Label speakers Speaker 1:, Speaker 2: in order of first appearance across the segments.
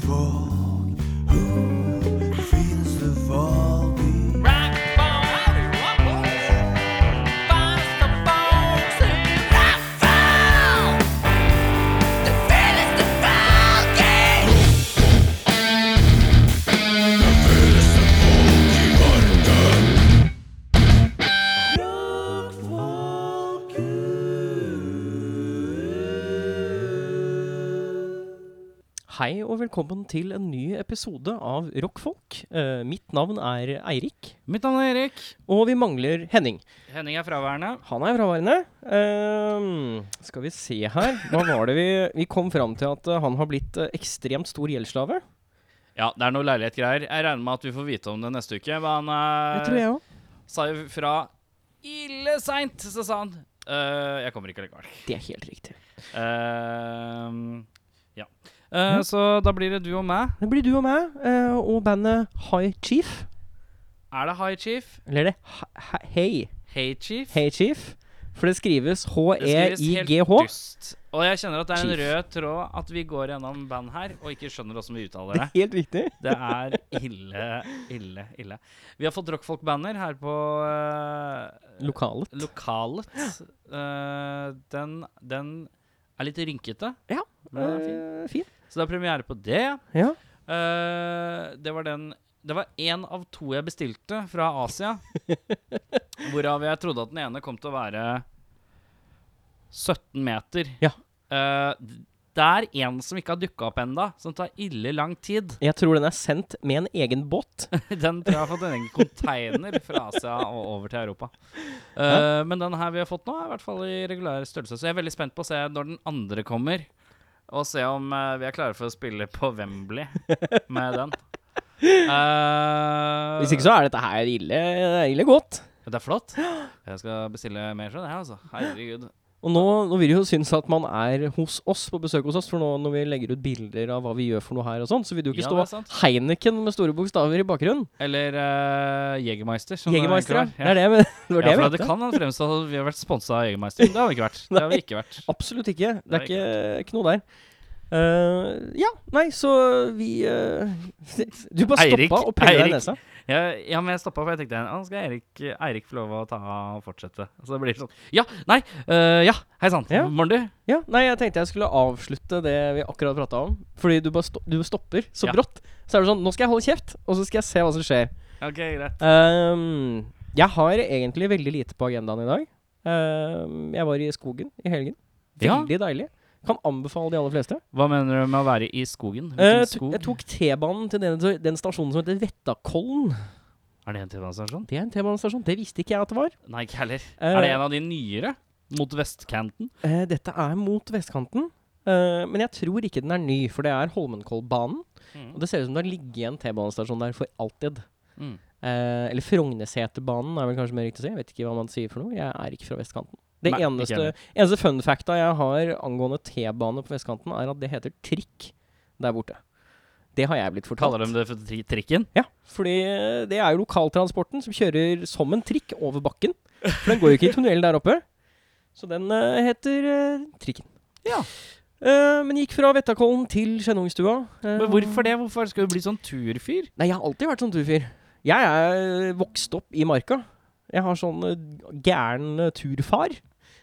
Speaker 1: folk? Who feels the fall beat?
Speaker 2: Hei og velkommen til en ny episode av Rockfolk. Eh, mitt navn er Eirik,
Speaker 3: Mitt navn er Erik.
Speaker 2: og vi mangler Henning.
Speaker 3: Henning er fraværende.
Speaker 2: Han er fraværende. Ehm, skal vi se her Hva var det vi Vi kom fram til at eh, han har blitt eh, ekstremt stor gjeldsslave.
Speaker 3: Ja, det er noe leilighetgreier. Jeg regner med at vi får vite om det neste uke. Men han eh,
Speaker 2: jeg òg.
Speaker 3: sa jo fra ille seint, så sa han eh, Jeg kommer ikke likevel.
Speaker 2: Det er helt riktig.
Speaker 3: Eh, ja. Eh, Så da blir det du og meg.
Speaker 2: Det blir du og meg eh, og bandet High Chief.
Speaker 3: Er det High Chief?
Speaker 2: Eller er det Hi- Hi- Hey
Speaker 3: Hey E Chief?
Speaker 2: Hey Chief? For det skrives
Speaker 3: Det skrives helt
Speaker 2: H-e-i-g-h.
Speaker 3: dust. Og jeg kjenner at det er en
Speaker 2: Chief.
Speaker 3: rød tråd at vi går gjennom band her og ikke skjønner åssen vi uttaler det.
Speaker 2: Helt riktig.
Speaker 3: Det er ille, ille, ille. Vi har fått rockfolk-banner her på eh,
Speaker 2: Lokalet.
Speaker 3: lokalet. Eh, den, den er litt rynkete,
Speaker 2: Ja.
Speaker 3: men den er fin.
Speaker 2: eh, fin.
Speaker 3: Så det er premiere på det.
Speaker 2: Ja.
Speaker 3: Eh, det var den Det var én av to jeg bestilte fra Asia. Hvorav jeg trodde at den ene kom til å være 17 meter.
Speaker 2: Ja.
Speaker 3: Eh, d- det er en som ikke har dukka opp enda som tar ille lang tid.
Speaker 2: Jeg tror den er sendt med en egen båt.
Speaker 3: Den tror jeg har fått en egen container fra Asia og over til Europa. Eh, men den her vi har fått nå, er i hvert fall i regulær størrelse. Så jeg er veldig spent på å se når den andre kommer, og se om eh, vi er klare for å spille på Wembley med den. Eh,
Speaker 2: Hvis ikke så er dette her ille, ille godt.
Speaker 3: Det er flott. Jeg skal bestille mer fra det, altså. Herregud.
Speaker 2: Og nå, nå vil det jo synes at man er hos oss på besøk hos oss, for nå når vi legger ut bilder av hva vi gjør for noe her og sånn, så vil det jo ikke
Speaker 3: Ja, det er
Speaker 2: stå
Speaker 3: sant.
Speaker 2: Heineken med store bokstaver i bakgrunnen.
Speaker 3: Eller uh, Jegermeister. som det
Speaker 2: Jegermeister, ja.
Speaker 3: egentlig
Speaker 2: Det er det, men, det var
Speaker 3: Ja,
Speaker 2: det jeg
Speaker 3: for det
Speaker 2: mente.
Speaker 3: kan fremstå at vi har vært sponsa av Jegermeister. men Det har vi ikke vært. Det har vi ikke vært.
Speaker 2: Absolutt ikke. Det
Speaker 3: Det
Speaker 2: er
Speaker 3: er
Speaker 2: ikke, ikke noe der. Eh, ja, nei, så vi eh, Du bare
Speaker 3: Eirik,
Speaker 2: stoppa og prøvde deg i
Speaker 3: Eirik.
Speaker 2: nesa.
Speaker 3: Ja, ja, men jeg stoppa, for jeg tenkte Nå skal Eirik, Eirik få lov å ta og fortsette. Så det blir sånn Ja, nei, øh, ja, hei sann.
Speaker 2: Ja.
Speaker 3: Morn, du.
Speaker 2: Ja, nei, jeg tenkte jeg skulle avslutte det vi akkurat prata om. Fordi du bare sto du stopper så
Speaker 3: Ja.
Speaker 2: brått. Så er det sånn Nå skal jeg holde kjeft, og så skal jeg se hva som skjer.
Speaker 3: Ok, greit.
Speaker 2: Ehm, jeg har egentlig veldig lite på agendaen i dag. Ehm, jeg var i skogen i helgen.
Speaker 3: Ja.
Speaker 2: Veldig deilig. Kan anbefale de aller fleste.
Speaker 3: Hva mener du med å være i skogen?
Speaker 2: Eh,
Speaker 3: Hvilken
Speaker 2: to-
Speaker 3: skog?
Speaker 2: jeg tok T-banen til den, den stasjonen som heter Vettakollen.
Speaker 3: Er det en T-banestasjon?
Speaker 2: Det er en T-banestasjon. Det visste ikke jeg at det var.
Speaker 3: Nei, ikke heller.
Speaker 2: Eh,
Speaker 3: er det en av de nyere? Mot vestkanten?
Speaker 2: Eh, dette er mot vestkanten. eh, men jeg tror ikke den er ny, for det er Holmenkollbanen.
Speaker 3: Mm.
Speaker 2: Og det ser ut som det har ligget en T-banestasjon der for alltid.
Speaker 3: Mm.
Speaker 2: Eh, eller Frogneseterbanen er vel kanskje mer riktig å si. Jeg vet ikke hva man sier for noe. Jeg er ikke fra vestkanten. Det
Speaker 3: Nei, ikke
Speaker 2: eneste,
Speaker 3: heller.
Speaker 2: eneste fun facta jeg har angående T-bane på vestkanten, er at det heter trikk der borte. Det har jeg blitt fortalt.
Speaker 3: Kaller de det for tri trikken?
Speaker 2: Ja, fordi eh, det er jo lokaltransporten som kjører som en trikk over bakken. For den går jo ikke i tunnelen der oppe. Så den eh, heter eh, trikken.
Speaker 3: Ja.
Speaker 2: Eh, men gikk fra Vettakollen til Skjennungstua. Eh,
Speaker 3: Men hvorfor det? Hvorfor skal du bli sånn turfyr?
Speaker 2: Nei, jeg har alltid vært sånn turfyr. Jeg er vokst opp i marka. Jeg har sånn eh, gæren eh, turfar.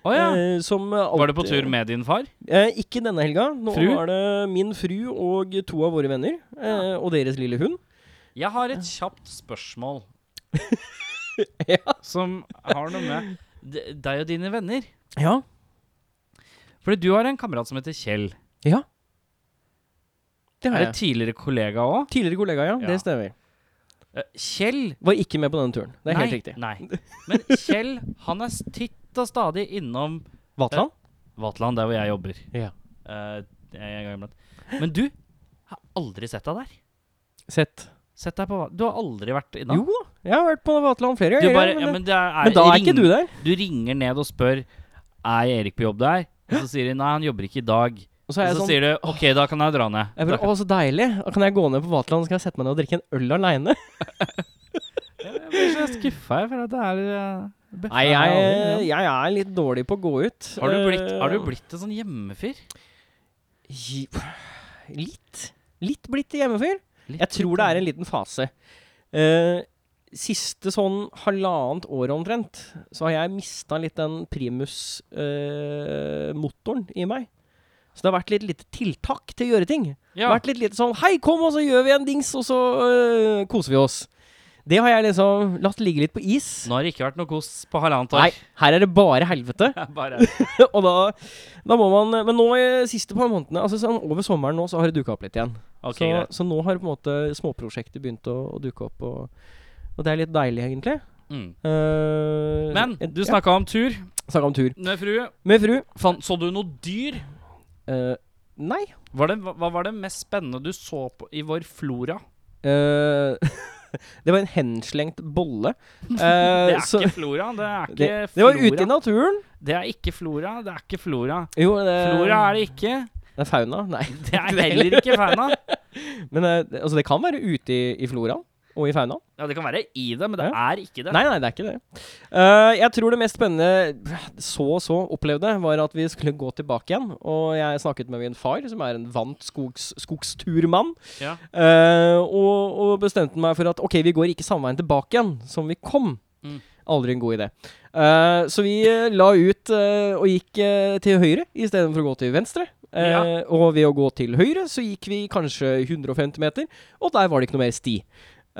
Speaker 3: Å ja.
Speaker 2: eh, som eh,
Speaker 3: Var du på
Speaker 2: alltid-
Speaker 3: tur med din far?
Speaker 2: Eh, ikke denne helga. Nå
Speaker 3: Fru?
Speaker 2: var det min fru og to av våre venner. Eh, og deres lille hund.
Speaker 3: Jeg har et kjapt spørsmål.
Speaker 2: Ja.
Speaker 3: Som har noe med d- deg og dine venner.
Speaker 2: Ja.
Speaker 3: Fordi du har en kamerat som heter Kjell.
Speaker 2: Ja. Det har
Speaker 3: Er det
Speaker 2: jeg.
Speaker 3: tidligere kollega òg?
Speaker 2: Tidligere kollega, ja.
Speaker 3: Ja.
Speaker 2: Det stemmer.
Speaker 3: Kjell
Speaker 2: Var ikke med på denne turen. Eh, Det er
Speaker 3: nei,
Speaker 2: helt riktig.
Speaker 3: Nei. Men Kjell, han er titt og stadig innom
Speaker 2: Vatland?
Speaker 3: Vatland, der hvor jeg jobber.
Speaker 2: Ja.
Speaker 3: Eh, en gang iblant. Men du har aldri sett deg der.
Speaker 2: Sett.
Speaker 3: Sett deg på Vat- Du har aldri vært innom.
Speaker 2: Jo da. Jeg har vært på Vatland flere
Speaker 3: Du
Speaker 2: ganger.
Speaker 3: bare,
Speaker 2: ja,
Speaker 3: ja,
Speaker 2: men, det,
Speaker 3: men, det er,
Speaker 2: men da er ikke
Speaker 3: ring-
Speaker 2: du der.
Speaker 3: Du ringer ned og spør Er Erik på jobb der. Og så sier de nei, han jobber ikke i dag.
Speaker 2: Og så er
Speaker 3: Og så
Speaker 2: jeg sånn
Speaker 3: sier du OK, da kan jeg dra ned.
Speaker 2: jeg bare, Å, så deilig. Da kan jeg gå ned på Vatland og sette meg ned og drikke en øl aleine.
Speaker 3: Jeg blir så skuffa for at det er eh,
Speaker 2: Nei, jeg, jeg er litt dårlig på å gå ut.
Speaker 3: har, du blitt,
Speaker 2: Eh,
Speaker 3: har du blitt en sånn hjemmefyr?
Speaker 2: gi- Litt. Litt blitt hjemmefyr.
Speaker 3: Litt
Speaker 2: Jeg tror det er en liten fase. Eh, siste sånn halvannet år omtrent, så har jeg mista litt den primus-motoren i meg. Så det har vært litt lite tiltak til å gjøre ting.
Speaker 3: ja.
Speaker 2: Vært litt lite sånn Hei, kom, og så gjør vi en dings, og så øh, koser vi oss. Det har jeg liksom latt ligge litt på is.
Speaker 3: Nå har det ikke vært noe kos på halvannet år.
Speaker 2: Nei, her er det bare helvete.
Speaker 3: Bare
Speaker 2: og da, da må man Men nå eh, siste par månedene, altså sånn over sommeren nå, så har det dukka opp litt igjen.
Speaker 3: Ok,
Speaker 2: så,
Speaker 3: greit.
Speaker 2: så nå har på en måte småprosjekter begynt å, å dukke opp, og, og det er litt deilig, egentlig.
Speaker 3: Mm.
Speaker 2: Eh,
Speaker 3: Men du
Speaker 2: ja,
Speaker 3: snakka om tur
Speaker 2: snakket om tur.
Speaker 3: med frue.
Speaker 2: Med fru.
Speaker 3: Fan, så du noe dyr?
Speaker 2: eh, nei.
Speaker 3: Var det, hva hva var det mest spennende du så på i vår flora?
Speaker 2: eh, det var en henslengt bolle.
Speaker 3: Det
Speaker 2: Eh,
Speaker 3: er
Speaker 2: så-
Speaker 3: ikke flora. Det er ikke
Speaker 2: det, det var ute i
Speaker 3: flora.
Speaker 2: naturen.
Speaker 3: Det er ikke flora. Det er ikke flora.
Speaker 2: Jo, det,
Speaker 3: Flora er det ikke.
Speaker 2: Eh. Det er fauna. Nei.
Speaker 3: Det er heller ikke fauna.
Speaker 2: Men eh, det- altså, det kan være ute i, i floraen og i faunaen.
Speaker 3: Ja, det kan være i det, men det er ikke det.
Speaker 2: Nei, nei, det er ikke det. Eh, jeg tror det mest spennende så og så opplevde, var at vi skulle gå tilbake igjen. Og jeg snakket med min far, som er en vant skogs, skogsturmann.
Speaker 3: Ja.
Speaker 2: Eh, og, og bestemte meg for at ok, vi går ikke samme veien tilbake igjen som vi kom.
Speaker 3: Mm.
Speaker 2: Aldri en god idé. Eh, så vi eh, la ut eh, og gikk eh, til høyre istedenfor å gå til venstre. Eh,
Speaker 3: Ja.
Speaker 2: Og ved å gå til høyre så gikk vi kanskje 150 meter, og der var det ikke noe mer sti.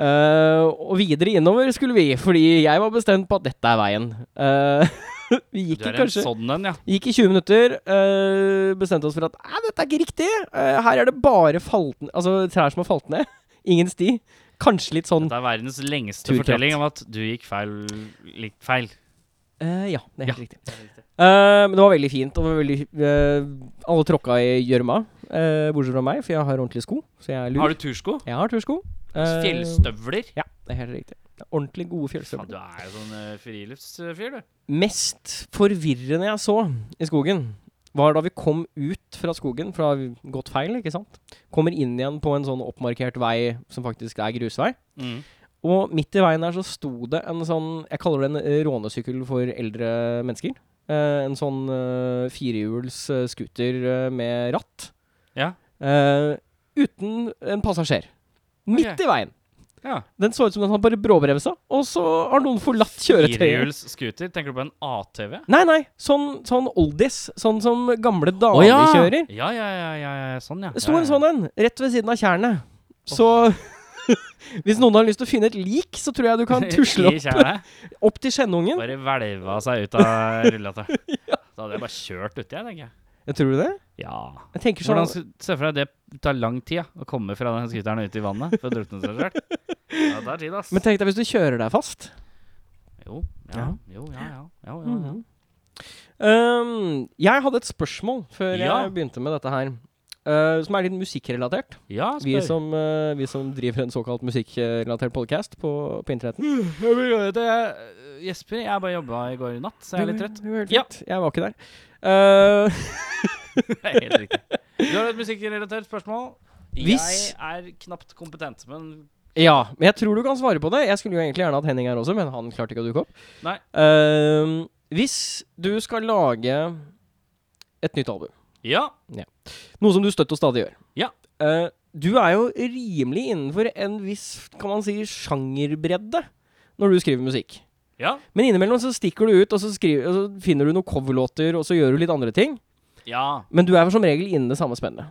Speaker 2: Eh, og videre innover skulle vi, fordi jeg var bestemt på at dette er veien. Eh, vi
Speaker 3: Du
Speaker 2: gikk i
Speaker 3: er en
Speaker 2: kanskje
Speaker 3: sånn en, ja.
Speaker 2: Gikk i 20 minutter, øh, bestemte oss for at Nei, dette er ikke riktig. Eh, her er det bare falt, altså, trær som har falt ned. Ingen sti. Kanskje litt sånn
Speaker 3: Det er verdens lengste
Speaker 2: Turkratt.
Speaker 3: fortelling om at du gikk feil. Litt feil.
Speaker 2: Eh, Ja, det er helt riktig. Eh, men det var veldig fint. Og det var veldig, eh, alle tråkka i gjørma, eh, bortsett fra meg, for jeg har ordentlige sko. Så jeg er lur.
Speaker 3: Har du tursko?
Speaker 2: Jeg har tursko. Eh,
Speaker 3: Fjellstøvler?
Speaker 2: Ja, det er helt riktig. Det er Ordentlig gode
Speaker 3: Faen,
Speaker 2: fjellstøvler.
Speaker 3: du er jo sånn eh, friluftsfyr, du.
Speaker 2: Mest forvirrende jeg så i skogen, var da vi kom ut fra skogen, for da har vi gått feil, ikke sant? Kommer inn igjen på en sånn oppmarkert vei som faktisk er grusvei.
Speaker 3: Mm.
Speaker 2: Og midt i veien der så sto det en sånn Jeg kaller det en eh, rånesykkel for eldre mennesker. Eh, en sånn eh, firehjuls eh, scooter eh, med ratt.
Speaker 3: Ja.
Speaker 2: Eh, uten en passasjer. Midt
Speaker 3: Ok.
Speaker 2: i veien.
Speaker 3: Ja.
Speaker 2: Den så ut som den hadde bare bråbremsa, og så har noen forlatt kjøretøyet.
Speaker 3: Firehjuls scooter. Tenker du på en ATV?
Speaker 2: Nei, nei. Sånn, sånn oldies. Sånn som gamle damer
Speaker 3: ja!
Speaker 2: kjører.
Speaker 3: Ja, ja, ja, ja, ja. Sånn, ja.
Speaker 2: Det sto
Speaker 3: ja,
Speaker 2: en
Speaker 3: ja.
Speaker 2: sånn en rett ved siden av tjernet. Så hvis noen har lyst til å finne et lik, så tror jeg du kan tusle
Speaker 3: I
Speaker 2: opp,
Speaker 3: tjernet.
Speaker 2: opp til skjennungen.
Speaker 3: Bare hvelva seg ut av rullata. Da hadde jeg bare kjørt uti, jeg, tenker jeg.
Speaker 2: Jeg tror du det?
Speaker 3: Ja.
Speaker 2: Jeg tenker sånn
Speaker 3: Hvordan skal Se for deg det tar lang tid ja, å komme fra den scooteren og ut i vannet for å drukne seg selv. Ja, det er tid, ass.
Speaker 2: Men tenk deg hvis du kjører deg fast.
Speaker 3: Jo, ja,
Speaker 2: Ja. Mm.
Speaker 3: jo, ja, ja. ja, ja, ja.
Speaker 2: Um, Mhm. jeg hadde et spørsmål før
Speaker 3: Ja.
Speaker 2: jeg begynte med dette her. uh, som er litt musikkrelatert.
Speaker 3: ja
Speaker 2: Vi
Speaker 3: spør.
Speaker 2: som, uh, vi som driver en såkalt musikkrelatert podkast på, på internetten.
Speaker 3: Jeg vil gjøre det. Jesper, jeg bare jobba i går natt, så jeg er litt trøtt.
Speaker 2: Det var helt
Speaker 3: Ja.
Speaker 2: fint. Jeg var ikke der. Uh,
Speaker 3: Det er Helt riktig. Du har et musikkrelatert spørsmål.
Speaker 2: Hvis-
Speaker 3: Jeg er knapt kompetent, men
Speaker 2: ja, men jeg tror du kan svare på det. Jeg skulle jo egentlig gjerne hatt Henning her også, men han klarte ikke å dukke opp.
Speaker 3: Nei.
Speaker 2: Um, hvis du skal lage et nytt album
Speaker 3: ja.
Speaker 2: Noe som du støtt og stadig gjør.
Speaker 3: Ja.
Speaker 2: Eh, du er jo rimelig innenfor en viss, kan man si, sjangerbredde når du skriver musikk.
Speaker 3: Ja.
Speaker 2: Men innimellom så stikker du ut, og så, skriver, og så finner du noen coverlåter, og så gjør du litt andre ting.
Speaker 3: ja.
Speaker 2: Men du er som regel innen det samme spennet.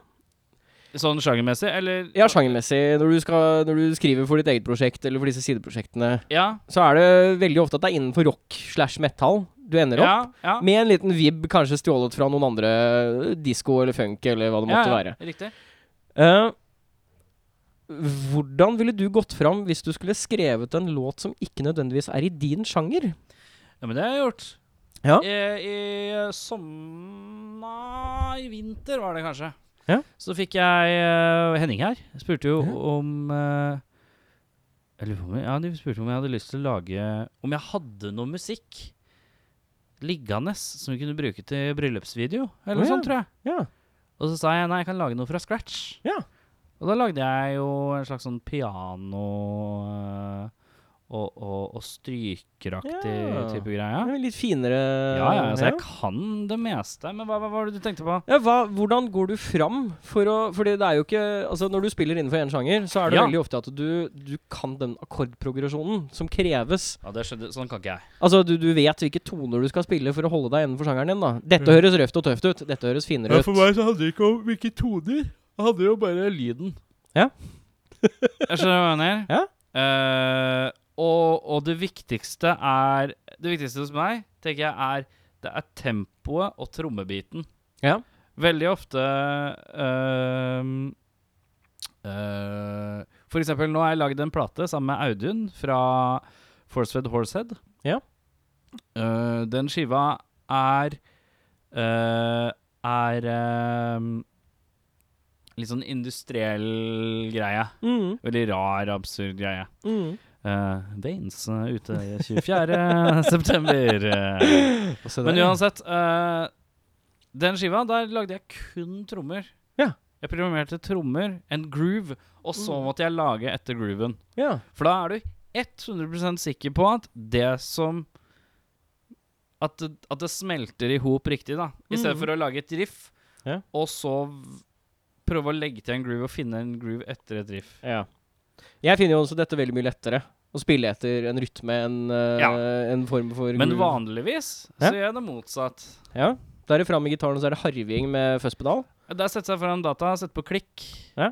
Speaker 3: Sånn sjangermessig, eller
Speaker 2: Ja, sjangermessig. Når du, skal, når du skriver for ditt eget prosjekt, eller for disse sideprosjektene,
Speaker 3: Ja.
Speaker 2: så er det veldig ofte at det er innenfor rock slash metal du ender opp.
Speaker 3: Ja, ja.
Speaker 2: Med en liten vib kanskje stjålet fra noen andre, disko eller funk eller hva det måtte være.
Speaker 3: Riktig.
Speaker 2: Eh, hvordan ville du gått fram hvis du skulle skrevet en låt som ikke nødvendigvis er i din sjanger?
Speaker 3: Ja, men det har jeg gjort.
Speaker 2: Ja.
Speaker 3: I, i eh, sommer I vinter var det kanskje.
Speaker 2: Ja.
Speaker 3: Så fikk jeg eh, Henning her. Jeg Spurte jo
Speaker 2: Ja.
Speaker 3: om eh, jeg lurer på om jeg, Ja, de spurte om jeg hadde lyst til å lage Om jeg hadde noe musikk liggende som vi kunne bruke til bryllupsvideo, eller
Speaker 2: Å,
Speaker 3: noe
Speaker 2: ja.
Speaker 3: sånt, tror jeg.
Speaker 2: Ja.
Speaker 3: Og så sa jeg nei, jeg kan lage noe fra scratch.
Speaker 2: Ja.
Speaker 3: Og da lagde jeg jo en slags sånn piano eh, og, og, og strykeraktig
Speaker 2: Ja.
Speaker 3: type greia.
Speaker 2: Det er Litt finere
Speaker 3: Ja, ja, altså jeg kan det meste. Men hva, hva var det du tenkte på?
Speaker 2: Ja, hva, hvordan går du fram for å Fordi det er jo ikke Altså Når du spiller innenfor én sjanger, så er det
Speaker 3: Ja.
Speaker 2: veldig ofte at du, du kan den akkordprogresjonen som kreves.
Speaker 3: Ja, det skjedde, Sånn kan ikke jeg.
Speaker 2: Altså du, du vet hvilke toner du skal spille for å holde deg innenfor sjangeren din. da Dette høres røft og tøft ut. Dette høres finere ut.
Speaker 3: meg så handler det ikke om hvilke toner. Det handler jo bare lyden.
Speaker 2: Ja.
Speaker 3: jeg skjønner hva jeg mener.
Speaker 2: Ja.
Speaker 3: Eh, og, og det viktigste er Det viktigste hos meg, tenker jeg, er Det er tempoet og trommebiten.
Speaker 2: Ja.
Speaker 3: Veldig ofte ehm, eh, For eksempel, nå har jeg lagd en plate sammen med Audun fra Forcefed Horsehead.
Speaker 2: Ja.
Speaker 3: Eh, den skiva er eh, Er ehm, litt sånn industriell greie.
Speaker 2: Mm,
Speaker 3: Veldig rar, absurd greie.
Speaker 2: mm.
Speaker 3: Uh, Baines eh, ute 24. september. eh.
Speaker 2: Og se
Speaker 3: Men
Speaker 2: der, ja.
Speaker 3: uansett eh, Den skiva, der lagde jeg kun trommer.
Speaker 2: Ja.
Speaker 3: Jeg programmerte trommer, en groove, og så
Speaker 2: Mm.
Speaker 3: måtte jeg lage etter grooven.
Speaker 2: ja.
Speaker 3: For da er du 100 sikker på at det som At det, at det smelter i hop riktig, da. I stedet
Speaker 2: Mm.
Speaker 3: for å lage et riff,
Speaker 2: Ja.
Speaker 3: og så v- prøve å legge til en groove og finne en groove etter et riff.
Speaker 2: Ja. Jeg finner jo også dette veldig mye lettere. Å spille etter en rytme, en, eh,
Speaker 3: Ja.
Speaker 2: en form for
Speaker 3: Men
Speaker 2: groove.
Speaker 3: vanligvis
Speaker 2: Ja.
Speaker 3: så gjør jeg det motsatt.
Speaker 2: Ja. Da er det fram med gitaren, og så er det harving med fuzz-pedal.
Speaker 3: Det er sette seg foran data, sette på klikk.
Speaker 2: Ja.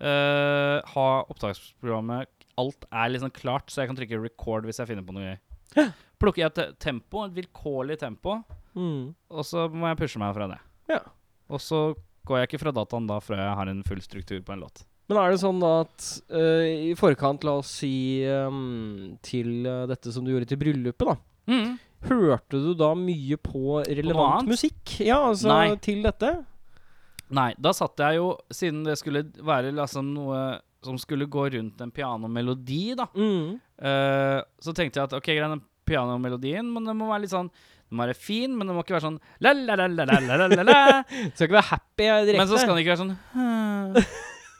Speaker 3: Eh, ha opptaksprogrammet Alt er liksom klart, så jeg kan trykke record hvis jeg finner på noe gøy. Plukker jeg te tempo, et vilkårlig tempo,
Speaker 2: Mm.
Speaker 3: og så må jeg pushe meg fra det.
Speaker 2: Ja.
Speaker 3: Og så går jeg ikke fra dataen da før jeg har en full struktur på en låt.
Speaker 2: Men er det sånn at eh, i forkant, la oss si ehm, til eh, dette som du gjorde til bryllupet, da. Mm. Hørte du da mye på relevant
Speaker 3: annet?
Speaker 2: musikk? Ja, altså
Speaker 3: Nei.
Speaker 2: til dette?
Speaker 3: Nei, da satt jeg jo, siden det skulle være liksom noe som skulle gå rundt en pianomelodi, da.
Speaker 2: Mm.
Speaker 3: Eh, så tenkte jeg at ok, greit, den pianomelodien, men den må være litt sånn Den må være fin, men den må ikke være sånn la, la, la, la, la, la, la, la.
Speaker 2: Skal ikke være happy eh, direkte.
Speaker 3: Men så skal den ikke være sånn «Hæ».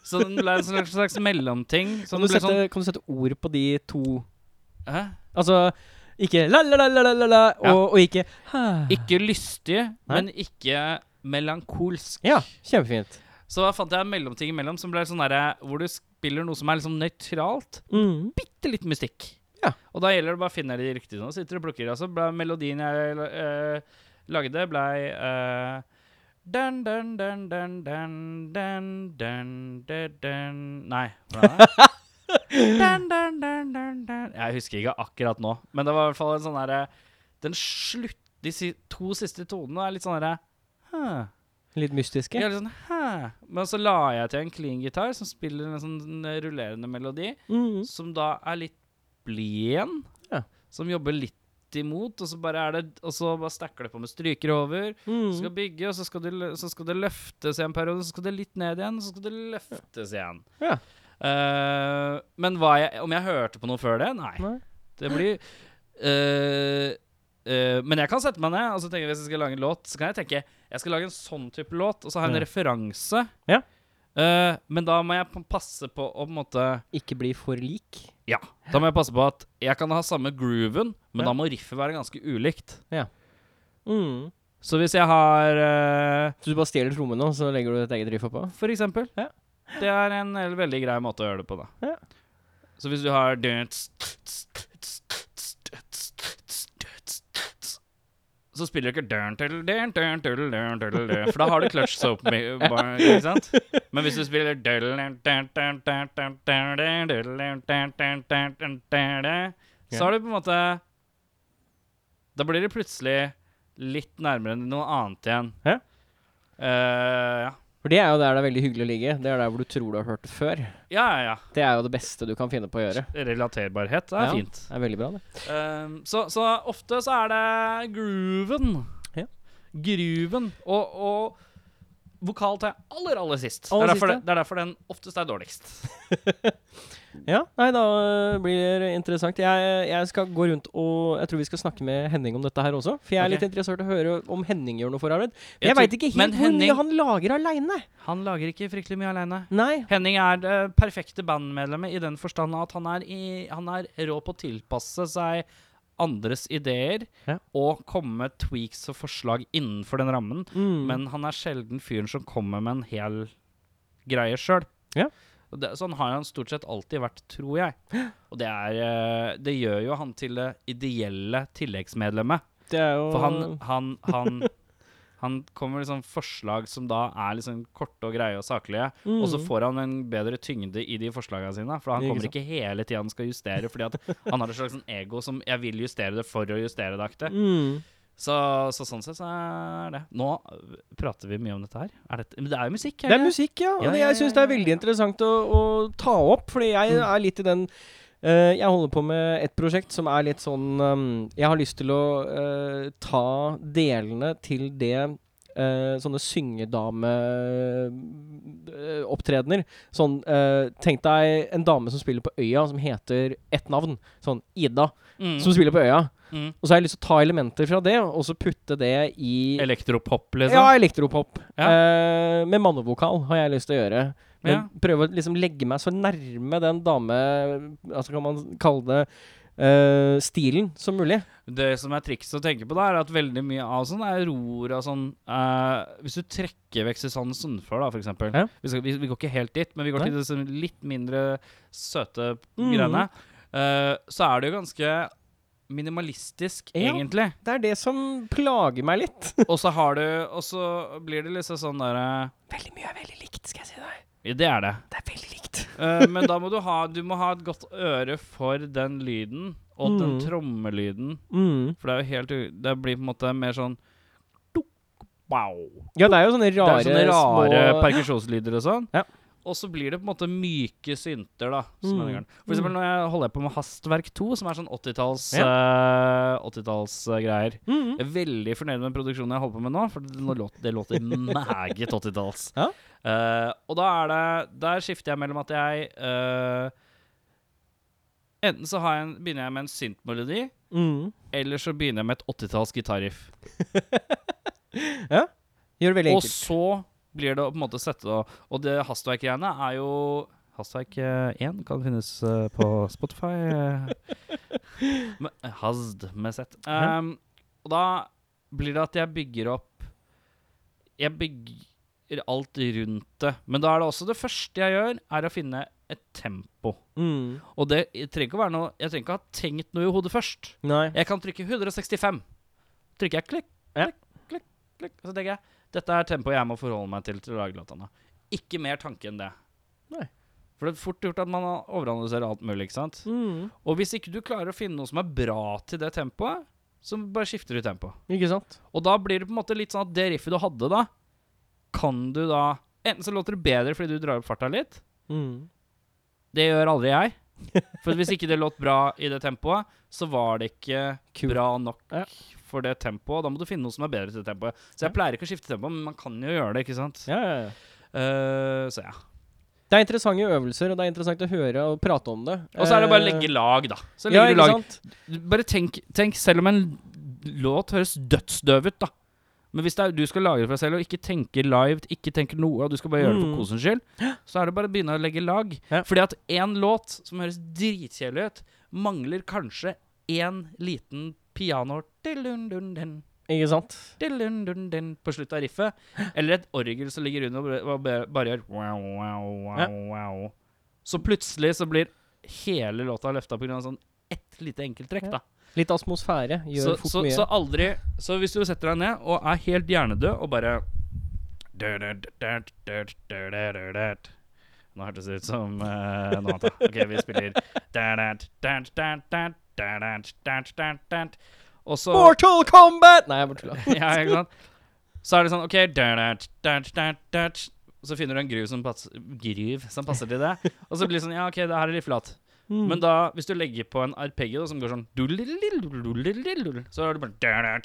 Speaker 3: Så den ble en slags, slags mellomting. Så
Speaker 2: kan,
Speaker 3: den
Speaker 2: du
Speaker 3: ble
Speaker 2: sette,
Speaker 3: sånn
Speaker 2: kan du sette ord på de to
Speaker 3: Hæ?
Speaker 2: Altså ikke la-la-la-la-la,
Speaker 3: Ja.
Speaker 2: og, og ikke «Hæ».
Speaker 3: Ikke lystig,
Speaker 2: Nei.
Speaker 3: men ikke melankolsk.
Speaker 2: Ja, kjempefint.
Speaker 3: Så da fant jeg en mellomting imellom som ble sånn derre hvor du spiller noe som er liksom nøytralt.
Speaker 2: Mm.
Speaker 3: Bitte litt mystikk.
Speaker 2: Ja.
Speaker 3: Og da gjelder det bare å finne de riktige. Sånn. Sitter og plukker. Altså ble melodien jeg eh, lagde, ble eh, dun, dun, dun, dun, dun, dun, dun, dun, dun. Nei. Hvordan er det? dun, dun, dun, dun, dun. Jeg husker ikke akkurat nå, men det var i hvert fall en sånn derre Den slutt... De si, to siste tonene er litt sånn derre huh.
Speaker 2: Litt mystiske.
Speaker 3: Jeg er litt sånn, Hæ? Men så la jeg til en clean gitar som spiller en sånn rullerende melodi,
Speaker 2: Mm.
Speaker 3: som da er litt blien,
Speaker 2: Ja.
Speaker 3: som jobber litt imot, og så bare er det Og så bare stacker det på med stryker over.
Speaker 2: Mm.
Speaker 3: Så skal bygge, og så skal, det, lø- så skal det løftes i en periode, så skal det litt ned igjen, så skal det løftes igjen.
Speaker 2: Ja.
Speaker 3: Eh, men hva jeg, om jeg hørte på noe før det? Nei.
Speaker 2: Nei.
Speaker 3: Det blir eh, eh, Men jeg kan sette meg ned og så tenker jeg hvis jeg skal lage en låt, så kan jeg tenke jeg skal lage en sånn type låt, og så ha en
Speaker 2: Ja.
Speaker 3: referanse.
Speaker 2: Ja.
Speaker 3: Eh, men da må jeg p- passe på å på en måte
Speaker 2: Ikke bli for lik.
Speaker 3: Ja. Da må jeg passe på at jeg kan ha samme grooven, men
Speaker 2: Ja.
Speaker 3: da må riffet være ganske ulikt.
Speaker 2: Mm.
Speaker 3: Så hvis jeg har eh,
Speaker 2: Så du bare stjeler trommene, og så legger du et eget riff oppå?
Speaker 3: For eksempel.
Speaker 2: Ja.
Speaker 3: Det er en hel- veldig grei måte å gjøre det på, da.
Speaker 2: Ja.
Speaker 3: Så hvis du har Så spiller du ikke For da har du clutch soap, ikke sant? Men hvis du spiller Så har du på en måte Da blir det plutselig litt nærmere noe annet igjen.
Speaker 2: Ja.
Speaker 3: Eh, ja.
Speaker 2: For det er jo der det er veldig hyggelig å ligge. Det er der hvor du tror du har hørt det før.
Speaker 3: Ja, ja,
Speaker 2: Det er jo det beste du kan finne på å gjøre.
Speaker 3: ja. Relaterbarhet er
Speaker 2: Ja.
Speaker 3: fint.
Speaker 2: Det er veldig bra, det.
Speaker 3: Um, så, så ofte så er det grooven.
Speaker 2: Ja.
Speaker 3: Grooven. Og, og vokal til aller, aller sist.
Speaker 2: Aller
Speaker 3: det, er derfor,
Speaker 2: siste?
Speaker 3: det, det er derfor den oftest er dårligst.
Speaker 2: Ja, nei, da øh, blir det interessant. Jeg, jeg skal gå rundt og Jeg tror vi skal snakke med Henning om dette her også. For jeg er
Speaker 3: Ok.
Speaker 2: litt interessert i å høre om Henning gjør noe forarbeid.
Speaker 3: Jeg
Speaker 2: Jeg,
Speaker 3: tror-
Speaker 2: vet ikke
Speaker 3: men
Speaker 2: helt hvor
Speaker 3: Henning-
Speaker 2: mye han lager aleine.
Speaker 3: Han lager ikke fryktelig mye aleine.
Speaker 2: Nei.
Speaker 3: Henning er det perfekte bandmedlemmet i den forstand at han er, i, han er rå på å tilpasse seg andres ideer
Speaker 2: Ja.
Speaker 3: og komme med tweaks og forslag innenfor den rammen.
Speaker 2: Mm.
Speaker 3: Men han er sjelden fyren som kommer med en hel greie sjøl.
Speaker 2: Ja.
Speaker 3: Sånn har han stort sett alltid vært, tror jeg. Og det, er, eh, det gjør jo han til det ideelle tilleggsmedlemmet.
Speaker 2: det er jo
Speaker 3: For han, han, han, han kommer med liksom forslag som da er liksom korte og greie og saklige.
Speaker 2: Mm.
Speaker 3: Og så får han en bedre tyngde i de forslagene sine. For han
Speaker 2: Ikke
Speaker 3: kommer
Speaker 2: sant.
Speaker 3: ikke hele tida han skal justere, fordi at han har et slags sånn ego som 'jeg vil justere det for å justere det' aktig.
Speaker 2: mm.
Speaker 3: Så, så sånn sett så er det. Nå prater vi mye om dette her. Er dette, men det er jo musikk.
Speaker 2: Det er
Speaker 3: det?
Speaker 2: musikk, ja. Og
Speaker 3: Ja,
Speaker 2: det-
Speaker 3: ja, ja,
Speaker 2: jeg syns det er
Speaker 3: ja, Mm.
Speaker 2: veldig interessant å, å ta opp, fordi jeg er litt i den eh, Jeg holder på med et prosjekt som er litt sånn ehm, Jeg har lyst til å eh, ta delene til det eh, sånne syngedameopptredener. Sånn eh, Tenk deg en dame som spiller på Øya, som heter ett navn. Sånn Ida,
Speaker 3: Mm,
Speaker 2: som spiller på Øya.
Speaker 3: mm.
Speaker 2: Og så har jeg lyst til å ta elementer fra det, og så putte det i
Speaker 3: Elektropop, liksom.
Speaker 2: ja, elektropop.
Speaker 3: Ja.
Speaker 2: Eh, med mannevokal har jeg lyst til å gjøre. Men
Speaker 3: Ja.
Speaker 2: prøve å liksom legge meg så nærme den dame Altså kan man kalle det eh, stilen som mulig.
Speaker 3: Det som er trikset å tenke på, da, er at veldig mye av sånn er ror av sånn eh, Hvis du trekker vekk Susanne Sundfør, da, for eksempel.
Speaker 2: Ja.
Speaker 3: Vi, skal, vi, vi går ikke helt dit, men vi går
Speaker 2: Nei.
Speaker 3: til det som litt mindre søte
Speaker 2: Mhm.
Speaker 3: greiene. Eh, så er det jo ganske minimalistisk,
Speaker 2: Ja.
Speaker 3: egentlig.
Speaker 2: Det er det som plager meg litt.
Speaker 3: Og så har du Og så blir det liksom sånn derre
Speaker 2: Veldig mye er veldig likt, skal jeg si deg.
Speaker 3: ja, Det er det.
Speaker 2: Det er veldig likt.
Speaker 3: Eh, men da må du ha Du må ha et godt øre for den lyden, og den
Speaker 2: Mhm.
Speaker 3: trommelyden.
Speaker 2: Mm.
Speaker 3: For det er jo helt u- Det blir på en måte mer sånn duk, Wow.
Speaker 2: Ja, det er jo sånne
Speaker 3: Det
Speaker 2: rare,
Speaker 3: er sånne rare
Speaker 2: små
Speaker 3: perkusjonslyder og sånn.
Speaker 2: Ja.
Speaker 3: Og så blir det på en måte myke synter, da. Som
Speaker 2: Mm.
Speaker 3: er gæren. For eksempel når jeg holder på med Hastverk 2, som er sånn 80-talls eh, 80-tallsgreier.
Speaker 2: Mm.
Speaker 3: jeg er veldig fornøyd med produksjonen jeg holder på med nå, for det, nå låt, det låter meget 80-talls.
Speaker 2: Ja.
Speaker 3: Eh, og da er det Der skifter jeg mellom at jeg eh, Enten så har jeg en, begynner jeg med en syntmelodi,
Speaker 2: Mm.
Speaker 3: eller så begynner jeg med et 80-talls gitarriff.
Speaker 2: Gjør det veldig
Speaker 3: Og
Speaker 2: enkelt.
Speaker 3: så blir det å på en måte sette det Og det hastverk-greiene er jo Hastverk eh, 1 kan finnes eh, på Spotify. eh, med, hazd med Z.
Speaker 2: Ja.
Speaker 3: Um, og da blir det at jeg bygger opp Jeg bygger alt rundt det. Men da er det også det første jeg gjør, er å finne et tempo.
Speaker 2: Mm.
Speaker 3: Og det jeg trenger ikke å være noe Jeg trenger ikke ha tenkt noe i hodet først.
Speaker 2: Nei.
Speaker 3: Jeg kan trykke 165. Trykker jeg klikk,
Speaker 2: Ja.
Speaker 3: klikk, klikk, klikk. Så tenker jeg dette er tempoet jeg må forholde meg til til å lage låtene. Ikke mer tanke enn det.
Speaker 2: Nei.
Speaker 3: For det er fort gjort at man overanalyserer alt mulig. ikke sant?
Speaker 2: Mm.
Speaker 3: Og hvis ikke du klarer å finne noe som er bra til det tempoet, så bare skifter du tempo.
Speaker 2: Ikke sant?
Speaker 3: Og da blir det på en måte litt sånn at det riffet du hadde da, kan du da Enten så låter det bedre fordi du drar opp farta litt,
Speaker 2: Mm.
Speaker 3: det gjør aldri jeg. For hvis ikke det låt bra i det tempoet, så var det ikke
Speaker 2: Kult.
Speaker 3: bra nok
Speaker 2: Ja.
Speaker 3: for det tempoet. Da må du finne noe som er bedre til det tempoet. Så jeg pleier ikke å skifte tempo, men man kan jo gjøre det, ikke sant?
Speaker 2: Ja, ja, ja.
Speaker 3: Eh, så ja.
Speaker 2: Det er interessante øvelser, og det er interessant å høre og prate om det.
Speaker 3: Og så er det bare å
Speaker 2: Eh,
Speaker 3: legge lag, da. Så
Speaker 2: ja,
Speaker 3: legger du
Speaker 2: ikke
Speaker 3: lag.
Speaker 2: sant?
Speaker 3: Bare tenk, tenk, selv om en låt høres dødsdøv ut, da. Men hvis det er, du skal lage det for deg selv og ikke tenker live, ikke tenker noe, og du skal bare gjøre det
Speaker 2: Mm.
Speaker 3: for kosens skyld, så er det bare å begynne å legge lag.
Speaker 2: Ja.
Speaker 3: Fordi at én låt som høres dritkjedelig ut, mangler kanskje én liten piano Dun-dun-dun,
Speaker 2: Ikke sant?
Speaker 3: dun-dun-dun, på slutt av riffet. Eller et orgel som ligger under og bare- og bare- bare gjør wow, wow, wow, wow. Så plutselig så blir hele låta løfta pga. sånn ett lite enkelttrekk, da.
Speaker 2: Litt atmosfære gjør
Speaker 3: Så,
Speaker 2: fort
Speaker 3: så,
Speaker 2: mye.
Speaker 3: så aldri Så hvis du setter deg ned og er helt hjernedød og bare Nå hørtes det ut som eh, noe annet. da. OK, vi spiller Og så
Speaker 2: Mortal Kombat! Nei, jeg bare tulla.
Speaker 3: ja, ikke sant? Så er det sånn OK Så finner du en gruv som passer, gruv som passer til det. Og så blir det sånn Ja, OK, det her er litt flatt. Men da, hvis du legger på en arpeggio som går sånn dulililulilulilul, Så er det bare
Speaker 2: ja, ja.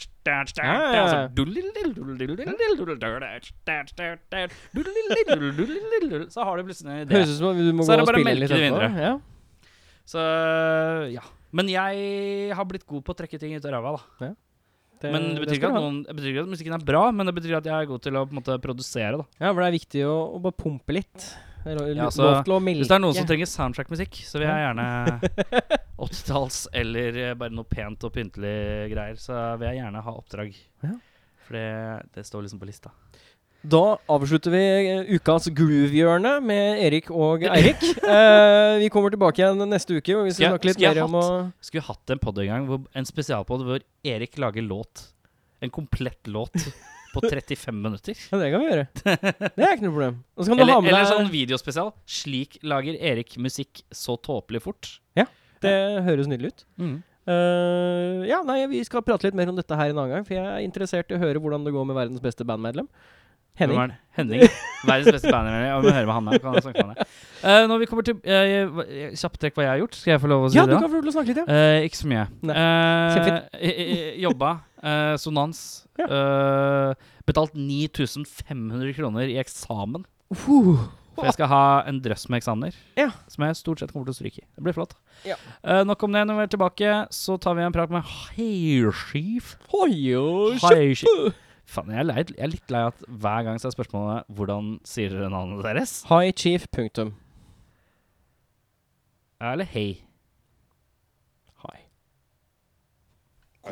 Speaker 3: Så dulililulilulilulul, Så har du plutselig en idé.
Speaker 2: Høres ut som om du må
Speaker 3: Så er
Speaker 2: gå og
Speaker 3: det bare å
Speaker 2: spille litt
Speaker 3: melke det
Speaker 2: etterpå.
Speaker 3: videre.
Speaker 2: Ja.
Speaker 3: Så ja. Men jeg har blitt god på å trekke ting ut av ræva, da.
Speaker 2: Det,
Speaker 3: Men det betyr,
Speaker 2: skal du
Speaker 3: ikke at
Speaker 2: ha.
Speaker 3: noen, det betyr ikke at musikken er bra, men det betyr at jeg er god til å på en måte produsere, da.
Speaker 2: Ja, for det er viktig å, å bare pumpe litt. Det er lo-
Speaker 3: Ja, så
Speaker 2: lov til å melke.
Speaker 3: Hvis det er noen som trenger soundtrack-musikk, så vil jeg gjerne 80-talls eller eh, bare noe pent og pyntelig greier. Så vil jeg gjerne ha oppdrag.
Speaker 2: Ja.
Speaker 3: For det, det står liksom på lista.
Speaker 2: Da avslutter vi eh, ukas groove-hjørne med Erik og Eirik. Eh, vi kommer tilbake igjen neste uke, og vi skal
Speaker 3: Skal jeg-
Speaker 2: snakke litt
Speaker 3: skal
Speaker 2: mer
Speaker 3: jeg
Speaker 2: om å
Speaker 3: Skulle hatt en podd en gang, hvor, en spesialpodd hvor Erik lager låt. En komplett låt på 35 minutter.
Speaker 2: Ja, det kan vi gjøre. Det er ikke noe problem. Og så kan du
Speaker 3: Eller,
Speaker 2: ha med
Speaker 3: eller
Speaker 2: deg
Speaker 3: sånn videospesial. Slik lager Erik musikk så tåpelig fort.
Speaker 2: Det høres nydelig ut. Eh, ja, nei, vi skal prate litt mer om dette her en annen gang, for jeg er interessert i å høre hvordan det går med verdens beste bandmedlem.
Speaker 3: Hvem
Speaker 2: Henning.
Speaker 3: er det? Henning. Verdens beste bandmedlem. Jeg må høre hva han er. Kan jeg snakke med han er. Eh, når vi kommer til eh, hva- Kjapt trekk hva jeg har gjort. Skal jeg få lov å si
Speaker 2: Ja,
Speaker 3: det?
Speaker 2: du
Speaker 3: da?
Speaker 2: kan få lov til å snakke litt, ja.
Speaker 3: Eh, ikke så mye.
Speaker 2: Nei.
Speaker 3: Eh,
Speaker 2: Kjempefint.
Speaker 3: eh, eh, jobba. eh, sonans.
Speaker 2: Ja.
Speaker 3: Eh, betalt 9500 kroner i eksamen.
Speaker 2: Uh,
Speaker 3: For jeg skal ha en drøss med eksamener.
Speaker 2: Ja.
Speaker 3: Som jeg stort sett kommer til å stryke i. Det blir flott.
Speaker 2: Ja.
Speaker 3: Eh, nok om det. Når vi er tilbake, så tar vi en prat med Heirschief.
Speaker 2: Eh, hoi og kjø-
Speaker 3: Heirschief. Faen, jeg er, lei, jeg er litt lei at hver gang så er spørsmålet 'Hvordan sier dere navnet deres?'
Speaker 2: Hi, chief. Punktum.
Speaker 3: Eller 'Hei'.
Speaker 2: Hi.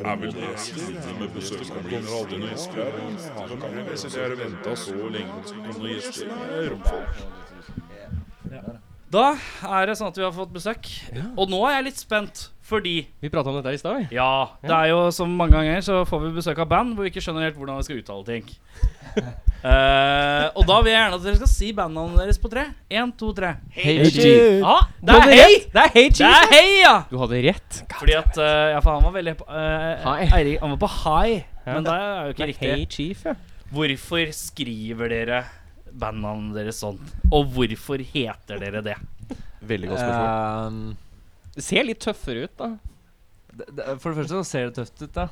Speaker 4: Er vel det stille med besøkskommer aldri noen gjester her. Han kan jo sitte her og vente så lenge på noen gjester. Det er rumpa.
Speaker 3: Da er det sånn at vi har fått besøk. Og nå er jeg litt spent, fordi
Speaker 2: Vi prata om dette her i stad, vi.
Speaker 3: Ja, det er jo som mange ganger så får vi besøk av band hvor vi ikke skjønner helt hvordan vi skal uttale ting. Eh, og da vil jeg gjerne at dere skal si bandnavnet deres på tre. Én, to, tre. Hei,
Speaker 2: Hey, Chief.
Speaker 3: Ja, det
Speaker 2: Du
Speaker 3: er
Speaker 2: hadde
Speaker 3: hei!
Speaker 2: rett. Det er hei,
Speaker 3: Det er
Speaker 2: chief.
Speaker 3: hei, ja!
Speaker 2: Du hadde rett.
Speaker 3: Fordi at eh, Ja, for han var veldig eh,
Speaker 2: Hei.
Speaker 3: Eirik, han var på high, men det er jo ikke
Speaker 2: Det er
Speaker 3: riktig.
Speaker 2: Hei, chief, ja.
Speaker 3: Hvorfor skriver dere bandnavnet deres sånn? Og hvorfor heter dere det?
Speaker 5: Veldig godt spørsmål.
Speaker 6: Ehm,
Speaker 2: Eh, Det ser litt tøffere ut, da.
Speaker 6: det, det, for det første så ser det tøft ut, da.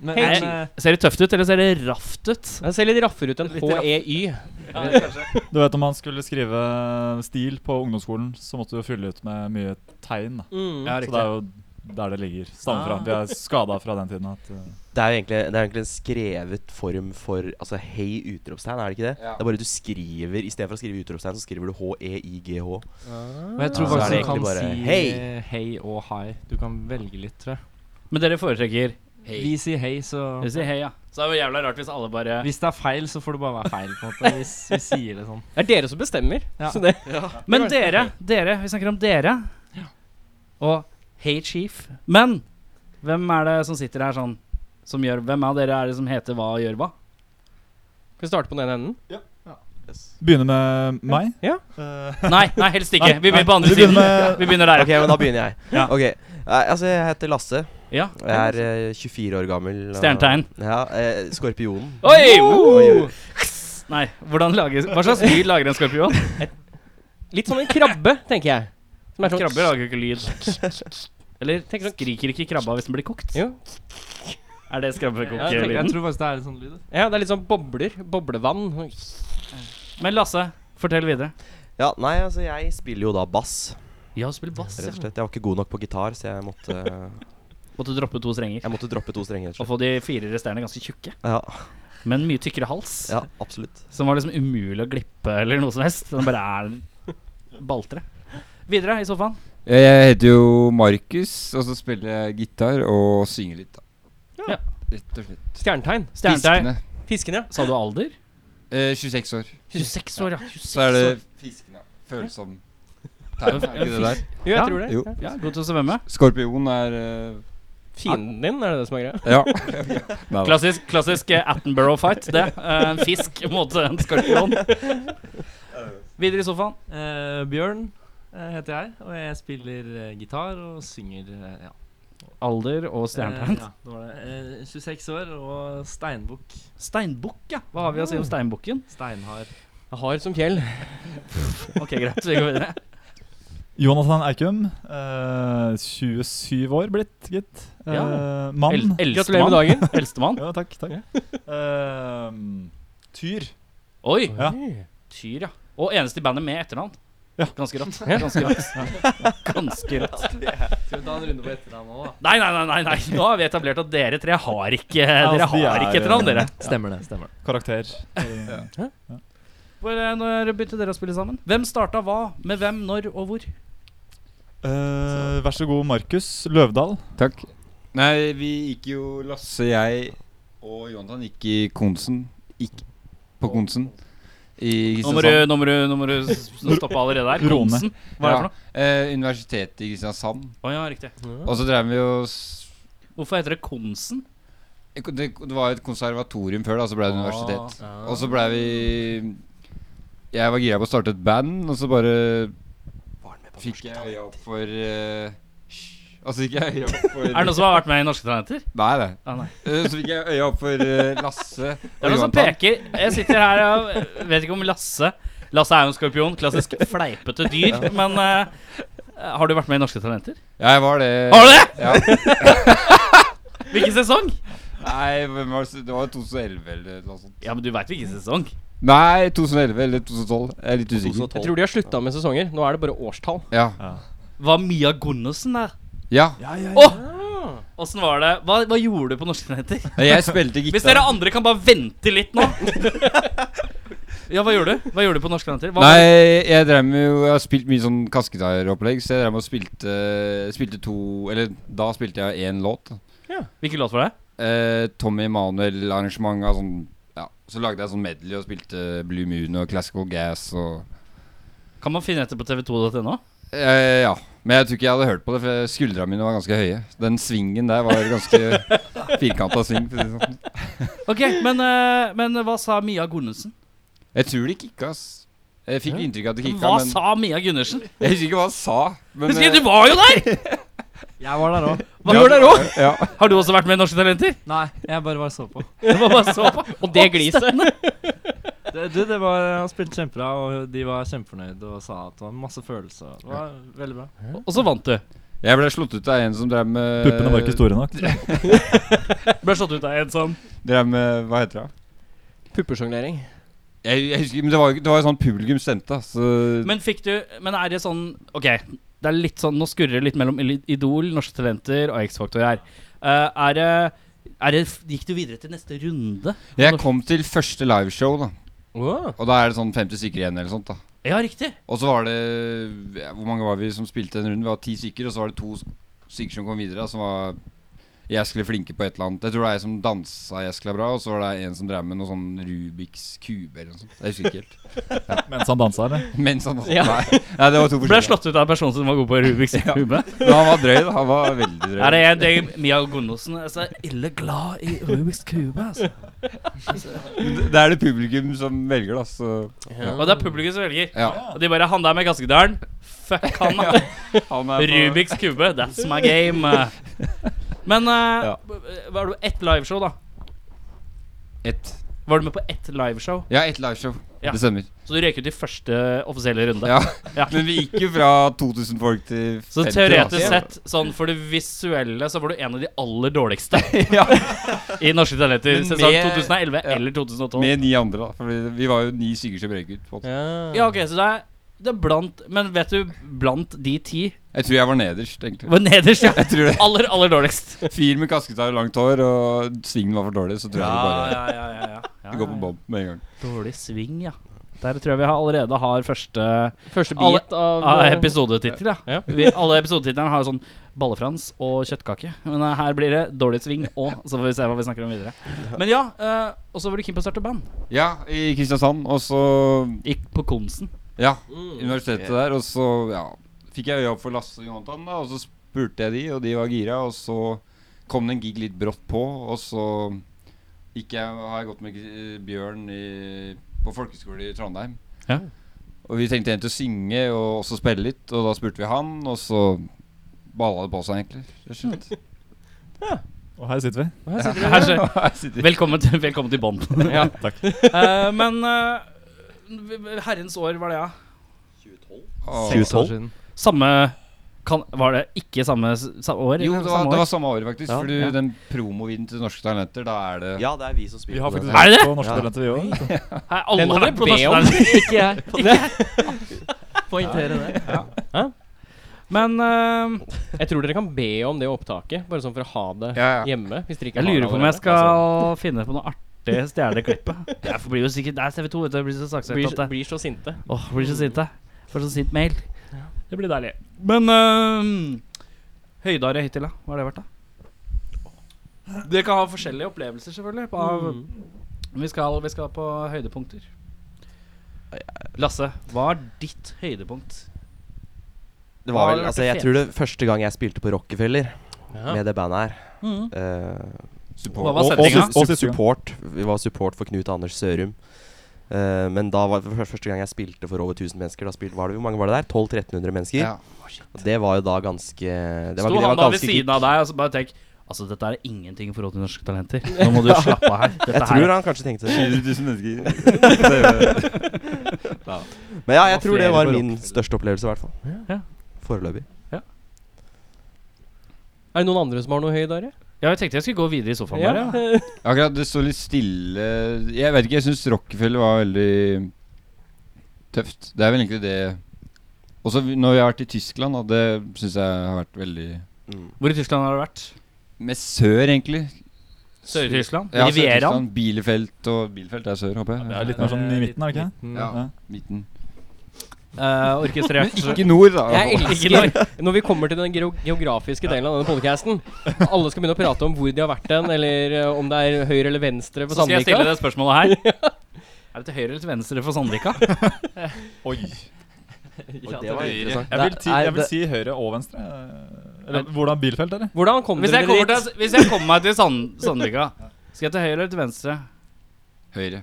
Speaker 6: Men,
Speaker 2: Hei,
Speaker 6: men,
Speaker 2: Chief.
Speaker 6: eh,
Speaker 3: Ser det tøft ut, eller ser det raft ut?
Speaker 2: Det ser litt raffere ut enn E
Speaker 6: Litt
Speaker 2: HEY.
Speaker 5: Du vet om han skulle skrive stil på ungdomsskolen, så måtte du jo fylle ut med mye tegn. da.
Speaker 2: Mm.
Speaker 5: Så det er jo der det ligger. Stammer fra. Vi er skada fra den tiden at eh,
Speaker 7: Det er jo egentlig, det er egentlig en skrevet form for Altså hei utropstegn, er det ikke det? Det er bare du skriver I stedet for å skrive utropstegn, så skriver du E H-E-I-G-H.
Speaker 6: og jeg
Speaker 3: Altså,
Speaker 6: tror
Speaker 7: Så er
Speaker 6: faktisk
Speaker 7: det
Speaker 6: du kan
Speaker 7: egentlig bare,
Speaker 6: si
Speaker 7: «Hei!»
Speaker 6: hei og hei. Du kan velge litt, tror jeg.
Speaker 3: Men dere foretrekker
Speaker 6: Vi sier hei, så
Speaker 3: Vi sier hei, ja. Så det er jo jævla rart hvis alle bare
Speaker 6: Hvis det er feil, så får det bare være feil. på en måte Hvis vi sier det sånn.
Speaker 2: Det er dere som bestemmer.
Speaker 6: Ja.
Speaker 2: Så det
Speaker 3: Men dere, dere, vi snakker om dere. Og Hey Chief. Men hvem er det som sitter her sånn som gjør Hvem av dere er det som heter hva og gjør hva?
Speaker 2: Skal vi starte på den enden?
Speaker 5: Begynner med meg.
Speaker 2: Ja.
Speaker 5: Eh,
Speaker 3: Nei, nei, helst ikke. Vi begynner på andre
Speaker 5: Vi begynner
Speaker 3: siden.
Speaker 5: med-
Speaker 3: Vi begynner der.
Speaker 7: Ok, men da begynner jeg.
Speaker 3: Ja.
Speaker 7: Ok, eh, Altså, jeg heter Lasse.
Speaker 3: Ja.
Speaker 7: Jeg er eh, 24 år gammel. og-
Speaker 3: Stjernetegn.
Speaker 7: Ja, eh, Skorpionen.
Speaker 3: Oi!
Speaker 7: Oi, oi.
Speaker 3: Nei, hvordan lager Hva slags lyd lager en skorpion?
Speaker 2: Litt som en krabbe, tenker jeg. Som er sånn
Speaker 3: Krabber lager jo ikke lyd. Eller sånn- skriker ikke krabba hvis den blir kokt?
Speaker 2: Jo.
Speaker 3: Er det
Speaker 6: Jeg, tenker, jeg
Speaker 3: skrabbekokelyden?
Speaker 6: tror faktisk det er en sånn lyd. da.
Speaker 2: Ja, det er litt sånn bobler. Boblevann.
Speaker 3: Men Lasse, fortell videre.
Speaker 7: Ja, nei, altså, jeg spiller jo da bass,
Speaker 3: Ja, du spiller bass.
Speaker 7: rett og slett. Jeg var ikke god nok på gitar, så jeg måtte, eh,
Speaker 3: Måtte droppe to strenger.
Speaker 7: jeg måtte droppe to strenger, rett
Speaker 3: Og få
Speaker 7: og slett.
Speaker 3: de fire resterende ganske tjukke,
Speaker 7: Ja,
Speaker 3: men mye tykkere hals.
Speaker 7: ja absolutt.
Speaker 3: Som var liksom umulig å glippe eller noe som helst. Den bare er baltre. Videre i sofaen.
Speaker 8: Jeg heter jo Markus, og så spiller jeg gitar og synger litt, da.
Speaker 3: Ja.
Speaker 8: Rett og slett.
Speaker 2: Stjernetegn.
Speaker 3: Stjernetegn.
Speaker 8: Fiskene.
Speaker 2: Fisken, ja.
Speaker 3: Sa du alder?
Speaker 8: Eh, 26 år.
Speaker 3: 26 år, ja. 26
Speaker 8: Så er det
Speaker 3: år.
Speaker 8: Fiskene. Føles som tegn, er ikke det der?
Speaker 2: Jo, jeg
Speaker 3: Ja.
Speaker 2: tror det.
Speaker 8: Jo.
Speaker 3: Ja, god til å svømme.
Speaker 8: Skorpion er eh,
Speaker 2: Fienden din, er det det som er greia?
Speaker 8: Ja. Nei, da.
Speaker 3: Klassisk, klassisk eh, Attenborough-fight. Det. Eh, En fisk mot en skorpion. Videre i sofaen.
Speaker 6: Eh, Bjørn eh, heter jeg, og jeg spiller eh, gitar og synger. eh, ja.
Speaker 3: Alder og
Speaker 6: Eh,
Speaker 3: stjernetegn.
Speaker 6: ja, det var det. Eh, 26 år og steinbukk.
Speaker 3: Steinbukk, ja. Hva har vi å si om steinbukken?
Speaker 6: Steinhard.
Speaker 2: Jeg har som fjell.
Speaker 3: Ok, greit. Vi går videre.
Speaker 5: Jonathan Eikum, eh, 27 år blitt, gitt. Eh,
Speaker 3: Ja.
Speaker 5: Mann.
Speaker 3: El
Speaker 2: Gratulerer med
Speaker 3: Eldstemann.
Speaker 2: dagen.
Speaker 3: Eldstemann.
Speaker 5: Ja, takk. takk. Eh, tyr.
Speaker 3: Oi!
Speaker 5: Ja.
Speaker 3: Tyr, ja. Og eneste i bandet med etternavn.
Speaker 5: Ja.
Speaker 3: Ganske rått. Ganske rått. Ganske rått.
Speaker 6: Skal vi ta en runde på etternavn òg, da?
Speaker 3: Nei, nei, nei, nei, nei. Nå har vi etablert at dere tre har ikke Dere
Speaker 5: altså, de
Speaker 3: har
Speaker 5: er-
Speaker 3: ikke etternavn, dere.
Speaker 6: Stemmer det. stemmer det
Speaker 5: Karakter.
Speaker 3: Hvor, eh, Når begynte dere å spille sammen? Hvem starta hva? Med hvem, når og hvor?
Speaker 5: Eh, vær så god, Markus Løvdahl.
Speaker 8: Takk. Nei, vi gikk jo Lasse, jeg og Jonathan gikk i Konsen. Gikk på Konsen. I
Speaker 3: Nå må du, nå må du, nå må du s- stoppe allerede der.
Speaker 5: Rone.
Speaker 3: Konsen. Hva er det for noe?
Speaker 8: Eh, universitetet i Kristiansand.
Speaker 3: Å ja, riktig.
Speaker 8: Og så drev vi jo s-
Speaker 3: Hvorfor heter det Konsen?
Speaker 8: det, det var jo et konservatorium før, da, så ble det universitet.
Speaker 3: Ah.
Speaker 8: Og så blei vi Jeg var gira på å starte et band, og så bare fikk jeg øya opp for eh, hysj. Og så fikk jeg øya opp for
Speaker 3: Er det noen som har vært med i Norske Talenter?
Speaker 8: Nei, det.
Speaker 3: Ah, nei.
Speaker 8: Eh, Så fikk jeg øya opp for eh, Lasse
Speaker 3: Det er noen som peker. Jeg sitter her og vet ikke om Lasse Lasse er jo en skorpion. Klassisk fleipete dyr. Men eh, har du vært med i Norske Talenter?
Speaker 8: Ja, jeg var det.
Speaker 3: Har du det?!
Speaker 8: Ja.
Speaker 3: Hvilken sesong?
Speaker 8: Nei, hvem var det det var 2011 eller noe sånt.
Speaker 3: Ja, men du veit hvilken sesong.
Speaker 8: Nei, 2011 eller 2012. Jeg er litt usikker.
Speaker 7: 2012.
Speaker 2: Jeg tror de har slutta med sesonger. Nå er det bare årstall.
Speaker 8: Ja.
Speaker 3: Var Mia Gunnarsen der?
Speaker 8: ja.
Speaker 3: Åssen var det? Hva, hva gjorde du på Norske Talenter?
Speaker 8: Nei, Jeg spilte gitar.
Speaker 3: Hvis dere andre kan bare vente litt nå. Ja, hva gjorde du? Hva gjorde du på Norske Talenter? Hva var det-
Speaker 8: Nei, jeg drev med jo Jeg har spilt mye sånn kassegitaropplegg, så jeg drev med og spilte Spilte to Eller da spilte jeg én låt. da.
Speaker 3: Hvilken låt var det?
Speaker 8: Eh, Tommy Emanuel-arrangement av sånn Ja, så lagde jeg sånn medley og spilte Blue Moon og Classical Gas og
Speaker 3: Kan man finne etter på tv2.no?
Speaker 8: eh, Ja. Men jeg tror ikke jeg hadde hørt på det, for skuldra mine var ganske høye. Den svingen der var ganske firkanta sving. For å si det sånn.
Speaker 3: Ok, men, eh, men hva sa Mia Gunnarsen?
Speaker 8: Jeg tror det kicka, ass. Jeg fikk inntrykk av at det kicka,
Speaker 3: Hva
Speaker 8: men
Speaker 3: sa Mia Gunnarsen?
Speaker 8: Jeg husker ikke hva han sa. Men eh,
Speaker 3: Husker jeg, du var jo der!
Speaker 6: Jeg var der òg.
Speaker 3: Hva, du var der òg!
Speaker 8: Ja.
Speaker 3: Har du også vært med i Norske Talenter?
Speaker 6: Nei, jeg bare var og så på.
Speaker 3: Det var bare så på. Og det gliset.
Speaker 6: Det, du, det var, Han spilte kjempebra, og de var kjempefornøyd og sa at det var masse følelser. Det var veldig bra.
Speaker 3: Og så vant du.
Speaker 8: Jeg ble slått ut av en som drev med
Speaker 5: Puppene var ikke store nok.
Speaker 3: Ble slått ut av en sånn
Speaker 8: Drev med Hva heter det?
Speaker 2: Puppesjonglering.
Speaker 8: Jeg, jeg husker, men det var jo ikke- det var jo sånn publikum stemte, da, så
Speaker 3: Men fikk du Men er det sånn Ok, det er litt sånn Nå skurrer det litt mellom Ili- Idol, Norske Talenter og X-Faktor her. Eh, er det er det, gikk du videre til neste runde?
Speaker 8: Jeg kom til første liveshow, da.
Speaker 2: Wow.
Speaker 8: Og da er det sånn 50 stykker igjen, eller sånt, da.
Speaker 3: Ja, riktig.
Speaker 8: Og så var det ja, Hvor mange var vi som spilte den runden? Vi var ti stykker, og så var det to stykker som kom videre, da, som var jeg skulle flinke på et eller annet. Jeg tror det er ei som dansa jeg skulle bra, og så var det en som drev med noe sånn Rubiks kube eller noe sånt. Jeg husker ikke helt.
Speaker 5: Mens han dansa, eller?
Speaker 8: Mens han
Speaker 2: Ja.
Speaker 8: Nei. Nei, det var to
Speaker 3: Ble jeg
Speaker 8: forskjellige.
Speaker 3: slått ut av en person som var god på Rubiks kube?
Speaker 8: Men han var drøy, da. Han var veldig drøy.
Speaker 3: Er det, det er Mia Gunnarsen er så ille glad i Rubiks kube, altså.
Speaker 8: det er det publikum som velger, da. Så
Speaker 3: Og det er publikum som velger.
Speaker 8: ja.
Speaker 3: Og de bare Han der med kaskedalen, fuck han, da.
Speaker 8: Han er på-
Speaker 3: Rubiks kube, that's my game. Men eh,
Speaker 8: Ja.
Speaker 3: var du ett liveshow, da?
Speaker 8: Ett.
Speaker 3: Var du med på ett liveshow?
Speaker 8: Ja, ett liveshow.
Speaker 3: Ja.
Speaker 8: Det stemmer.
Speaker 3: Så du røyk ut i første offisielle runde.
Speaker 8: Ja.
Speaker 3: Ja.
Speaker 8: Men vi gikk jo fra 2000 folk til 50.
Speaker 3: Så teoretisk
Speaker 8: altså.
Speaker 3: sett, sånn for det visuelle, så var du en av de aller dårligste
Speaker 8: Ja.
Speaker 3: i Norske Talenter
Speaker 8: Men
Speaker 3: sesong
Speaker 8: med-
Speaker 3: 2011
Speaker 8: ja.
Speaker 3: eller 2012.
Speaker 8: Med ni andre, da. For vi var jo ni stykker som røyk ut. på en måte.
Speaker 3: Ja, ok, så det er, det er blant Men vet du, blant de ti
Speaker 8: Jeg tror jeg var nederst, egentlig.
Speaker 3: var nederst, ja.
Speaker 8: Jeg tror det
Speaker 3: Aller, aller dårligst.
Speaker 8: Fyr med kasketar og langt hår, og svingen var for dårlig, så tror jeg det bare
Speaker 3: ja, ja, ja, ja.
Speaker 8: Vi går på bob med en gang.
Speaker 3: Dårlig sving, ja. Der tror jeg vi har- allerede har første
Speaker 2: Første bit
Speaker 3: Alle-
Speaker 2: av
Speaker 3: ah,
Speaker 2: eh,
Speaker 3: episodetittel, ja.
Speaker 2: Ja.
Speaker 3: Vi, alle episodetitlene har jo sånn ballefrans og kjøttkake. Men eh, her blir det dårlig sving og så får vi se hva vi snakker om videre. Men ja, eh, og så var du keen på å starte band.
Speaker 8: Ja, i Kristiansand, og så
Speaker 3: Gikk på Konsen.
Speaker 8: Ja,
Speaker 6: Mm.
Speaker 8: universitetet der, og så Mm. ja, fikk jeg øya opp for Lasse og Jonathan, da, og så spurte jeg de, og de var gira, og så kom det en gig litt brått på, og så gikk jeg, har jeg gått med eh, Bjørn i, på folkeskole i Trondheim.
Speaker 3: Ja.
Speaker 8: Og vi tenkte egentlig å synge og også spille litt, og da spurte vi han, og så balla det på seg, egentlig. rett og slett.
Speaker 5: Og her sitter vi.
Speaker 3: Her ser-
Speaker 8: Her sitter vi.
Speaker 3: Velkommen til, velkommen til bånd.
Speaker 8: Ja.
Speaker 5: Takk.
Speaker 3: Eh, men eh, herrens år var det, ja.
Speaker 8: Å,
Speaker 7: 2012?
Speaker 3: Samme kan, Var det ikke samme, s- sa- år?
Speaker 8: Jo,
Speaker 3: eller
Speaker 8: det var,
Speaker 3: samme
Speaker 8: det
Speaker 3: år?
Speaker 8: var samme år, faktisk.
Speaker 7: Ja,
Speaker 8: for du,
Speaker 7: ja.
Speaker 8: den promoviden til Norske Talenter, da er det
Speaker 7: Ja, det er vi som spiller.
Speaker 5: Vi har
Speaker 7: på den.
Speaker 5: faktisk
Speaker 3: Er det
Speaker 5: hørt
Speaker 3: det?
Speaker 5: på norske
Speaker 7: Ja.
Speaker 5: talenter, vi òg.
Speaker 3: Nei, alle
Speaker 2: Det må
Speaker 3: har
Speaker 2: dere
Speaker 3: vært på
Speaker 2: be om.
Speaker 3: Norsk Talent.
Speaker 2: Ikke jeg.
Speaker 6: Poengtere det.
Speaker 3: Men eh,
Speaker 2: Jeg tror dere kan be om det opptaket, bare sånn for å ha det
Speaker 8: Ja, ja.
Speaker 2: hjemme. Hvis dere ikke
Speaker 3: jeg
Speaker 2: har det
Speaker 3: lurer på om jeg
Speaker 2: allerede.
Speaker 3: skal finne på noe artig stjerneklippet. Jeg blir jo sikkert altså. Det er TV2, vet du. Jeg blir så saksøkt at
Speaker 2: blir,
Speaker 3: det
Speaker 2: blir Altså, så sinte.
Speaker 3: Åh, blir så sint, jeg. Får så sint mail. Det blir deilig. Men uh, høydare hittil, da? Hva har det vært, da? Dere kan ha forskjellige opplevelser, selvfølgelig. På, av,
Speaker 2: Mm.
Speaker 3: vi, skal, vi skal på høydepunkter. Lasse, hva er ditt høydepunkt?
Speaker 7: Det var vel,
Speaker 3: Har du
Speaker 7: altså
Speaker 3: hørt
Speaker 7: Jeg
Speaker 3: det
Speaker 7: tror det første gang jeg spilte på Rockefeller
Speaker 2: Ja.
Speaker 7: med det bandet her eh,
Speaker 3: Mm. Hva
Speaker 8: support.
Speaker 3: var
Speaker 7: og, og,
Speaker 3: settinga?
Speaker 7: su- og
Speaker 5: Og siste gang.
Speaker 7: support. Vi var support for Knut Anders Sørum. Eh, men da var for første gang jeg spilte for over 1000 mennesker. Da spilte, var det, hvor mange var det der? 1200-1300 mennesker?
Speaker 8: Ja.
Speaker 7: Og Det var jo da ganske Det var,
Speaker 3: Sto
Speaker 7: det var
Speaker 3: han da ved
Speaker 7: ganske
Speaker 3: siden av deg og så bare tenk Altså, dette er ingenting i forhold til norske talenter. Nå må du slappe av her. Dette
Speaker 7: Jeg tror han kanskje tenkte det.
Speaker 8: 4000 mennesker.
Speaker 7: Men ja,
Speaker 3: Det var
Speaker 7: jeg tror det
Speaker 3: flere
Speaker 7: var
Speaker 3: på
Speaker 7: min største opplevelse, i hvert fall.
Speaker 3: Ja.
Speaker 7: Foreløpig.
Speaker 2: Er det noen andre som har noe høydare?
Speaker 3: Ja, jeg tenkte jeg skulle gå videre i sofaen. Bare, ja.
Speaker 8: Akkurat det står litt stille Jeg vet ikke, jeg syns Rockefeller var veldig tøft. Det er vel egentlig det Også når vi har vært i Tyskland, og det syns jeg har vært veldig
Speaker 7: Mm.
Speaker 3: Hvor i Tyskland har du vært?
Speaker 8: Med sør, egentlig.
Speaker 3: Sør-Tyskland?
Speaker 8: Ja,
Speaker 3: Rivieraen?
Speaker 8: Sør-Tyskland, Bielefeld og Bielefeld er sør, håper jeg.
Speaker 5: Ja, litt mer sånn i midten, er det ikke?
Speaker 8: Ja.
Speaker 5: Ja.
Speaker 8: Midten.
Speaker 3: Eh, orkestrert
Speaker 8: Ikke nord, da.
Speaker 2: Jeg
Speaker 3: Ikke
Speaker 2: elsker når vi kommer til den geo- geografiske delen av denne podcasten Alle skal begynne å prate om hvor de har vært hen, eller eh, om det er høyre eller venstre på
Speaker 3: Så skal jeg stille
Speaker 2: Sandvika.
Speaker 3: det spørsmålet her. Er det til høyre eller til venstre for Sandvika?
Speaker 5: Oi.
Speaker 7: Og det var interessant.
Speaker 5: Jeg vil,
Speaker 6: Det
Speaker 5: ti,
Speaker 6: er-
Speaker 5: jeg vil
Speaker 6: det-
Speaker 5: si høyre og venstre. Eller hvordan bilfelt, eller?
Speaker 2: Hvordan kom
Speaker 3: Hvis
Speaker 2: dere
Speaker 3: jeg kommer,
Speaker 2: dit?
Speaker 3: til, hvis jeg kommer meg til Sand, Sandvika, skal jeg til høyre eller til venstre?
Speaker 8: Høyre.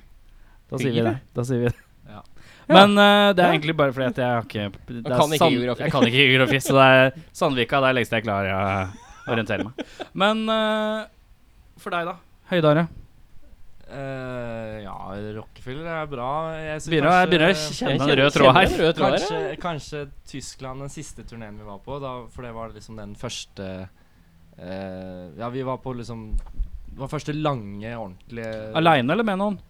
Speaker 3: Da sier vi det.
Speaker 2: Høyre?
Speaker 3: Da sier vi det. Ja. Men eh, det er
Speaker 2: Ja.
Speaker 3: egentlig bare fordi at jeg har ikke det er
Speaker 2: kan ikke
Speaker 3: Sand-
Speaker 2: geografi.
Speaker 3: Jeg kan ikke geografi, så det er Sandvika. Det er lengst jeg klarer å orientere meg. Men eh, for deg, da? Høydare.
Speaker 6: Eh, ja, Rockefeller er bra. Jeg synes
Speaker 3: Begynner, jeg
Speaker 6: kanskje-
Speaker 3: begynner å kjenne en
Speaker 2: kjenner-
Speaker 3: rød tråd
Speaker 2: kjenner
Speaker 3: her.
Speaker 2: en rød tråd her,
Speaker 6: Kanskje, kanskje Tyskland, den siste turneen vi var på. Da, for det var liksom den første eh, Ja, vi var på liksom Det var første lange, ordentlige
Speaker 3: Aleine eller med noen?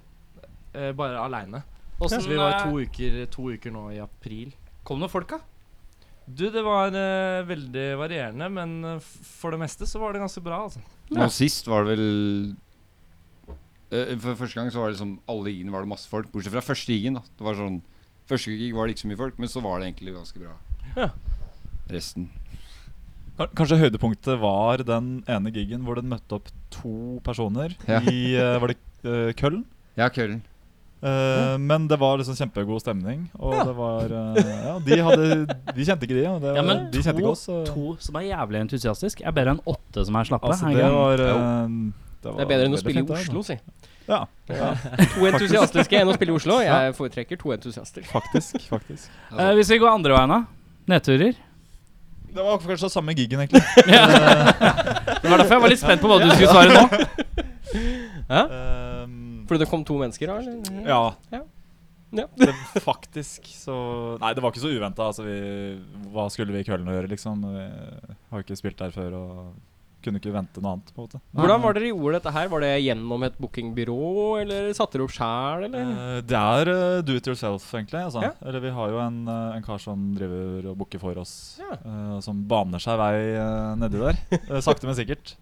Speaker 6: eh, Bare aleine.
Speaker 3: Åssen,
Speaker 6: Så vi var
Speaker 3: eh,
Speaker 6: to uker, to uker nå i april.
Speaker 3: Kom det folk, da?
Speaker 6: Du, det var eh, veldig varierende, men eh, f- for det meste så var det ganske bra, altså.
Speaker 8: Nå sist var det vel eh, For første gang så var det liksom alle gigene var det masse folk, bortsett fra første gigen. da Det var sånn Første gig var det ikke så mye folk, men så var det egentlig ganske bra.
Speaker 2: Ja.
Speaker 8: Resten.
Speaker 5: Ka- Kanskje høydepunktet var den ene gigen hvor den møtte opp to personer
Speaker 8: Ja.
Speaker 5: i eh, Var det eh, Køln?
Speaker 8: Ja, køllen.
Speaker 5: Eh, Men det var liksom kjempegod stemning. Og det var eh, Ja, de hadde De kjente ikke de, og det,
Speaker 3: Ja, men
Speaker 5: de kjente
Speaker 3: to-
Speaker 5: ikke oss. så-
Speaker 3: To som er jævlig entusiastisk. Er bedre enn åtte som er slappe.
Speaker 5: altså,
Speaker 3: er
Speaker 5: det
Speaker 3: ikke
Speaker 5: var eh,
Speaker 2: Det er bedre enn å
Speaker 5: veldig
Speaker 2: spille i
Speaker 5: fint, det, altså.
Speaker 2: Oslo, si.
Speaker 5: Ja, ja,
Speaker 2: To entusiastiske enn å spille i Oslo. Jeg foretrekker to entusiaster.
Speaker 5: faktisk. faktisk.
Speaker 3: det?
Speaker 6: Altså,
Speaker 3: Eh, hvis vi går andre veien, da? Nedturer?
Speaker 5: Det var kanskje samme gigen, egentlig.
Speaker 3: Det var derfor jeg var litt spent på hva du skulle svare nå.
Speaker 5: Ehm,
Speaker 2: Fordi det kom to mennesker, da? eller?
Speaker 5: ja.
Speaker 2: Ja. Ja.
Speaker 5: Det, faktisk så Nei, det var ikke så uventa. Altså, vi, hva skulle vi i Køllen gjøre, liksom? Vi har jo ikke spilt der før og kunne ikke vente noe annet. på en måte
Speaker 2: Hvordan var dere gjorde dette her? Var det gjennom et bookingbyrå, eller satte dere opp sjæl, eller?
Speaker 5: Eh, det er eh, do it yourself, egentlig. Altså.
Speaker 2: Ja.
Speaker 5: Eller Vi har jo en, eh, en kar som driver og booker for oss,
Speaker 2: Ja.
Speaker 5: eh, og som baner seg vei eh, nedi der. Eh, sakte, men sikkert.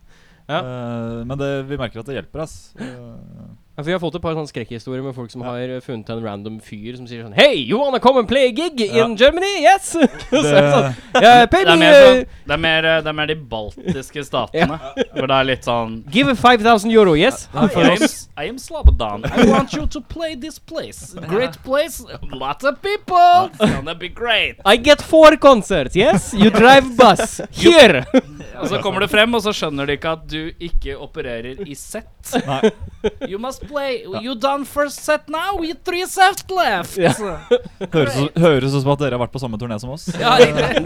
Speaker 2: Ja.
Speaker 5: Eh, men det, vi merker at det hjelper, ass. Eh,
Speaker 2: Ja, for Vi har fått et par sånne skrekkhistorier med folk som har eh, funnet en random fyr som sier sånn Hei, you wanna come and play a gig in Germany? Yes! så er det sånn,
Speaker 5: det,
Speaker 2: yeah,
Speaker 3: Det
Speaker 2: pay
Speaker 3: er
Speaker 2: me,
Speaker 3: mer, sånn,
Speaker 2: uh,
Speaker 3: det er mer, eh, det er mer de baltiske statene. Hvor det er litt sånn
Speaker 2: give a 5000 euro, yes?
Speaker 3: I am, I am Slobodan. I want you to play this place. Great place. Lots of people. It's gonna be great.
Speaker 2: I get four concerts, yes? You drive bus. Here!
Speaker 3: Og så kommer du frem, og så skjønner de ikke at du ikke opererer i sett.
Speaker 5: Nei.
Speaker 3: You must play. You done first set now. You three set left.
Speaker 2: Ja.
Speaker 5: høres, ut- høres ut som at dere har vært på samme turné som oss.
Speaker 3: Ja, riktig.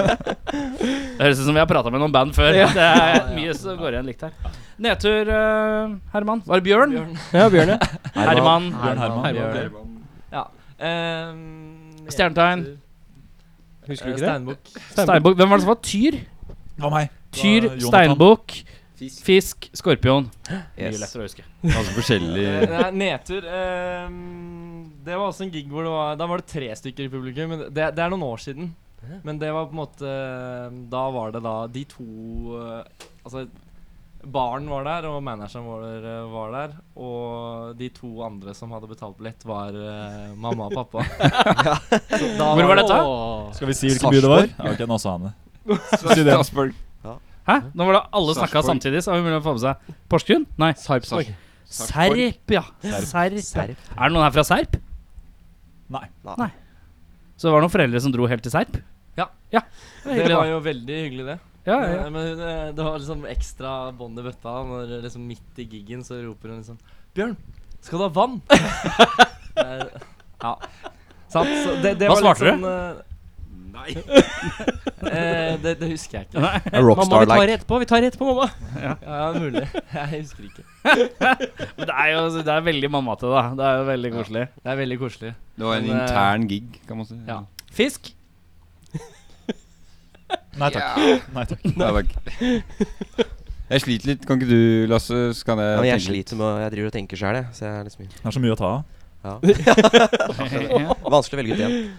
Speaker 3: Det høres ut som vi har prata med noen band før. Det er mye som går igjen likt her. Nedtur, eh, Herman. Var det Bjørn?
Speaker 2: ja, Bjørne.
Speaker 3: Herman.
Speaker 5: Bjørn Herman.
Speaker 2: Herman.
Speaker 6: Ja. ehm,
Speaker 3: Stjernetegn.
Speaker 6: jenter.
Speaker 2: Husker du ikke det?
Speaker 6: Steinbukk.
Speaker 3: Steinbukk. Hvem var det som var tyr?
Speaker 5: Det var meg.
Speaker 3: Tyr,
Speaker 5: Det var Jonathan.
Speaker 3: steinbukk,
Speaker 8: Fisk.
Speaker 3: fisk, skorpion. Mye
Speaker 7: Yes.
Speaker 3: lettere å huske.
Speaker 8: Altså forskjellig
Speaker 6: Eh, Nei, nedtur ehm, Det var også en gig hvor det var Da var det tre stykker i publikum. Men det, det er noen år siden. Men det var på en måte eh, Da var det da de to eh, Altså Baren var der, og manageren vår eh, var der. Og de to andre som hadde betalt billett, var eh, mamma og pappa. Så da
Speaker 3: Hvor var
Speaker 6: det-
Speaker 3: dette?
Speaker 5: Skal vi si hvilken by det var? Ja, ok, nå sa han det. Si det.
Speaker 8: Strasbourg.
Speaker 3: Hæ? Nå var det alle snakka
Speaker 8: Sarpsborg.
Speaker 3: samtidig, så det var mulig å få med seg Porsgrunn? Nei.
Speaker 2: Sarpsborg.
Speaker 8: Sarpsborg.
Speaker 3: Serp, ja. Serp.
Speaker 7: Serp.
Speaker 3: Er det noen her fra Serp?
Speaker 5: Nei.
Speaker 7: Nei.
Speaker 3: Så det var noen foreldre som dro helt til Serp?
Speaker 6: Ja.
Speaker 3: ja. Det
Speaker 6: Det var
Speaker 3: hyggelig,
Speaker 6: jo veldig hyggelig, det.
Speaker 3: da. Ja, ja,
Speaker 6: Men, men eh, det var liksom ekstra bånd i bøtta når eh, liksom midt i giggen så roper hun liksom Bjørn, skal du ha vann? Det er- ja. Sant? Så det, det
Speaker 3: Hva
Speaker 6: var litt
Speaker 3: svarte du?
Speaker 6: sånn,
Speaker 8: Nei.
Speaker 6: eh, eh, det, det husker jeg ikke.
Speaker 3: ja.
Speaker 7: A
Speaker 2: Mamma, vi tar
Speaker 7: Rockstar-like.
Speaker 2: det etterpå. Vi tar det etterpå, mamma.
Speaker 6: Ja, mulig. Jeg husker ikke.
Speaker 3: Men det er jo det er veldig mamma til, da. Det er jo veldig koselig.
Speaker 6: Det er veldig koselig.
Speaker 8: Det var en
Speaker 6: Men, eh,
Speaker 8: intern gig, kan man si.
Speaker 6: ja.
Speaker 3: Fisk?
Speaker 5: Nei takk. Nei takk.
Speaker 8: Nei, takk. Jeg sliter litt. Kan ikke du, Lasse? Så kan jeg
Speaker 7: Ja, men jeg
Speaker 8: tenke litt.
Speaker 7: sliter med å Jeg driver og tenker sjøl, jeg. Så jeg er liksom
Speaker 5: Det er så mye å ta av.
Speaker 7: ja.
Speaker 3: Ja.
Speaker 7: Vanskelig å velge ut én.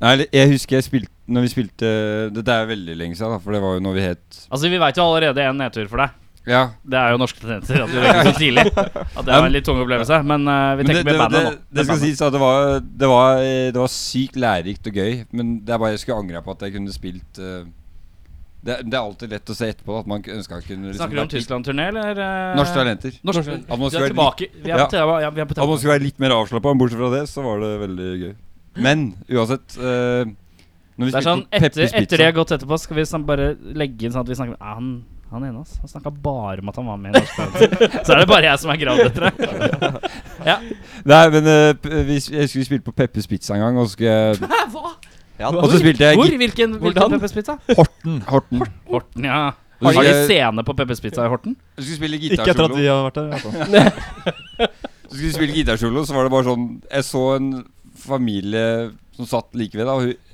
Speaker 8: Nei, eller, jeg husker jeg spilte Når vi spilte Dette er veldig lenge siden, da, for det var jo når vi het
Speaker 3: Altså, vi veit jo allerede en nedtur for deg.
Speaker 8: Ja.
Speaker 3: Det er jo norske tendenser at du røyker så tidlig. At det var en litt tung opplevelse. Men eh, vi
Speaker 8: Men det,
Speaker 3: tenker
Speaker 8: det,
Speaker 3: med
Speaker 8: det,
Speaker 3: bandet nå.
Speaker 8: det skal sies at det var, det, var, eh, det var sykt lærerikt og gøy, men det er bare jeg skulle angra på at jeg kunne spilt eh, det, det er alltid lett å se etterpå da, at man ønska kunne liksom,
Speaker 3: Snakker du om
Speaker 8: vært litt-
Speaker 3: Tyskland-turné, eller? eh,
Speaker 8: Norske talenter.
Speaker 3: Norsk,
Speaker 8: At man
Speaker 3: vi er
Speaker 8: skulle være
Speaker 3: tilbake. Vi er på, ja. vi er på
Speaker 8: At man
Speaker 3: tema.
Speaker 8: skulle være litt mer avslappa, men bortsett fra det, så var det veldig gøy. Men uansett eh, Når vi
Speaker 3: Det er sånn, etter,
Speaker 8: spilte Peppers
Speaker 3: etter det
Speaker 8: Pizza
Speaker 3: har gått etterpå, skal vi sånn bare legge inn sånn at vi snakker om ah, han, han ene, ass. Han snakka bare om at han var med i Norsk Talent. Så er det bare jeg som er gravd etter det.
Speaker 8: Nei, men eh, p- vi, s- jeg skulle spille på Peppers Pizza en gang, og så skulle jeg
Speaker 7: Ja, altså,
Speaker 8: Og så spilte jeg
Speaker 3: Hvor? Hvilken,
Speaker 2: Hvordan?
Speaker 3: hvilken Peppers Pizza?
Speaker 8: Horten. Horten.
Speaker 3: Horten, ja.
Speaker 8: Og så
Speaker 3: Har
Speaker 8: skulle
Speaker 3: de
Speaker 8: jeg-
Speaker 3: scene på Peppers Pizza i Horten?
Speaker 8: Jeg skulle spille
Speaker 5: Ikke etter at
Speaker 8: gitarsolo.
Speaker 5: vi har vært der. i hvert fall.
Speaker 8: Så skulle vi spille gitarsolo, så var det bare sånn Jeg så en familie som satt like ved, da. og Hun,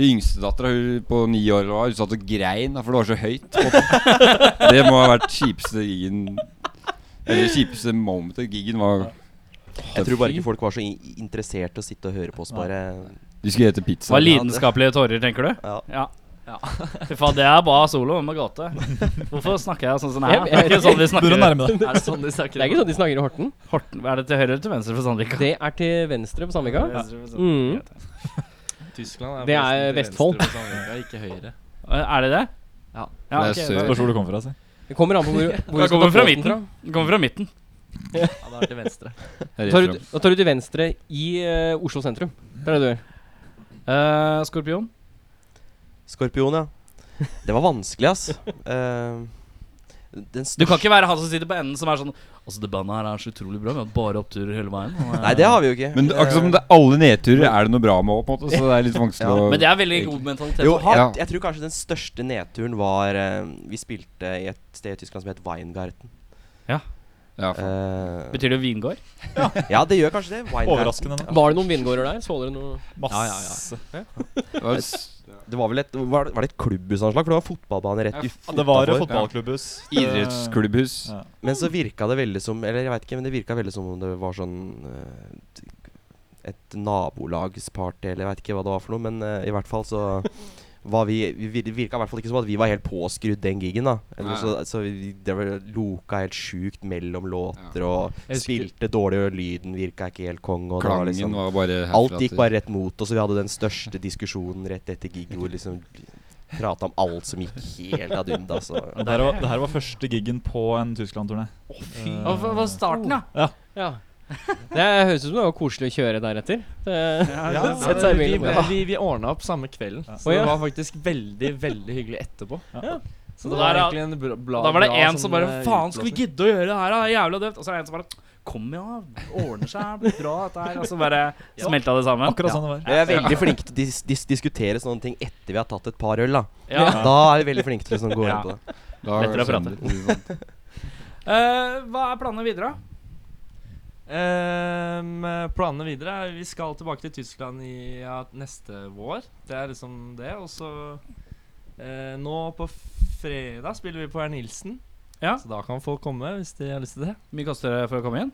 Speaker 8: hun yngstedattera på ni år eller hva, hun satt og grein, da, for det var så høyt. Og det må ha vært kjipeste gigen Eller kjipeste momentet. Gigen var
Speaker 7: Jeg tror bare ikke folk var så in interessert i å sitte og høre på oss, bare.
Speaker 8: De skulle hete pizza.
Speaker 3: Var lidenskapelige tårer, tenker du?
Speaker 7: Ja.
Speaker 3: Ja. Fy faen, det er bare solo med gate. Hvorfor snakker jeg sånn som det er?
Speaker 2: Jeg-
Speaker 3: Det er ikke sånn vi
Speaker 5: Begynner å
Speaker 3: snakker.
Speaker 5: nærme deg.
Speaker 6: Er det sånn de snakker?
Speaker 2: Det er ikke sånn de snakker i Horten.
Speaker 3: Horten, er det til høyre eller til venstre for Sandvika?
Speaker 2: Det er til venstre på Sandvika.
Speaker 3: Ja.
Speaker 2: Mm.
Speaker 6: Tyskland
Speaker 2: Det er
Speaker 6: forresten til
Speaker 2: Vestfold.
Speaker 6: venstre for Sandvika, Ikke høyre.
Speaker 3: Er det det?
Speaker 6: Ja.
Speaker 3: ja
Speaker 8: Det er
Speaker 3: ok,
Speaker 8: sør.
Speaker 3: da-
Speaker 5: Spørs hvor du kommer fra. Si.
Speaker 2: Det kommer an på hvor, hvor
Speaker 3: Da
Speaker 2: du skal ta
Speaker 3: kommer fra
Speaker 2: båten
Speaker 3: midten. Den kommer fra midten.
Speaker 6: Ja, det er til venstre.
Speaker 8: Rett
Speaker 2: Tar du,
Speaker 8: frem.
Speaker 2: da tar du til venstre i eh, Oslo sentrum. Det er det du gjør.
Speaker 3: Eh, skorpion.
Speaker 7: Skorpion, ja. Det var vanskelig, ass. Eh, den
Speaker 3: Du kan
Speaker 7: største
Speaker 3: ikke være han som sitter på enden som er sånn Altså, det bandet her er så utrolig bra. Vi har hatt bare oppturer hele veien. og, eh,
Speaker 7: Nei, det har vi jo ikke.
Speaker 8: Men akkurat som det er alle nedturer er det noe bra med òg, på en måte. Så det er litt vanskelig
Speaker 7: Ja.
Speaker 8: å
Speaker 3: Men det er veldig god mentalitet
Speaker 7: Jo,
Speaker 3: å ha.
Speaker 7: jeg,
Speaker 8: Ja.
Speaker 7: jeg tror kanskje den største nedturen var eh, Vi spilte i et sted i Tyskland som het Weingarten.
Speaker 8: ja, faen.
Speaker 7: Eh,
Speaker 3: Betyr det vingård?
Speaker 7: ja, det gjør kanskje det. Weingarten.
Speaker 5: Overraskende nok.
Speaker 2: Var det noen vingårder der? Så dere noe
Speaker 5: Masse.
Speaker 8: Det var s-
Speaker 7: Det var vel et, var det, var det et klubbhusanslag? For det var fotballbane rett
Speaker 8: Ja,
Speaker 7: utenfor.
Speaker 5: Det var et fotballklubbhus.
Speaker 8: Idrettsklubbhus.
Speaker 5: Ja.
Speaker 7: Men så virka det veldig som Eller jeg veit ikke, men det virka veldig som om det var sånn eh, t- Et nabolagsparty, eller jeg veit ikke hva det var for noe, men eh, i hvert fall så var vi vi vir- Det virka i hvert fall ikke som at vi var helt påskrudd den gigen, da. Eller
Speaker 8: Nei.
Speaker 7: så, så vi det var loka helt sjukt mellom låter, og
Speaker 6: Jeg husker-
Speaker 7: spilte dårlig, og lyden virka ikke helt kong. Og det var
Speaker 8: Klangen
Speaker 7: liksom,
Speaker 8: var bare herfra
Speaker 7: alt gikk
Speaker 8: til-
Speaker 7: bare rett mot oss, og vi hadde den største diskusjonen rett etter gig hvor liksom prata om alt som gikk helt ad undas. og-
Speaker 5: Og det, her var, det her var første gigen på en Tyskland-turné. Eh,
Speaker 3: Og hva- hva er starten, da?
Speaker 2: Ja. Det høres ut som det var koselig å kjøre deretter. Det,
Speaker 5: Ja,
Speaker 2: Sett seg i
Speaker 6: vi,
Speaker 2: bilen.
Speaker 6: vi, vi ordna opp samme kvelden,
Speaker 2: Å,
Speaker 6: så det
Speaker 2: ja.
Speaker 6: var faktisk veldig veldig hyggelig etterpå.
Speaker 5: Ja.
Speaker 6: Så
Speaker 3: Og
Speaker 6: det var
Speaker 3: der er-
Speaker 6: egentlig en bra, bla,
Speaker 3: Da var det
Speaker 6: bra
Speaker 3: en
Speaker 6: sånn,
Speaker 3: som bare
Speaker 6: eh,
Speaker 3: Faen, skal vi
Speaker 6: utblåsning.
Speaker 3: gidde å gjøre det her, da? Det er Jævla døvt. Og så er det en som bare Kom, ja. Ordner seg. Blir bra, dette her. Og så bare smelta det sammen.
Speaker 5: Akkurat sånn det var.
Speaker 7: Vi er veldig flinke til å dis dis diskutere sånne ting etter vi har tatt et par øl. Da
Speaker 3: Ja.
Speaker 7: Da er vi veldig flinke til å liksom gå
Speaker 3: Ja.
Speaker 7: inn på det.
Speaker 8: Da
Speaker 3: Lettere å
Speaker 8: Sander-
Speaker 3: Eh, hva er planene videre, da?
Speaker 6: Ehm, planene videre er Vi skal tilbake til Tyskland i ja, neste vår. Det er liksom det. Og så eh, Nå på fredag spiller vi på Herr Nilsen.
Speaker 3: Ja.
Speaker 6: Så da kan folk komme hvis de har lyst til det.
Speaker 3: mye koster det for å komme inn?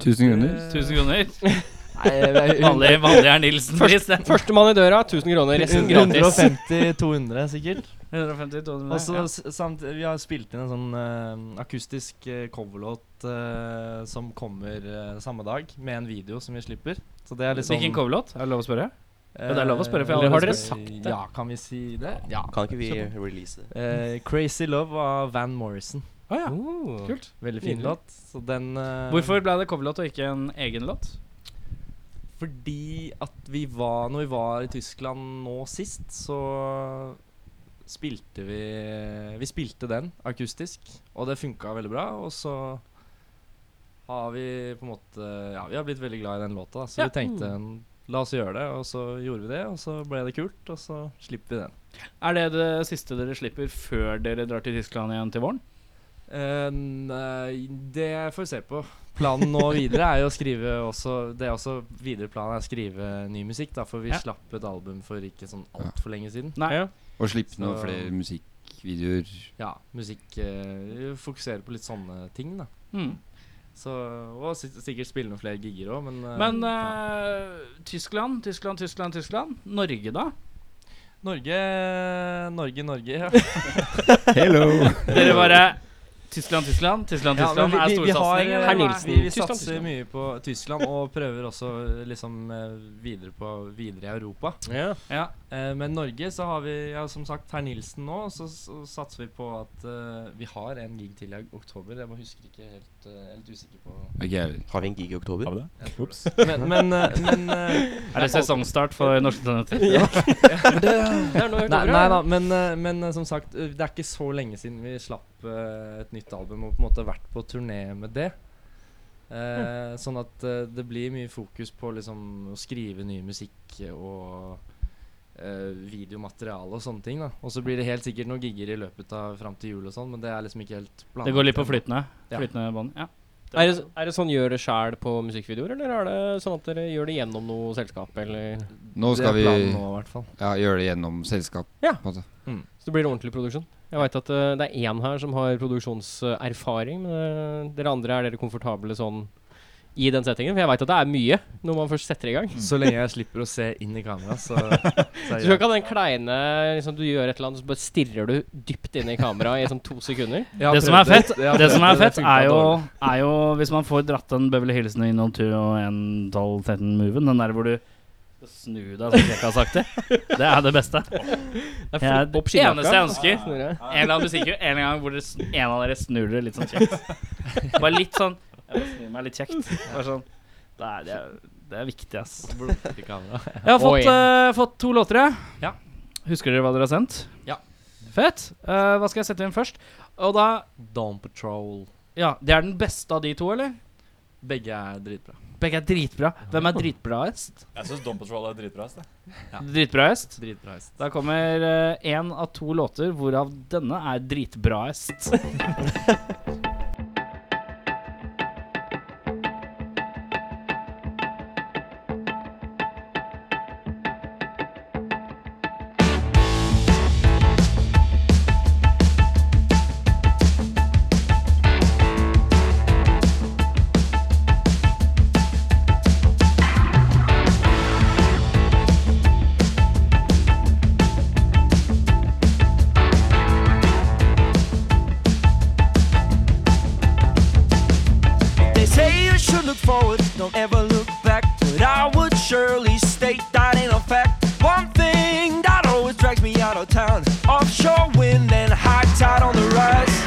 Speaker 8: Tusen kroner.
Speaker 6: Eh,
Speaker 3: 1000 kroner?
Speaker 2: Nei,
Speaker 3: Vanlig, vanlig er Nilsen-pris, det.
Speaker 2: Førstemann i døra, 1000 kroner. Resten gratis.
Speaker 6: 150-200 sikkert.
Speaker 3: 150, 200,
Speaker 6: Og så
Speaker 3: ja.
Speaker 6: s- samt, Vi har spilt inn en sånn eh, akustisk eh, coverlåt eh, som kommer eh, samme dag, med en video som vi slipper. Så det er liksom
Speaker 3: Hvilken coverlåt? Er det lov å spørre?
Speaker 6: Eh,
Speaker 3: det er lov å spørre, for jeg har
Speaker 6: eller
Speaker 3: aldri
Speaker 2: spurt.
Speaker 6: Ja, kan vi si det? Ja.
Speaker 7: Kan ikke vi release det?
Speaker 6: Eh, 'Crazy Love' av Van Morrison.
Speaker 3: Å ja.
Speaker 2: Oh.
Speaker 3: Kult.
Speaker 6: Veldig fin
Speaker 2: Nydelig.
Speaker 6: låt. Så den eh,
Speaker 3: Mm. Hvorfor ble det coverlåt og ikke en egen låt?
Speaker 6: Fordi at vi var Når vi var i Tyskland nå sist, så spilte vi Vi spilte den akustisk, og det funka veldig bra. Og så har vi på en måte Ja, vi har blitt veldig glad i den låta, da, så
Speaker 3: Ja. Mm.
Speaker 6: vi tenkte La oss gjøre det, og så gjorde vi det, og så ble det kult, og så slipper vi den.
Speaker 3: Er det det siste dere slipper før dere drar til Tyskland igjen til våren?
Speaker 6: Eh, nei, det får vi se på. Planen nå videre er jo å skrive også Det er også videre planen er å skrive ny musikk, da, for vi
Speaker 3: Ja.
Speaker 6: slapp et album for ikke sånn altfor lenge siden.
Speaker 3: Nei.
Speaker 8: Og slipp noen
Speaker 6: Så-
Speaker 8: flere musikkvideoer.
Speaker 6: Ja, musikk eh, Fokusere på litt sånne ting, da.
Speaker 3: Mm.
Speaker 6: Så, og si- sikkert spille noen flere gigger òg, men, eh,
Speaker 3: Men
Speaker 6: ja.
Speaker 3: eh, Tyskland, Tyskland, Tyskland, Tyskland. Norge, da?
Speaker 6: Norge, Norge, Norge. Ja.
Speaker 8: Hello!
Speaker 3: Dere bare Tyskland, Tyskland, Tyskland,
Speaker 6: Ja, men
Speaker 3: Tyskland er
Speaker 6: vi, vi, vi har eh,
Speaker 3: storsatsing. eller
Speaker 2: Herr
Speaker 3: hva?
Speaker 2: Nilsen.
Speaker 6: Vi, vi
Speaker 2: Tyskland,
Speaker 6: satser
Speaker 2: Tyskland.
Speaker 6: mye på Tyskland, og prøver også eh, liksom eh, videre på videre i Europa.
Speaker 2: Ja.
Speaker 3: Ja.
Speaker 6: Eh, men Norge så har vi ja, som sagt herr Nilsen nå, og så, så satser vi på at eh, vi har en gig til i oktober. Jeg bare husker ikke helt eh, Jeg er litt usikker på
Speaker 7: Har vi en gig i oktober?
Speaker 5: Har vi det?
Speaker 6: jeg tror
Speaker 5: Ops.
Speaker 6: det. Men, men, eh, men eh,
Speaker 3: Er det sesongstart for norske talenter?
Speaker 6: Nei, nei da, men, eh, men eh, som sagt, eh, det er ikke så lenge siden vi slapp eh, et nytt album og på en måte vært på turné med det. Eh, Sånn at eh, det blir mye fokus på liksom å skrive ny musikk og eh, videomateriale og sånne ting. da Og så blir det helt sikkert noen gigger i løpet av fram til jul og sånn, men det er liksom ikke helt planlagt.
Speaker 3: Det går litt på flytende.
Speaker 6: Ja.
Speaker 3: Flytende bånd. Ja.
Speaker 2: Er det, er det sånn gjør det sjæl på musikkvideoer, eller er det sånn at dere gjør det gjennom noe selskap, eller
Speaker 8: Nå skal vi
Speaker 6: Det er planen nå, i hvert fall.
Speaker 8: ja, gjøre det gjennom selskap.
Speaker 2: Ja.
Speaker 8: på en måte.
Speaker 2: Så det blir ordentlig produksjon? Jeg veit at eh, det er én her som har produksjonserfaring, men eh, dere andre, er dere komfortable sånn i den settingen? For jeg veit at det er mye når man først setter i
Speaker 8: Mm.
Speaker 2: gang.
Speaker 6: Så lenge jeg slipper å se inn i kamera, så, så
Speaker 2: Så
Speaker 6: er
Speaker 2: du kan den kleine liksom, Du gjør et eller annet, så bare stirrer du dypt inn i kameraet i sånn to sekunder.
Speaker 6: Jeg har
Speaker 3: Det som
Speaker 6: prøvd
Speaker 3: er fett,
Speaker 6: Jeg har
Speaker 3: det som
Speaker 6: prøvd
Speaker 3: er fett
Speaker 6: funket
Speaker 3: er, jo,
Speaker 6: dårlig.
Speaker 3: er jo hvis man får dratt den Beverly Hillsen og Innon 2 og 1, 12, 13 moven, den der hvor du snur deg sånn krekasaktig, det er det beste.
Speaker 2: Det er
Speaker 3: Det er
Speaker 2: flipp
Speaker 3: det
Speaker 2: opp skinnjakka.
Speaker 3: eneste jeg ønsker.
Speaker 2: Snurre.
Speaker 3: En eller annen musikkvideo, en eller annen gang hvor dere sn- en av dere snur dere litt sånn kjekt. Bare litt sånn Jeg bare snur meg litt kjekt. Bare sånn. Det er, det er, det er viktig, ass.
Speaker 6: Blunker i kamera.
Speaker 3: Jeg har fått,
Speaker 2: Oi.
Speaker 3: eh, fått to låter, jeg.
Speaker 6: Ja.
Speaker 3: Husker dere hva dere har sendt?
Speaker 6: Ja.
Speaker 3: Fett. Eh, hva skal jeg sette inn først? Og da
Speaker 6: Dawn Patrol.
Speaker 3: Ja, det er den beste av de to, eller?
Speaker 6: Begge er dritbra.
Speaker 3: Begge er dritbra. Hvem er dritbraest?
Speaker 5: Jeg syns Dom Patrol er dritbra. ass, det.
Speaker 3: Dritbraest?
Speaker 6: Dritbra hest.
Speaker 3: Da kommer én av to låter, hvorav denne er dritbraest.
Speaker 1: They say you should look forward, don't ever look back. But I would surely state that in a fact. One thing that always drags me out of town offshore wind and high tide on the rise.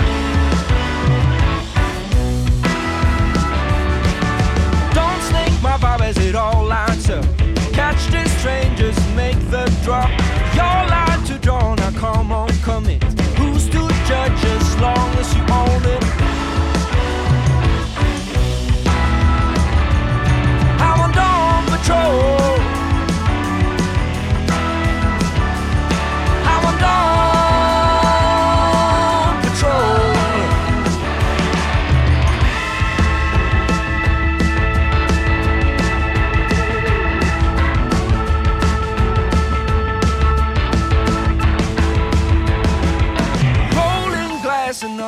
Speaker 1: Don't snake my vibe as it all lines up. Catch this train, just make the drop. Your line to draw, now come on, commit. Who's to judge as long as you own it? I'm on dawn patrol. I'm on dawn patrol.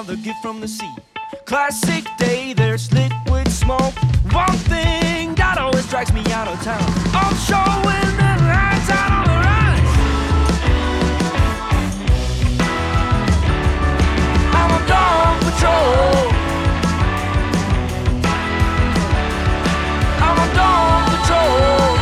Speaker 1: cookie from the sea. Classic day, there's liquid smoke. One thing that always drags me out of town. Offshore wind and rides out on the rise. I'm a dog patrol. I'm a dog patrol.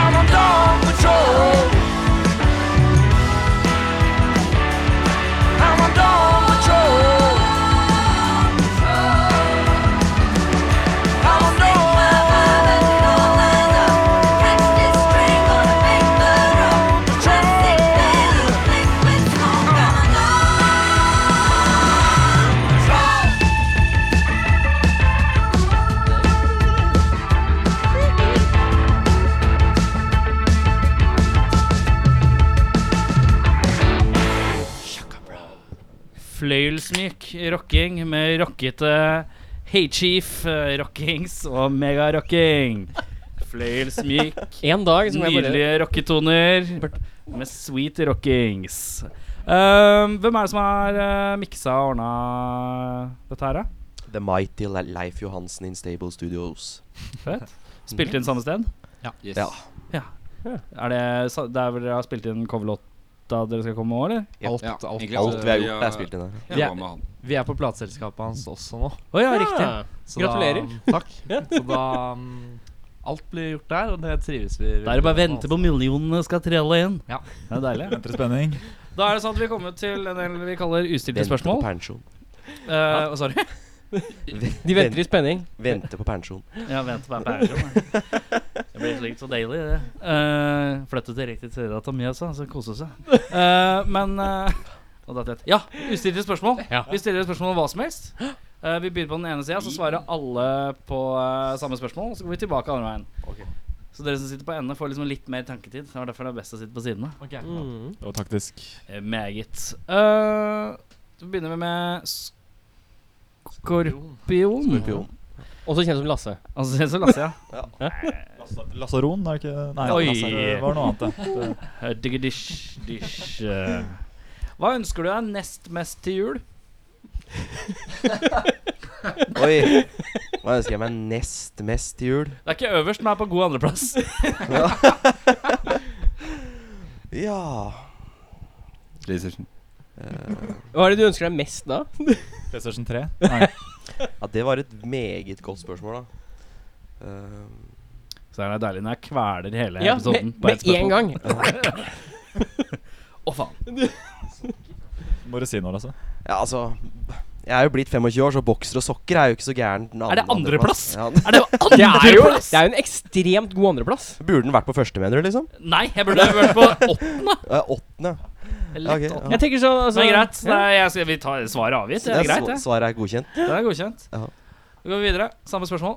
Speaker 1: I'm on dog patrol. I'm on dog patrol. I'm on dog
Speaker 3: Fløyelsmyk rocking med rockete Hey Chief eh, rockings og megarocking. Fløyelsmyk,
Speaker 2: En dag så må jeg bare
Speaker 3: nydelige rocketoner med sweet rockings. Um, hvem er det som har eh, miksa og ordna dette her, da?
Speaker 7: The Mighty Le- Leif Johansen in Stable Studios.
Speaker 3: Fett. Spilt inn samme sted?
Speaker 8: Yes.
Speaker 7: Ja.
Speaker 3: Er det sa- der hvor dere har spilt inn coverlåta dere skal komme med òg, eller?
Speaker 8: Alt,
Speaker 7: Ja. Alt vi har gjort, er spilt inn her.
Speaker 8: Jeg var med han.
Speaker 6: Vi er på plateselskapet hans også nå.
Speaker 3: Å ja, riktig.
Speaker 6: Så
Speaker 2: Gratulerer.
Speaker 6: Da, takk. Så da mm, Alt blir gjort der, og det trives vi
Speaker 3: Da er det bare å vente på millionene skal trelle inn.
Speaker 6: Ja.
Speaker 3: Det er deilig.
Speaker 5: Venter i spenning.
Speaker 6: altså.
Speaker 3: Da er det sånn at vi er kommet til en del vi kaller ustilte
Speaker 7: Vente på
Speaker 3: spørsmål.
Speaker 7: pensjon.
Speaker 3: Eh, og sorry.
Speaker 2: De venter i spenning.
Speaker 7: Vente på pensjon.
Speaker 3: Ja, vent på pæren. Det blir slikt så deilig, det. Uh, flytte til riktig side av Mjøsa, så kose seg. Eh, men eh, og da tett. Ja, ustilte spørsmål. Vi stiller spørsmål om hva som helst. Eh, vi begynner på den ene sida, så svarer alle på eh, samme spørsmål. Og så går vi tilbake andre veien. Så dere som sitter på enden, får liksom litt mer tanketid. Det var derfor det er best å sitte på sidene.
Speaker 2: Mm.
Speaker 5: Og taktisk.
Speaker 3: Eh, Meget. Eh, så begynner vi med Skorpion.
Speaker 7: Skorpion.
Speaker 2: Også kjent som Lasse.
Speaker 3: Altså, så Lasse, ja.
Speaker 5: Lasaron, er det ikke Nei,
Speaker 3: Oi.
Speaker 5: Lasaron var noe annet, det. det.
Speaker 3: Eh, diggedish, dish, eh. Hva ønsker du deg nest mest til jul?
Speaker 7: Oi! Hva ønsker jeg meg nest mest til jul?
Speaker 3: Det er ikke øverst, men er på god andreplass.
Speaker 7: Ja
Speaker 8: PlayStation.
Speaker 7: Eh,
Speaker 2: Hva er det du ønsker deg mest da?
Speaker 5: PlayStation 3? Nei.
Speaker 7: Ja, det var et meget godt spørsmål, da. Ehm,
Speaker 3: Så er det deilig når jeg kveler hele
Speaker 2: Ja,
Speaker 3: episoden
Speaker 2: med, med en gang.
Speaker 3: Å, faen.
Speaker 5: Må du si noe, altså?
Speaker 7: ja, altså Jeg er jo blitt 25 år, så bokser og sokker er jo ikke så gærent.
Speaker 3: Er det andreplass?
Speaker 7: Ja,
Speaker 3: Er det
Speaker 2: Det er jo
Speaker 3: andreplass?
Speaker 2: det er jo en ekstremt god andreplass.
Speaker 7: burde den vært på første, mener du, liksom?
Speaker 3: Nei, jeg burde vært på åttende.
Speaker 7: Eh, åttende.
Speaker 3: Eller
Speaker 7: Ja, ok,
Speaker 3: litt
Speaker 7: ja.
Speaker 3: åttende.
Speaker 2: Jeg tenker sånn altså,
Speaker 3: Det er greit.
Speaker 2: ja.
Speaker 3: Nei, jeg skal, vi tar svaret avgitt. Det
Speaker 7: Ja,
Speaker 3: er greit,
Speaker 7: sva-
Speaker 3: det.
Speaker 7: Svaret er godkjent.
Speaker 3: Det er godkjent.
Speaker 7: Ja.
Speaker 3: Vi går videre. Samme spørsmål.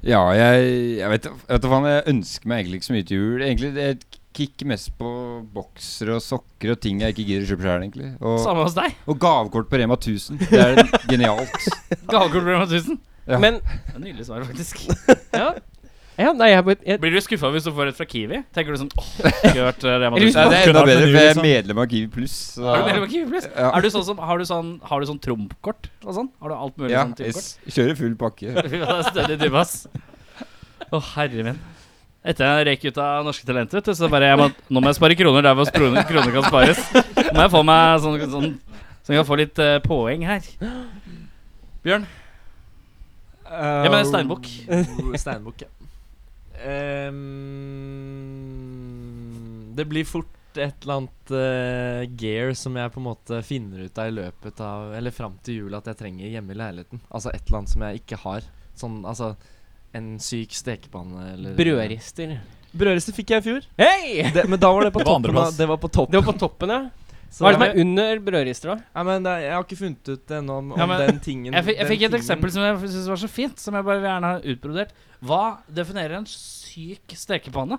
Speaker 8: Ja, jeg, jeg vet jeg vet da faen, jeg ønsker meg egentlig ikke så mye til jul. Egentlig det kicker mest på boksere og sokker og ting jeg ikke gidder å kjøpe sjøl, egentlig. Og,
Speaker 3: Samme hos deg.
Speaker 8: og gavekort på Rema 1000. Det er genialt.
Speaker 3: Gavekort blir 1000.
Speaker 8: Ja.
Speaker 2: Men
Speaker 3: Det er Nydelig svar, faktisk.
Speaker 2: ja. ja nei, jeg, bare- jeg,
Speaker 3: Blir du skuffa hvis du får et fra Kiwi? Tenker du sånn åh, skulle vært eh, Rema
Speaker 2: Eller hvis
Speaker 8: Nei,
Speaker 3: 1000?
Speaker 8: det er enda bedre, for jeg er medlem av Kiwi Pluss. så-
Speaker 3: liksom? Er du medlem av Kiwi Plus?
Speaker 8: Ja.
Speaker 3: Er du sånn som, har du sånn, har du sånn Trump-kort og sånn? Har du alt mulig
Speaker 8: Ja,
Speaker 3: sånn
Speaker 8: jeg
Speaker 3: type kort?
Speaker 8: s- kjører full pakke.
Speaker 3: Fy faen, det er stødig type, ass. Å, herre min. Etter jeg røyk ut av Norske Talenter, vet du, så bare jeg må, Nå må jeg spare kroner der hvor kroner, kroner kan spares. Nå må jeg få meg sånn, sånn Så jeg kan få litt eh, poeng her. Bjørn? Ja, men steinbukk.
Speaker 6: Steinbukk, Oh, ja. Ehm, det blir fort et eller annet eh, gear som jeg på en måte finner ut av i løpet av Eller fram til jul at jeg trenger hjemme i leiligheten. Altså et eller annet som jeg ikke har. Sånn, altså en syk stekepanne eller
Speaker 2: brødrister.
Speaker 6: Brødrester fikk jeg i fjor.
Speaker 2: Hei!
Speaker 6: Det, men da var det på
Speaker 5: Det var
Speaker 6: toppen. av-
Speaker 5: andreplass.
Speaker 6: Det var på toppen.
Speaker 2: Det var på toppen, ja.
Speaker 6: Så
Speaker 2: Hva er det som
Speaker 6: det-
Speaker 2: er under brødrister, da?
Speaker 6: Nei, men det, er- Jeg har ikke funnet ut det ennå om, om
Speaker 3: Ja, men
Speaker 6: den tingen.
Speaker 3: Jeg fikk, jeg
Speaker 6: den
Speaker 3: fikk et
Speaker 6: tingen.
Speaker 3: eksempel som jeg syntes var så fint, som jeg bare vil gjerne ha utbrodert. Hva definerer en syk stekepanne?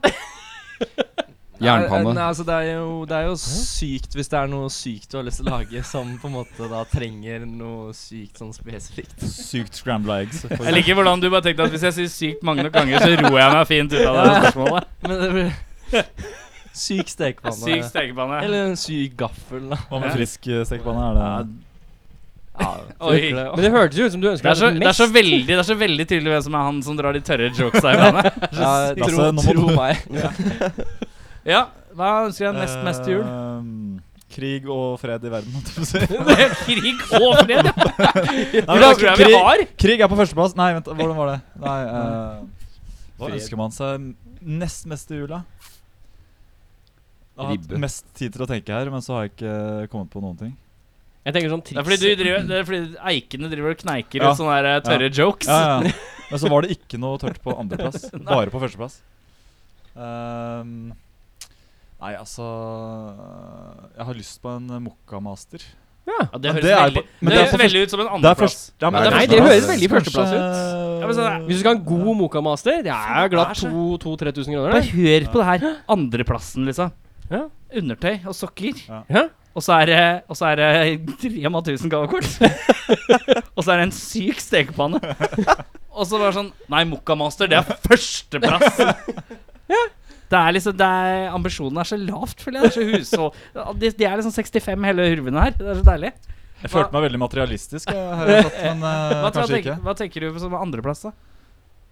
Speaker 8: Jernpanne.
Speaker 6: Nei, Nei, altså det er, jo, det er jo sykt hvis det er noe sykt du har lyst til å lage som på en måte da trenger noe sykt sånn spesifikt.
Speaker 5: Sykt scramble eggs. for
Speaker 3: Jeg liker hvordan du bare tenkte at hvis jeg sier sykt mange nok ganger, så roer jeg meg fint ut av det spørsmålet.
Speaker 6: Men det blir Syk stekepanne.
Speaker 3: Syk stekepanne.
Speaker 6: Eller en syk gaffel, da.
Speaker 5: Hva med frisk eh, stekepanne? Er det
Speaker 3: Oi.
Speaker 6: Virkelig. Og-
Speaker 2: Men det hørtes jo ut som du ønsket
Speaker 3: Det er, så,
Speaker 2: deg
Speaker 3: det, er så veldig, det er så veldig tydelig hvem som er han som drar de tørre jokes her. Rane.
Speaker 6: Ja,
Speaker 5: Lasse,
Speaker 6: tro,
Speaker 5: nå må
Speaker 6: tro
Speaker 5: du-
Speaker 6: meg.
Speaker 3: Ja, Hva ønsker jeg nest mest til jul?
Speaker 5: Ehm, Krig og fred i verden, holdt jeg på å si.
Speaker 3: Eh, Krig og fred, ja!
Speaker 5: Nei,
Speaker 3: Hva
Speaker 5: men
Speaker 3: tror jeg
Speaker 5: krig-
Speaker 3: vi har?
Speaker 5: Krig er på førsteplass. Nei, vent, hvordan var det? Nei, eh, Hva ønsker man seg nest mest til jula? Jeg har hatt
Speaker 8: Ribbe.
Speaker 5: mest tid til å tenke her, men så har jeg ikke kommet på noen ting.
Speaker 2: Jeg tenker sånn triks.
Speaker 3: Det er fordi, du driver, det er fordi eikene driver og kneiker
Speaker 5: Ja.
Speaker 3: ut sånne der eh, tørre jokes.
Speaker 5: Ja, ja. Men så var det ikke noe tørt på andreplass. Bare på førsteplass. Ehm, nei, altså Jeg har lyst på en Mokka-master.
Speaker 3: Ja, det
Speaker 5: Men
Speaker 3: høres,
Speaker 5: det er
Speaker 3: veldig,
Speaker 5: på- men
Speaker 3: det
Speaker 5: det er
Speaker 3: høres
Speaker 5: på
Speaker 3: veldig ut som en
Speaker 5: Det er
Speaker 3: andreplass.
Speaker 5: først, ja, men
Speaker 8: Nei,
Speaker 2: Nei,
Speaker 5: er
Speaker 2: det høres
Speaker 5: førsteplass.
Speaker 2: veldig førsteplass ut.
Speaker 5: Kanskje-
Speaker 3: Ja, men sånn
Speaker 2: Hvis du skal ha en god Moka-master, det er glatt
Speaker 3: Faen,
Speaker 2: 2000-3000 kroner.
Speaker 3: Bare
Speaker 2: det.
Speaker 3: hør på det her. Andreplassen, liksom.
Speaker 2: Ja.
Speaker 3: Undertøy og sokker.
Speaker 5: Ja.
Speaker 2: Ja.
Speaker 3: Og så er det Og så er det Rema 1000 gavekort. og så er det en syk stekepanne. og så bare sånn Nei, Mokkamaster, det er førsteplass! Det er liksom det er, Ambisjonen er så lavt, føler jeg. Det er så hushold de, de er liksom 65, hele hurvene her. Det er så deilig.
Speaker 5: Jeg følte meg veldig materialistisk, jeg, her, jeg tatt, men eh,
Speaker 3: Hva, hva,
Speaker 5: kanskje ikke.
Speaker 3: tenker, hva tenker du som andreplass, da?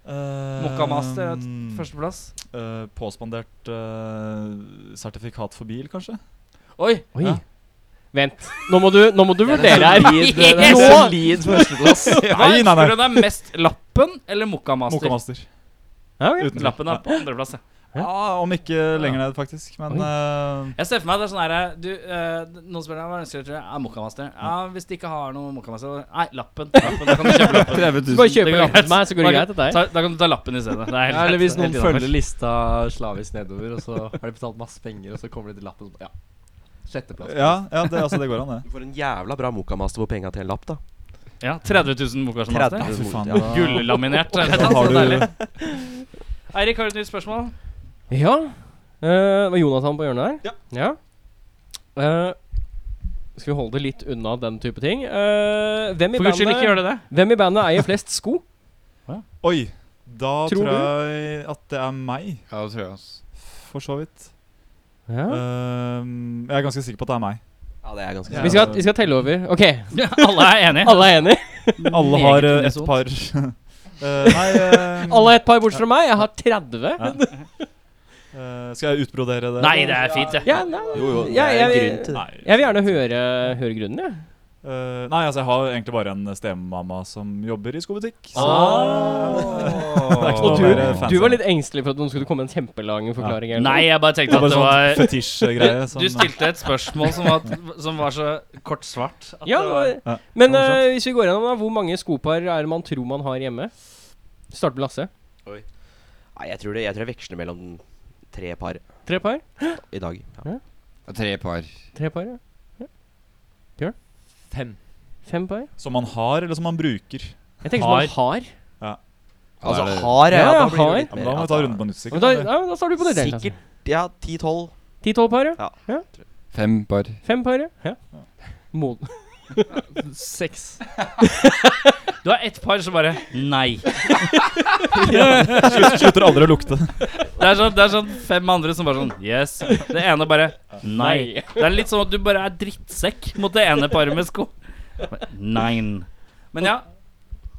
Speaker 5: Uh,
Speaker 3: Mokkamaster er
Speaker 5: Mm.
Speaker 3: førsteplass?
Speaker 5: Eh, påspandert eh, sertifikat for bil, kanskje?
Speaker 3: Oi!
Speaker 2: Oi.
Speaker 5: Ja.
Speaker 2: Vent. Nå må du, nå må du vurdere her.
Speaker 3: solid- det er
Speaker 2: Nå-
Speaker 6: Solid førsteplass.
Speaker 3: Hva
Speaker 5: Nei, nei,
Speaker 3: tror
Speaker 5: nei.
Speaker 3: du det er mest lappen eller Mokkamaster?
Speaker 5: Mokamaster.
Speaker 2: Ja, ok.
Speaker 5: Uten
Speaker 3: Lappen er på andreplass, ja.
Speaker 5: Ja, om ikke lenger ned, faktisk. Men eh,
Speaker 3: Jeg ser for meg det er sånn her du, eh, Noen spør deg hva ønsker du til ja, Mokkamaster.
Speaker 5: Mm.
Speaker 3: Ja, hvis de ikke har noe Mokkamaster Nei, lappen. lappen. Da kan du kjøpe lappen.
Speaker 8: 30
Speaker 2: Du
Speaker 8: 000.
Speaker 2: bare kjøper
Speaker 3: går
Speaker 2: lappen til meg, så går det greit. Dette her.
Speaker 3: Ta, da kan du ta lappen i stedet. Det er helt
Speaker 6: Ja, eller
Speaker 3: greit.
Speaker 6: hvis noen
Speaker 3: Helt innafor.
Speaker 6: følger lista slavisk nedover, og så har de betalt masse penger, og så kommer de til lappen og så- Ja. Sjetteplass.
Speaker 5: ja, ja det, altså, det går an, det.
Speaker 7: Du får en jævla bra Mokamaster på penga til en lapp, da.
Speaker 3: Ja, 30 000 Mokkamaster.
Speaker 5: Ja, fy faen.
Speaker 7: Ja.
Speaker 3: Gullaminert. det er
Speaker 5: Da
Speaker 3: helt
Speaker 5: har
Speaker 3: så
Speaker 5: du
Speaker 3: deilig. Eirik, har du et nytt spørsmål?
Speaker 2: Ja. Eh, var Jonathan på hjørnet der? Ja. Eh, skal vi holde det litt unna den type ting? Eh, hvem, i
Speaker 3: For guds skyld, ikke
Speaker 2: bandet,
Speaker 3: gjør det det.
Speaker 2: hvem i bandet eier flest sko?
Speaker 5: Oi! Da
Speaker 2: Tror
Speaker 5: tror,
Speaker 2: du?
Speaker 5: jeg at det er meg,
Speaker 8: Ja, det tror jeg, ass.
Speaker 5: for så vidt.
Speaker 2: Ja.
Speaker 5: Ehm, jeg er ganske sikker på at det er meg.
Speaker 7: Ja, det er ganske
Speaker 5: Ja.
Speaker 2: Vi, skal, vi skal telle over. OK,
Speaker 3: alle er enige.
Speaker 2: alle er enige?
Speaker 5: Alle har eh, et par Eh, Nei ehm,
Speaker 2: Alle har et par bortsett fra meg. Jeg har 30.
Speaker 5: eh, Skal jeg utbrodere det?
Speaker 3: Nei, det er fint, det.
Speaker 2: Ja, nei.
Speaker 7: Jo, jo, det
Speaker 2: Ja,
Speaker 7: er en
Speaker 2: jeg-
Speaker 7: grunn til det.
Speaker 5: Nei.
Speaker 2: Jeg vil gjerne høre, høre grunnen, jeg.
Speaker 5: Eh, nei, altså jeg har egentlig bare en stemamma som jobber i skobutikk.
Speaker 2: Ah.
Speaker 5: Så det er
Speaker 2: Og
Speaker 5: ikke noe
Speaker 2: du,
Speaker 5: mer fancy.
Speaker 2: du var litt engstelig for at nå skulle det komme en kjempelang forklaring. eller noe.
Speaker 3: Nei, jeg bare
Speaker 5: Det
Speaker 3: tenkte
Speaker 5: var
Speaker 3: at det
Speaker 5: bare
Speaker 3: var
Speaker 5: sånn fetisj-greie.
Speaker 3: Du stilte et spørsmål som var, som var så kort svart. At
Speaker 2: Ja,
Speaker 3: det var,
Speaker 2: nå-
Speaker 5: Ja,
Speaker 2: Men
Speaker 5: det var
Speaker 2: eh, hvis vi går gjennom, da, hvor mange skopar er det man tror man har hjemme? Start med Lasse.
Speaker 7: Nei, jeg tror det. Jeg tror jeg veksler mellom tre par
Speaker 2: Tre par?
Speaker 7: i dag. Ja.
Speaker 8: Ja, Tre par.
Speaker 2: Tre par, ja. ja. Bjørn?
Speaker 6: Fem.
Speaker 2: Fem par?
Speaker 5: Som man har, eller som man bruker.
Speaker 2: Jeg tenker som man har.
Speaker 8: Ja,
Speaker 7: Altså
Speaker 8: det er det.
Speaker 7: har jeg,
Speaker 2: Ja,
Speaker 7: ja,
Speaker 2: ja,
Speaker 7: da blir det
Speaker 2: har.
Speaker 7: jo
Speaker 5: Ja,
Speaker 7: litt mer.
Speaker 5: men da må vi ta
Speaker 7: altså,
Speaker 5: runden på nytt.
Speaker 2: Men
Speaker 5: sikkert,
Speaker 2: da,
Speaker 5: eller?
Speaker 2: ja, men da starter vi på det.
Speaker 7: Sikkert ja, ti-tolv.
Speaker 2: Ti-tolv par, ja.
Speaker 7: Ja.
Speaker 8: Fem par.
Speaker 2: Fem par, ja. ja. Moden.
Speaker 6: Seks.
Speaker 3: du har ett par som bare Nei.
Speaker 5: Slutter aldri å lukte.
Speaker 3: Det er, sånn, det er sånn fem andre som bare sånn Yes. Det ene bare Nei. Det er litt sånn at du bare er drittsekk mot det ene paret med sko. Nein. Men ja.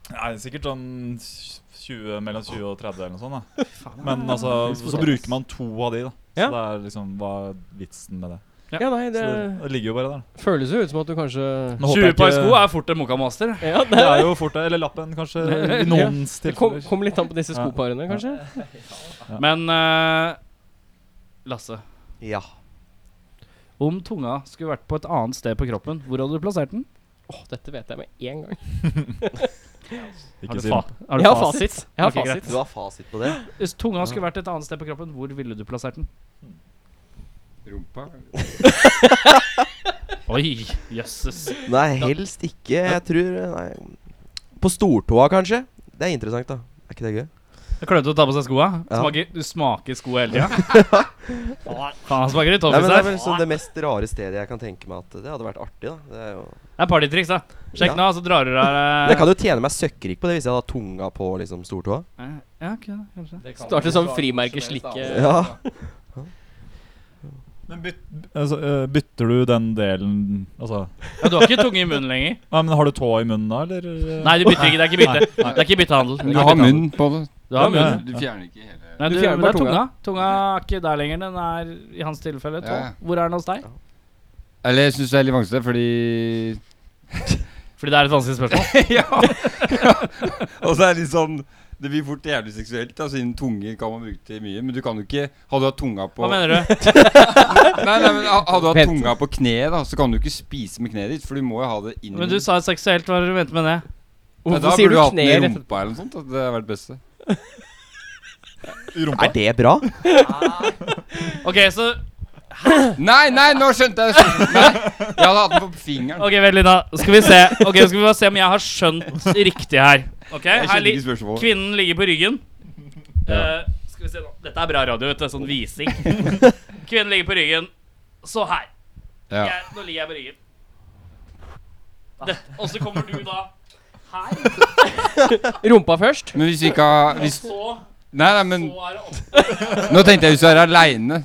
Speaker 5: Nei, sikkert sånn 20, mellom 20 og 30 eller noe sånt. da Men altså, så bruker man to av de, da. Så
Speaker 2: Ja.
Speaker 5: det er liksom Hva er vitsen med det?
Speaker 2: Ja, nei, det
Speaker 5: Så det ligger jo bare der. da.
Speaker 2: føles jo ut som at du kanskje
Speaker 5: Nå håper
Speaker 3: 20
Speaker 5: jeg
Speaker 3: par
Speaker 5: ikke-
Speaker 3: sko er fort en Moka-master.
Speaker 2: Ja,
Speaker 5: Det
Speaker 2: det,
Speaker 5: er jo fort det. Eller lappen, kanskje. I noens
Speaker 2: det kom,
Speaker 5: tilfeller.
Speaker 2: kom litt an på disse
Speaker 5: Ja.
Speaker 2: skoparene, kanskje.
Speaker 3: Men eh, Lasse,
Speaker 7: Ja.
Speaker 3: om tunga skulle vært på et annet sted på kroppen, hvor hadde du plassert den?
Speaker 2: Åh, dette vet jeg med en gang.
Speaker 5: Ikke
Speaker 3: Har du,
Speaker 5: si
Speaker 3: fa
Speaker 5: det.
Speaker 3: har du
Speaker 2: Jeg har
Speaker 3: fasit?
Speaker 2: fasit. Jeg har
Speaker 3: Ok, greit.
Speaker 2: fasit.
Speaker 7: Du har fasit på det?
Speaker 3: Hvis tunga skulle vært et annet sted på kroppen, hvor ville du plassert den?
Speaker 8: Rumpa?
Speaker 3: Oi, jøsses.
Speaker 7: Nei, helst ikke. Jeg tror Nei. På stortåa, kanskje? Det er interessant, da. Er ikke det gøy?
Speaker 3: Det er klønete å ta på seg skoa.
Speaker 7: Ja.
Speaker 3: Smaker, du smaker sko hele tida. Faen, han smaker litt
Speaker 7: Nei, men
Speaker 3: toffis
Speaker 7: det er
Speaker 3: her.
Speaker 7: vel liksom det mest rare stedet jeg kan tenke meg at det hadde vært artig, da. Det er jo
Speaker 3: Det er partytriks, da. Sjekk
Speaker 7: Ja.
Speaker 3: nå, så drar eh. du deg
Speaker 7: Men jeg kan jo tjene meg søkkrik på det hvis jeg hadde tunga på liksom stortåa.
Speaker 3: Ja, ok, da, kanskje.
Speaker 2: Starte sånn frimerkeslikke
Speaker 7: Ja.
Speaker 5: Men byt, altså, øh, bytter du den delen Altså
Speaker 3: ja, Du har ikke tunge i munnen lenger?
Speaker 5: Nei, men Har du tå i munnen da, eller?
Speaker 3: Nei, du bytter ikke. Det er ikke bytte. Det er ikke byttehandel. Det er
Speaker 8: Du
Speaker 3: ikke
Speaker 8: har
Speaker 3: byttehandel.
Speaker 8: munn på det.
Speaker 3: Du har munnen.
Speaker 8: Du fjerner ikke hele
Speaker 3: Nei,
Speaker 2: Du fjerner
Speaker 3: du, men det er
Speaker 2: bare
Speaker 3: tunga. Tunga er ikke der lenger. Den er i hans tilfelle tå.
Speaker 8: Ja, ja.
Speaker 3: Hvor er den hos deg?
Speaker 8: Eller jeg syns det er litt vanskelig, fordi
Speaker 3: Fordi det er et vanskelig spørsmål.
Speaker 8: Ja! Og så er det litt sånn Det blir fort jævlig seksuelt, da, siden tunge kan man bruke til mye. Men du kan jo ikke Hadde du hatt tunga på
Speaker 3: Hva mener du?
Speaker 8: Nei, nei, men ha- Hadde du hatt
Speaker 2: Vent.
Speaker 8: tunga på kneet, da, så kan du ikke spise med kneet ditt, for du må jo ha det inn i
Speaker 3: Men du sa seksuelt. Hva er det du mente med det?
Speaker 8: Nei,
Speaker 2: Hvorfor sier du
Speaker 8: Da burde du hatt
Speaker 2: kne
Speaker 8: den i
Speaker 2: rett
Speaker 8: rumpa eller noe sånt. da. Det hadde vært det beste.
Speaker 7: Er det bra?
Speaker 3: Ok, så
Speaker 8: Nei, nei, nå skjønte jeg det! Nei, Jeg hadde hatt den på fingeren.
Speaker 3: Ok, vent litt, da. Skal vi se Ok, skal vi bare se om jeg har skjønt riktig her. Ok,
Speaker 8: Jeg
Speaker 3: her
Speaker 8: skjønte
Speaker 3: li
Speaker 8: ikke spørsmålet.
Speaker 3: Kvinnen ligger på ryggen. Eh, skal vi se nå. Dette er bra radio, vet du. Sånn vising. Kvinnen ligger på ryggen. Så her.
Speaker 8: Ja.
Speaker 3: Jeg, nå ligger jeg på ryggen. Dette- Og så kommer du da her,
Speaker 2: Rumpa først.
Speaker 8: Men hvis vi ikke har hvis,
Speaker 3: så,
Speaker 8: Nei, nei, men
Speaker 3: så er det opp.
Speaker 8: nå tenkte jeg hvis du er aleine.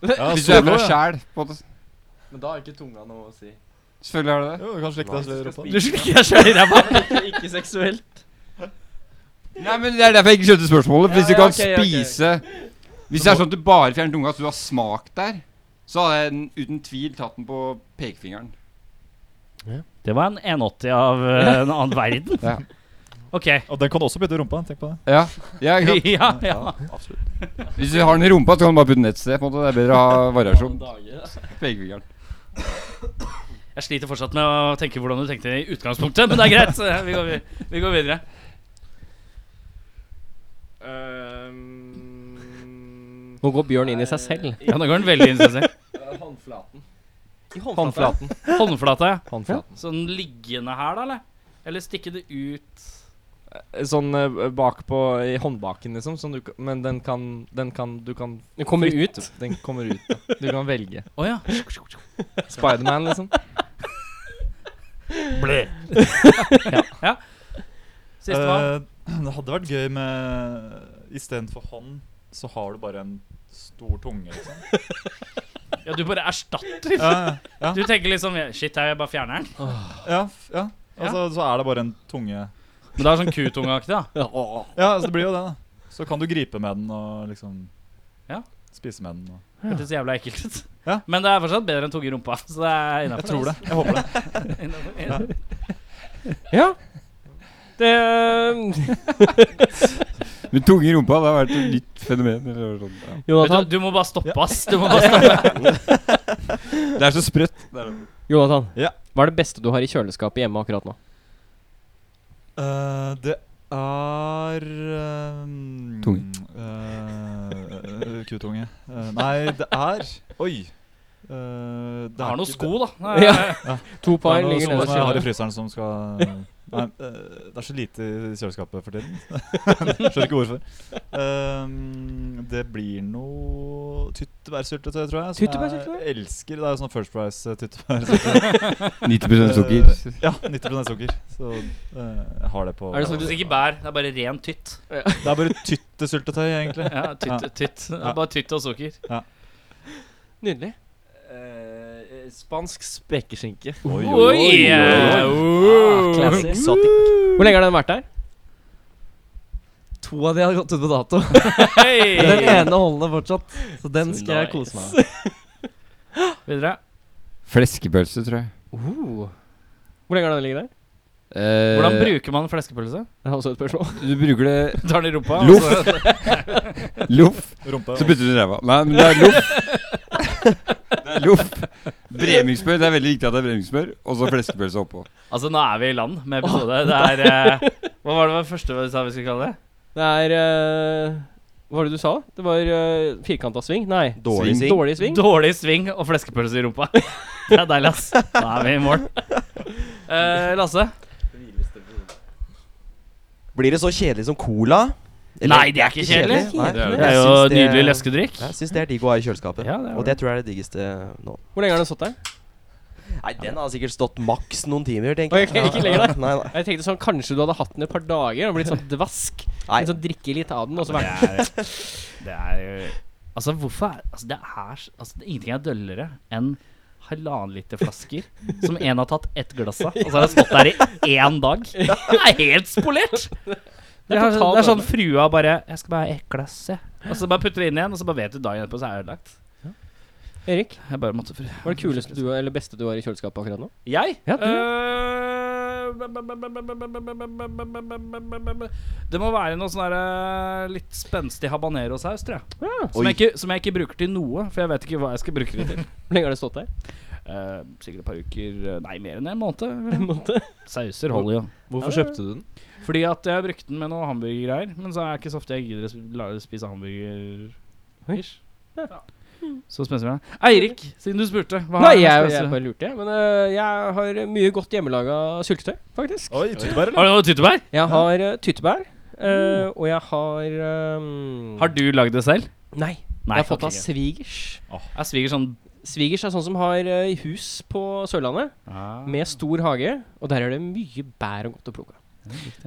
Speaker 5: Ja,
Speaker 8: Hvis du er
Speaker 5: solo,
Speaker 8: for deg
Speaker 5: ja.
Speaker 8: sjæl.
Speaker 6: Men da har ikke tunga noe å si.
Speaker 8: Selvfølgelig er det det.
Speaker 5: Jo, du kan slikke deg selv i rumpa.
Speaker 3: Du slikker deg sjøl i ræva.
Speaker 6: ikke, ikke seksuelt.
Speaker 8: Nei, men Det er derfor jeg ikke skjønte spørsmålet. For hvis
Speaker 6: Ja,
Speaker 8: du
Speaker 6: ja,
Speaker 8: kan
Speaker 6: ok, ok.
Speaker 8: spise Hvis det er sånn at du bare fjerner tunga, så du har smak der, så hadde jeg den uten tvil tatt den på pekefingeren.
Speaker 3: Det var en 180 av eh, en annen verden.
Speaker 8: Ja.
Speaker 3: Ok.
Speaker 5: Og den kan du også bytte i rumpa. Tenk på det.
Speaker 8: Ja, ja ikke sant?
Speaker 3: Ja, ja.
Speaker 5: absolutt.
Speaker 8: Hvis du har den i rumpa, så kan du bare putte den et sted. på en måte Det er bedre å ha variasjon. Pekefingeren.
Speaker 3: Jeg sliter fortsatt med å tenke hvordan du tenkte i utgangspunktet, men det er greit. så eh, Vi går, vi, vi går videre.
Speaker 6: Um,
Speaker 2: Nå går Bjørn inn i seg selv.
Speaker 3: Ja, nå går den veldig inn i seg selv.
Speaker 6: Håndflaten.
Speaker 2: Håndflaten.
Speaker 3: Håndflata, ja.
Speaker 6: Håndflaten.
Speaker 3: Sånn liggende her, da, eller? Eller stikke det ut
Speaker 6: Sånn eh, bakpå i håndbaken, liksom. Sånn du, kan- men den kan, den kan Du kan
Speaker 2: Den kommer ut.
Speaker 6: flytte- Den kommer ut. Da. Du kan velge.
Speaker 3: Å ja.
Speaker 6: Spiderman, liksom.
Speaker 3: Sistemann.
Speaker 5: Eh, det hadde vært gøy med Istedenfor hånd, så har du bare en stor tunge, liksom.
Speaker 3: Ja, du bare erstatter.
Speaker 5: Ja, ja,
Speaker 3: Du tenker liksom Shit, her, jeg bare fjerner den.
Speaker 5: ja, f- ja. Altså, så er det bare en tunge
Speaker 3: Men det er sånn kutungeaktig, da.
Speaker 5: Ja, altså, det blir jo det, da. Så kan du gripe med den og liksom
Speaker 3: Ja.
Speaker 5: spise med den. Og.
Speaker 3: Hørtes jævla ekkelt ut.
Speaker 5: Ja.
Speaker 3: Men det er fortsatt bedre enn tunge i rumpa. Så det er innafor.
Speaker 5: Jeg tror det. Jeg håper det.
Speaker 2: Ja. Det
Speaker 8: Men tunge i rumpa, det har vært et nytt fenomen. Eller sånn. ja.
Speaker 2: Jonathan,
Speaker 3: Du, du må bare stoppe, ass. Du må bare stoppe.
Speaker 8: Det er så sprøtt.
Speaker 2: Jonathan.
Speaker 5: Ja.
Speaker 2: Hva er det beste du har i kjøleskapet hjemme akkurat nå?
Speaker 5: Eh, det er um,
Speaker 8: Tunge.
Speaker 5: eh, kutunge. Eh, nei, det er Oi. Eh, det
Speaker 3: Du har noen
Speaker 5: ikke-
Speaker 3: sko, da. Nei,
Speaker 2: Ja. To
Speaker 5: Det
Speaker 2: par
Speaker 5: er noe
Speaker 2: ligger
Speaker 5: som
Speaker 2: nede.
Speaker 5: jeg har i fryseren som skal Nei, eh, det er så lite i kjøleskapet for tiden. Skjønner ikke hvorfor. Um, det blir noe tyttebærsyltetøy, tror jeg. Som
Speaker 2: Tyttebærsyltetøy?
Speaker 5: jeg elsker. Det er jo sånn First Price-tyttebærsyltetøy.
Speaker 8: 90
Speaker 5: Eh, ja, 90 sukker. Så eh, jeg har det på
Speaker 2: Er det
Speaker 3: Det
Speaker 2: sånn
Speaker 3: er ikke bær. Det er bare ren tytt.
Speaker 5: Det er bare tyttesyltetøy, egentlig.
Speaker 3: Ja, tytt,
Speaker 5: Ja.
Speaker 3: tytt. Det
Speaker 5: Ja.
Speaker 3: er bare tytt og sukker.
Speaker 2: Nydelig.
Speaker 6: Eh, spansk spekeskinke.
Speaker 5: Oi, Ah,
Speaker 3: Oi! eh, oh.
Speaker 2: Hvor lenge har den vært der?
Speaker 6: To av de har gått ut på dato. Men Den
Speaker 3: Hei!
Speaker 6: ene holder fortsatt. Så den skal jeg kose meg med.
Speaker 3: Videre.
Speaker 8: Fleskepølse, tror jeg.
Speaker 2: Hvor lenge har den ligget der?
Speaker 8: Eh,
Speaker 3: Hvordan bruker man fleskepølse?
Speaker 2: Det er også et spørsmål.
Speaker 8: Du bruker det
Speaker 3: Tar den i rumpa? altså. og
Speaker 8: Loff.
Speaker 3: så-
Speaker 8: Loff.
Speaker 5: Rumpe.
Speaker 8: Så bytter du ræva. Nei, men det er loff. Det er loff. Bremingspør. Det er veldig viktig at det er bremingspør. Og så fleskepølse oppå.
Speaker 3: Altså, nå er vi i land med episode. Det er eh, Hva var det første vi sa vi skulle kalle det?
Speaker 2: Det er eh, Hva var det du sa? Det var uh, firkanta sving? Nei.
Speaker 7: Dårlig sving.
Speaker 2: Dårlig sving.
Speaker 3: Dårlig sving og fleskepølse i rumpa. Det er deilig, ass. Da er vi i mål. Eh, Lasse?
Speaker 7: Blir det så kjedelig som cola?
Speaker 3: Nei, det er ikke kjedelig.
Speaker 7: Nei.
Speaker 4: Det er det.
Speaker 3: Det er
Speaker 7: Jeg
Speaker 3: jo
Speaker 7: syns det-
Speaker 3: nydelig leskedrikk.
Speaker 7: Jeg syns det er digg å ha i kjøleskapet.
Speaker 3: Ja, det er
Speaker 7: og det tror jeg er det diggeste nå.
Speaker 2: Hvor lenge har den stått der?
Speaker 7: Nei, den har sikkert stått maks noen timer, tenker
Speaker 2: Ok, ikke lenger, da.
Speaker 7: Nei, nei.
Speaker 2: Jeg tenkte sånn, Kanskje du hadde hatt den et par dager og blitt sånn dvask.
Speaker 7: Nei.
Speaker 2: Litt sånn Drikke litt av den, og så vært
Speaker 3: Det er jo Altså, hvorfor er altså, det er, s- altså, det, Ingenting er døllere enn halvannen liter flasker som en har tatt ett glass av, og så har den stått der i én dag. Det er helt spolert! Det er,
Speaker 2: totalt
Speaker 3: det er sånn frua bare 'Jeg skal bare ha ett glass, jeg.' Og så bare putter det inn igjen, og så bare vet du dagen etterpå så er det ødelagt.
Speaker 2: Erik,
Speaker 3: Jeg bare måtte fru-
Speaker 2: hva er det kuleste du eller beste du har i kjøleskapet akkurat nå?
Speaker 3: Jeg?
Speaker 2: Ja, du.
Speaker 3: Eh, Det må være noe sånn der, eh, litt spenstig habanerosaus, tror jeg. Som jeg, ikke, som jeg ikke bruker til noe, for jeg vet ikke hva jeg skal bruke det til.
Speaker 2: Hvor lenge har det stått der?
Speaker 3: Eh, sikkert et par uker eh, Nei, mer enn en måned. Sauser holder jo.
Speaker 6: Hvorfor kjøpte du den?
Speaker 3: Fordi at jeg brukte den med noen hamburgergreier. Men så er det ikke så ofte jeg gidder å sp- la- spise hamburger. Ish. Ja. Så spenser vi meg. Eirik, siden du spurte. Hva
Speaker 2: Nei,
Speaker 3: er det
Speaker 2: jeg,
Speaker 3: spesielle?
Speaker 2: jeg bare lurte, jeg. Men øh, jeg har mye godt hjemmelaga syltetøy, faktisk.
Speaker 5: Oi, tyttebær, eller?
Speaker 3: Har du noe tyttebær?
Speaker 2: Jeg har øh, tyttebær, øh, og jeg har øhm,
Speaker 3: Mm. Har du lagd det selv?
Speaker 2: Nei.
Speaker 3: Nei,
Speaker 2: jeg har fått
Speaker 3: ok.
Speaker 2: av svigers.
Speaker 3: Er sviger sånn
Speaker 2: Svigers er sånn som har øh, hus på Sørlandet,
Speaker 3: Ah.
Speaker 2: med stor hage, og der er det mye bær og godt å plukke.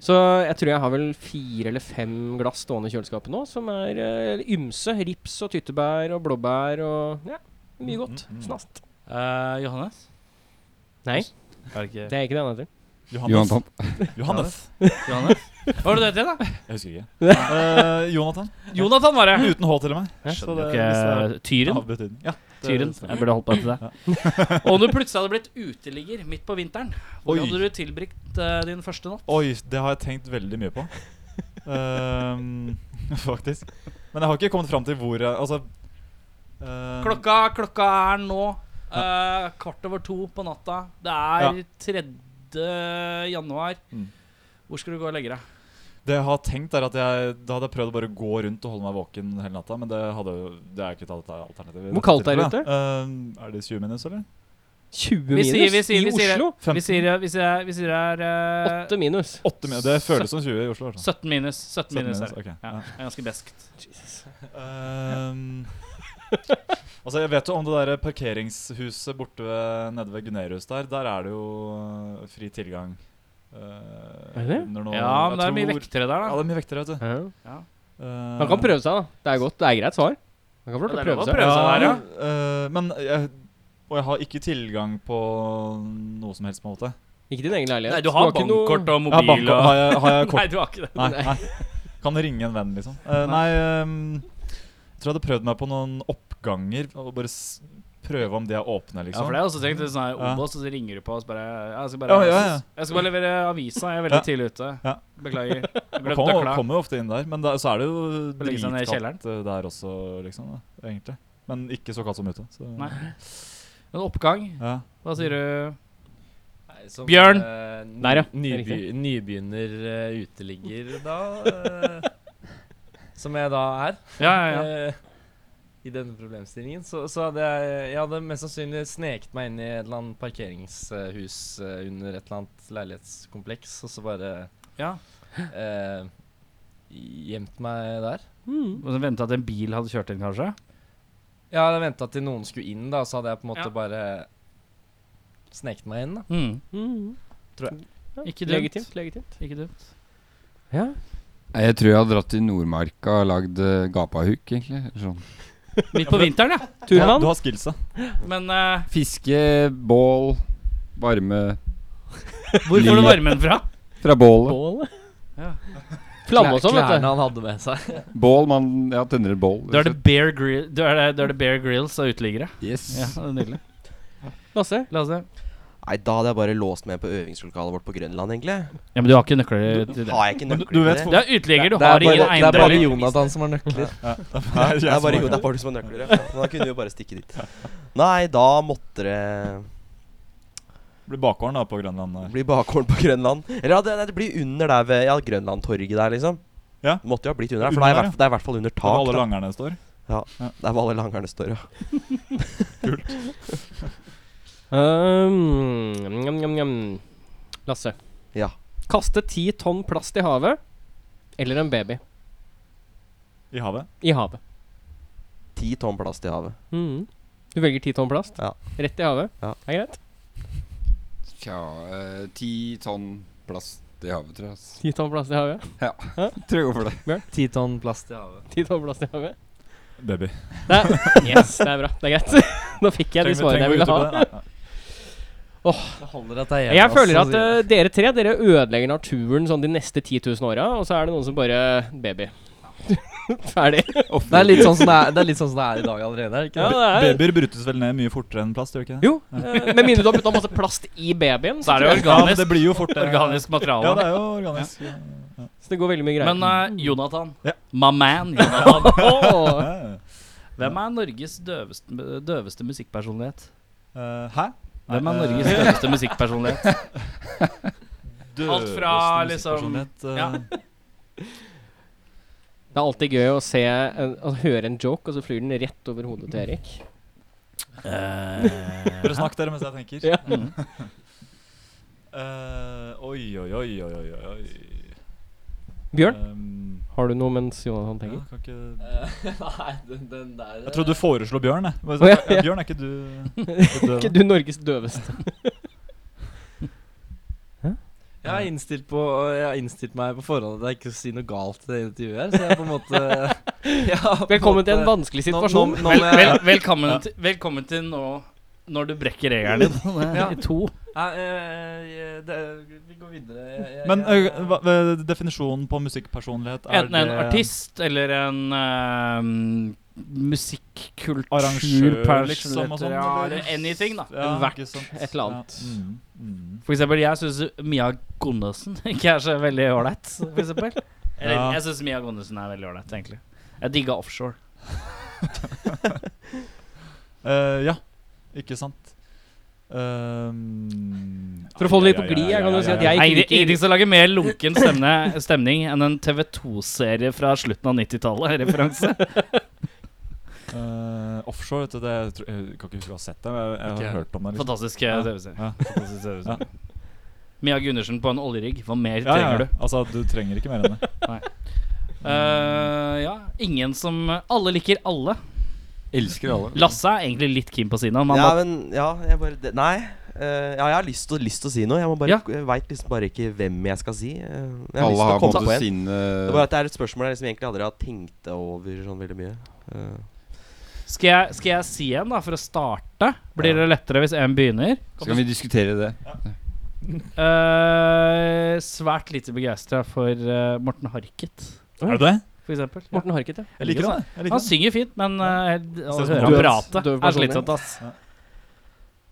Speaker 2: Så jeg tror jeg har vel fire eller fem glass stående i kjøleskapet nå, som er øh, ymse. Rips og tyttebær og blåbær og ja, mye
Speaker 6: Mm,
Speaker 2: godt. Snast.
Speaker 3: Eh, Johannes?
Speaker 2: Nei,
Speaker 3: Er det ikke
Speaker 2: det er ikke det han heter.
Speaker 5: Johannes.
Speaker 8: Johan,
Speaker 5: Johannes.
Speaker 3: Johannes? Hva var det du het igjen, da?
Speaker 5: Jeg husker ikke. Eh, Jonathan.
Speaker 3: Jonathan var det.
Speaker 5: Uten H, til og med. Så
Speaker 3: Skjønner
Speaker 5: det
Speaker 3: du ikke Tyren?
Speaker 5: av betydning. Ja, det
Speaker 3: Tyren.
Speaker 5: stemmer.
Speaker 3: Jeg burde holdt på til det. Og om du plutselig hadde blitt uteligger midt på vinteren, hvor
Speaker 5: Oi.
Speaker 3: hadde du tilbrakt eh, din første natt?
Speaker 5: Oi, det har jeg tenkt veldig mye på. Ehm, faktisk. Men jeg har ikke kommet fram til hvor jeg Altså ehm,
Speaker 3: Klokka, klokka er nå eh, kvart over to på natta. Det er 3. januar.
Speaker 5: Mm.
Speaker 3: Hvor skal du gå og legge deg?
Speaker 5: Det jeg har tenkt er at jeg Da hadde jeg prøvd å bare gå rundt og holde meg våken hele natta, men det, hadde, jo- det er ikke et alter- alternativ. i
Speaker 2: Hvor
Speaker 5: dette
Speaker 2: kaldt er det
Speaker 5: tilfellet. Ehm, er det 20 minus, eller?
Speaker 2: 20
Speaker 3: Vi
Speaker 2: minus
Speaker 3: sier- vi sier-
Speaker 2: i
Speaker 3: vi sier-
Speaker 2: Oslo.
Speaker 3: Vi sier, vi sier, vi sier det er eh,
Speaker 2: 8 minus.
Speaker 5: 8 minus. Det føles som 20 i Oslo. Altså.
Speaker 3: 17 minus. 17 minus, er det.
Speaker 5: ok.
Speaker 3: Ja, det er ganske beskt.
Speaker 5: Ehm, altså Jeg vet jo om det der parkeringshuset borte ved, nede ved Gunerius der. Der er det jo øh, fri tilgang. Eh,
Speaker 2: Er det?
Speaker 5: under noe-
Speaker 3: Ja, men det
Speaker 5: jeg
Speaker 3: er mye
Speaker 5: tror-
Speaker 3: vektere der, da.
Speaker 5: Ja, det er mye vektere, vet du. Eh,
Speaker 2: Han kan prøve seg, da. Det er godt, det er greit svar. Han kan få lov til
Speaker 3: Ja,
Speaker 2: å
Speaker 3: det er
Speaker 2: prøve
Speaker 3: lov å
Speaker 2: seg.
Speaker 3: prøve. seg der, ja.
Speaker 5: eh, men jeg, og jeg har ikke tilgang på noe som helst, på en måte.
Speaker 2: Ikke din egen leilighet.
Speaker 3: Nei, du har
Speaker 2: ikke noe-
Speaker 3: bankkort og
Speaker 5: Jeg har,
Speaker 3: mobil
Speaker 5: bankkort-
Speaker 3: og
Speaker 5: har, jeg, har jeg
Speaker 3: Nei,
Speaker 5: kort
Speaker 3: du har ikke det.
Speaker 5: Nei. nei. Kan ringe en venn, liksom. Eh, nei, ehm, jeg tror jeg hadde prøvd meg på noen oppganger. Og bare s prøve om de er åpne,
Speaker 3: Ja,
Speaker 5: liksom.
Speaker 3: for det er også tenkt litt sånn her
Speaker 5: Ja.
Speaker 3: Obos, og så ringer du på oss bare Jeg skal bare,
Speaker 5: Ja, ja, ja.
Speaker 3: Jeg skal bare levere avisa, jeg er veldig
Speaker 5: Ja.
Speaker 3: tidlig ute.
Speaker 5: Ja.
Speaker 3: Beklager.
Speaker 5: Man
Speaker 3: Glemte
Speaker 5: kommer,
Speaker 3: nøkla.
Speaker 5: kommer jo ofte inn der, men da- så er det jo
Speaker 3: Å legge seg ned i
Speaker 5: dritkaldt eh, der også, liksom. Da, egentlig. Men ikke så kaldt som ute. Så.
Speaker 3: Nei. En oppgang.
Speaker 5: Ja.
Speaker 3: Hva sier du?
Speaker 6: Nei, som,
Speaker 3: Bjørn!
Speaker 6: eh, ny-
Speaker 2: Der, ja.
Speaker 6: nyby-
Speaker 2: Det
Speaker 6: nybegynner eh, uteligger, da. eh, som jeg da er.
Speaker 3: Ja, ja, ja.
Speaker 6: eh, I denne problemstillingen. Så, så hadde jeg Jeg hadde mest sannsynlig sneket meg inn i et eller annet parkeringshus eh, under et eller annet leilighetskompleks, og så bare
Speaker 3: Ja.
Speaker 6: eh, gjemt meg der.
Speaker 3: Og så Vente at en bil hadde kjørt inn, kanskje?
Speaker 6: Jeg hadde venta til noen skulle inn, da, så hadde jeg på en måte
Speaker 3: Ja.
Speaker 6: bare sneket meg inn, da.
Speaker 3: Mm.
Speaker 2: Mm.
Speaker 3: Ikke dumt.
Speaker 2: Legitimt. legitimt
Speaker 3: Ikke dumt.
Speaker 2: Ja.
Speaker 8: jeg tror jeg hadde dratt til Nordmarka og lagd eh, gapahuk, egentlig. eller Sånn.
Speaker 3: Midt på vinteren, ja.
Speaker 5: Ja, du
Speaker 2: Turmann.
Speaker 5: har skillsa.
Speaker 3: Men eh,
Speaker 8: Fiske, bål, varme
Speaker 3: hvor får du varmen fra?
Speaker 8: fra bålet.
Speaker 2: Bålet.
Speaker 3: Ja.
Speaker 2: Flamme og sånn, vet du.
Speaker 6: Klærne han hadde med seg.
Speaker 8: Bål, man ja, tenner et bål.
Speaker 3: Du er det Bear, grill, du er det, du er det bear Grills av uteliggere.
Speaker 8: Yes.
Speaker 3: Ja, det er nydelig.
Speaker 2: Lasse.
Speaker 3: Lasse?
Speaker 7: Nei, da hadde jeg bare låst meg på øvingslokalet vårt på Grønland, egentlig.
Speaker 3: Ja, men du har ikke nøkler til det.
Speaker 7: Har jeg ikke
Speaker 5: Men du-
Speaker 7: nøkler
Speaker 5: du vet
Speaker 3: Du er uteligger, du
Speaker 6: Det
Speaker 3: har
Speaker 6: er
Speaker 3: ingen
Speaker 6: bare, det er bare
Speaker 3: eiendeler.
Speaker 6: Jonathan som har nøkler.
Speaker 7: Hæ? Det
Speaker 5: jeg
Speaker 7: er
Speaker 5: som
Speaker 7: bare
Speaker 5: har
Speaker 7: jo, det er bare du som har nøkler, ja. ja. men Da kunne vi jo bare stikke dit. Nei, da måtte det
Speaker 5: Blir bakgården da på Grønland der.
Speaker 7: bli bakgården på Grønland. Eller ja, det, nei, det blir under der ved ja, Grønlandtorget der, liksom.
Speaker 5: Ja.
Speaker 7: Det måtte jo ha blitt under der, for det er,
Speaker 5: Under
Speaker 7: i
Speaker 5: der,
Speaker 7: hvert- det er i hvert fall under
Speaker 5: Det var
Speaker 7: tak.
Speaker 5: alle
Speaker 7: da.
Speaker 5: langerne står.
Speaker 7: Det er hvor alle langerne står, ja.
Speaker 2: Um, njam, njam, njam. Lasse.
Speaker 7: Ja.
Speaker 2: Kaste ti tonn plast i havet eller en baby
Speaker 5: I havet.
Speaker 2: i havet.
Speaker 7: Ti tonn plast i havet.
Speaker 6: Mm.
Speaker 2: Mhm. Du velger ti tonn plast
Speaker 7: Ja.
Speaker 2: rett i havet.
Speaker 7: Ja.
Speaker 2: Det er greit.
Speaker 8: Tja, eh, ti tonn plast i havet, tror jeg. ass.
Speaker 2: Ti tonn plast i havet.
Speaker 8: Tror jeg går for det.
Speaker 6: Ti tonn plast i havet.
Speaker 2: Ti tonn plast i havet.
Speaker 5: Baby.
Speaker 2: Det er, yes, det er bra. Det er greit. Nå fikk jeg de svarene jeg ville ha.
Speaker 6: Det holder at det er
Speaker 2: Jeg føler at eh, dere tre dere ødelegger naturen sånn de neste 10 000 åra, og så er det noen som bare Baby. Ferdig.
Speaker 6: det, er litt sånn som det, er, det er litt sånn som det er i dag allerede. er det Ikke?
Speaker 2: Ja,
Speaker 6: det?
Speaker 2: det er,
Speaker 5: Babyer brutes vel ned mye fortere enn plast, gjør ikke det?
Speaker 2: jo, eh, med mindre du har putta masse plast i babyen, så,
Speaker 3: Da
Speaker 2: tror
Speaker 3: er det
Speaker 2: jeg-
Speaker 5: Ja, men
Speaker 3: organisk,
Speaker 5: det blir jo fort det.
Speaker 3: organisk materiale.
Speaker 5: Ja, det er jo organisk. Ja.
Speaker 2: så det går veldig mye greier.
Speaker 3: Men eh, Jonathan,
Speaker 5: Ja.
Speaker 3: my man Jonathan,
Speaker 2: Åh,
Speaker 5: Ja.
Speaker 3: hvem er Norges døveste, døveste musikkpersonlighet?
Speaker 5: Eh, hæ?
Speaker 3: Hvem er
Speaker 5: Nei, eh,
Speaker 3: Norges døveste musikkpersonlighet? Alt fra
Speaker 5: døveste
Speaker 3: liksom-
Speaker 5: musikkpersonlighet, eh,
Speaker 3: ja.
Speaker 2: det er alltid gøy å se en, å høre en joke, og så flyr den rett over hodet til Erik.
Speaker 5: Bare snakk dere mens jeg tenker.
Speaker 2: Ja.
Speaker 5: Eh, oi, oi, oi, oi, oi, oi.
Speaker 2: Bjørn,
Speaker 5: Um,
Speaker 2: har du noe mens Jonathan
Speaker 5: ja,
Speaker 2: tenker?
Speaker 5: kan ikke...
Speaker 6: Eh, Nei, den, den der eh.
Speaker 5: Jeg trodde du foreslo Bjørn, jeg. Bare
Speaker 2: Å, ja,
Speaker 5: så- ja,
Speaker 2: ja.
Speaker 5: Bjørn, er ikke du
Speaker 2: Er ikke du Norges døveste?
Speaker 6: Jeg har innstilt, på, jeg har innstilt meg på forhånd at jeg ikke skal si noe galt i det intervjuet her, så jeg på en måte jeg har på en
Speaker 2: Velkommen til en
Speaker 6: måte-
Speaker 2: vanskelig
Speaker 6: nå-
Speaker 2: situasjon.
Speaker 6: nå- nå må
Speaker 3: Vel,
Speaker 6: jeg-
Speaker 3: vel, velkommen, til, velkommen til nå når du brekker regelen din.
Speaker 6: Ja.
Speaker 2: I to.
Speaker 6: Nei, eh, jeg- det, vi går videre. Jeg, jeg,
Speaker 5: Men
Speaker 6: jeg-
Speaker 5: eh, hva, eh, definisjonen på musikkpersonlighet er
Speaker 3: Enten en
Speaker 5: det
Speaker 3: artist eller en uh,
Speaker 5: Arrangør, liksom, og sånn?
Speaker 3: Ja,
Speaker 5: eller?
Speaker 3: eller anything, da.
Speaker 5: Ja,
Speaker 3: Hvert
Speaker 5: ikke sant.
Speaker 2: et eller annet.
Speaker 5: Ja. Mm, mm.
Speaker 3: For eksempel, jeg syns Mia Gunnarsen ikke er så veldig ålreit, for eksempel. Eller,
Speaker 5: Ja.
Speaker 3: jeg syns Mia Gunnarsen er veldig ålreit, egentlig. Jeg digga offshore.
Speaker 5: Eh, ja, ikke sant. Um,
Speaker 2: For å få det litt på glid, jeg kan jo si at jeg-
Speaker 3: Nei,
Speaker 2: ikke
Speaker 3: ingen-
Speaker 2: liker-
Speaker 3: Ingenting som lager mer lunken stemne, stemning enn en TV2-serie fra slutten av 90-tallet-referanse.
Speaker 5: Eh, Offshore, vet du, det jeg tror, jeg kan ikke huske å ha sett det, men jeg, jeg har
Speaker 3: Ikke.
Speaker 5: hørt om det. Liksom.
Speaker 3: Fantastisk
Speaker 5: Ja.
Speaker 3: eh, TV-serie.
Speaker 5: Ja.
Speaker 3: Fantastisk TV-serie.
Speaker 5: Ja.
Speaker 3: Mia Gundersen på en oljerigg. Hva mer
Speaker 5: Ja, ja,
Speaker 3: trenger
Speaker 5: ja.
Speaker 3: du?
Speaker 5: Altså, du trenger ikke mer enn det.
Speaker 3: Eh, ja, ingen som Alle liker alle.
Speaker 8: Elsker alle.
Speaker 3: Lasse er egentlig litt keen på sine. men Han
Speaker 7: Ja,
Speaker 3: bare,
Speaker 7: men ja, jeg bare det, Nei. eh, ja, jeg har lyst til, lyst til å si noe. Jeg, må bare-
Speaker 3: Ja.
Speaker 7: jeg veit liksom bare ikke hvem jeg skal si. eh, jeg har lyst til å
Speaker 8: Alle har på
Speaker 7: komme
Speaker 8: en
Speaker 7: på
Speaker 8: måte
Speaker 7: en.
Speaker 8: sine
Speaker 7: Det er bare at det er et spørsmål jeg liksom egentlig aldri har tenkt over sånn veldig mye. Eh,
Speaker 3: skal, jeg, skal jeg si en, da, for å starte? Blir det lettere hvis en begynner?
Speaker 8: Så kan vi diskutere det.
Speaker 3: Eh, svært lite begeistra for eh, Morten Harket,
Speaker 5: Er du det?
Speaker 3: for eksempel. Ja.
Speaker 2: Morten Harket, ja.
Speaker 5: Jeg liker det. Jeg
Speaker 3: Han
Speaker 5: liker det.
Speaker 3: synger fint, men eh, å
Speaker 5: Ser ut som
Speaker 3: høre han
Speaker 5: døv-
Speaker 3: prate
Speaker 2: døv
Speaker 3: er
Speaker 2: personlighet.
Speaker 3: slitsomt, ass.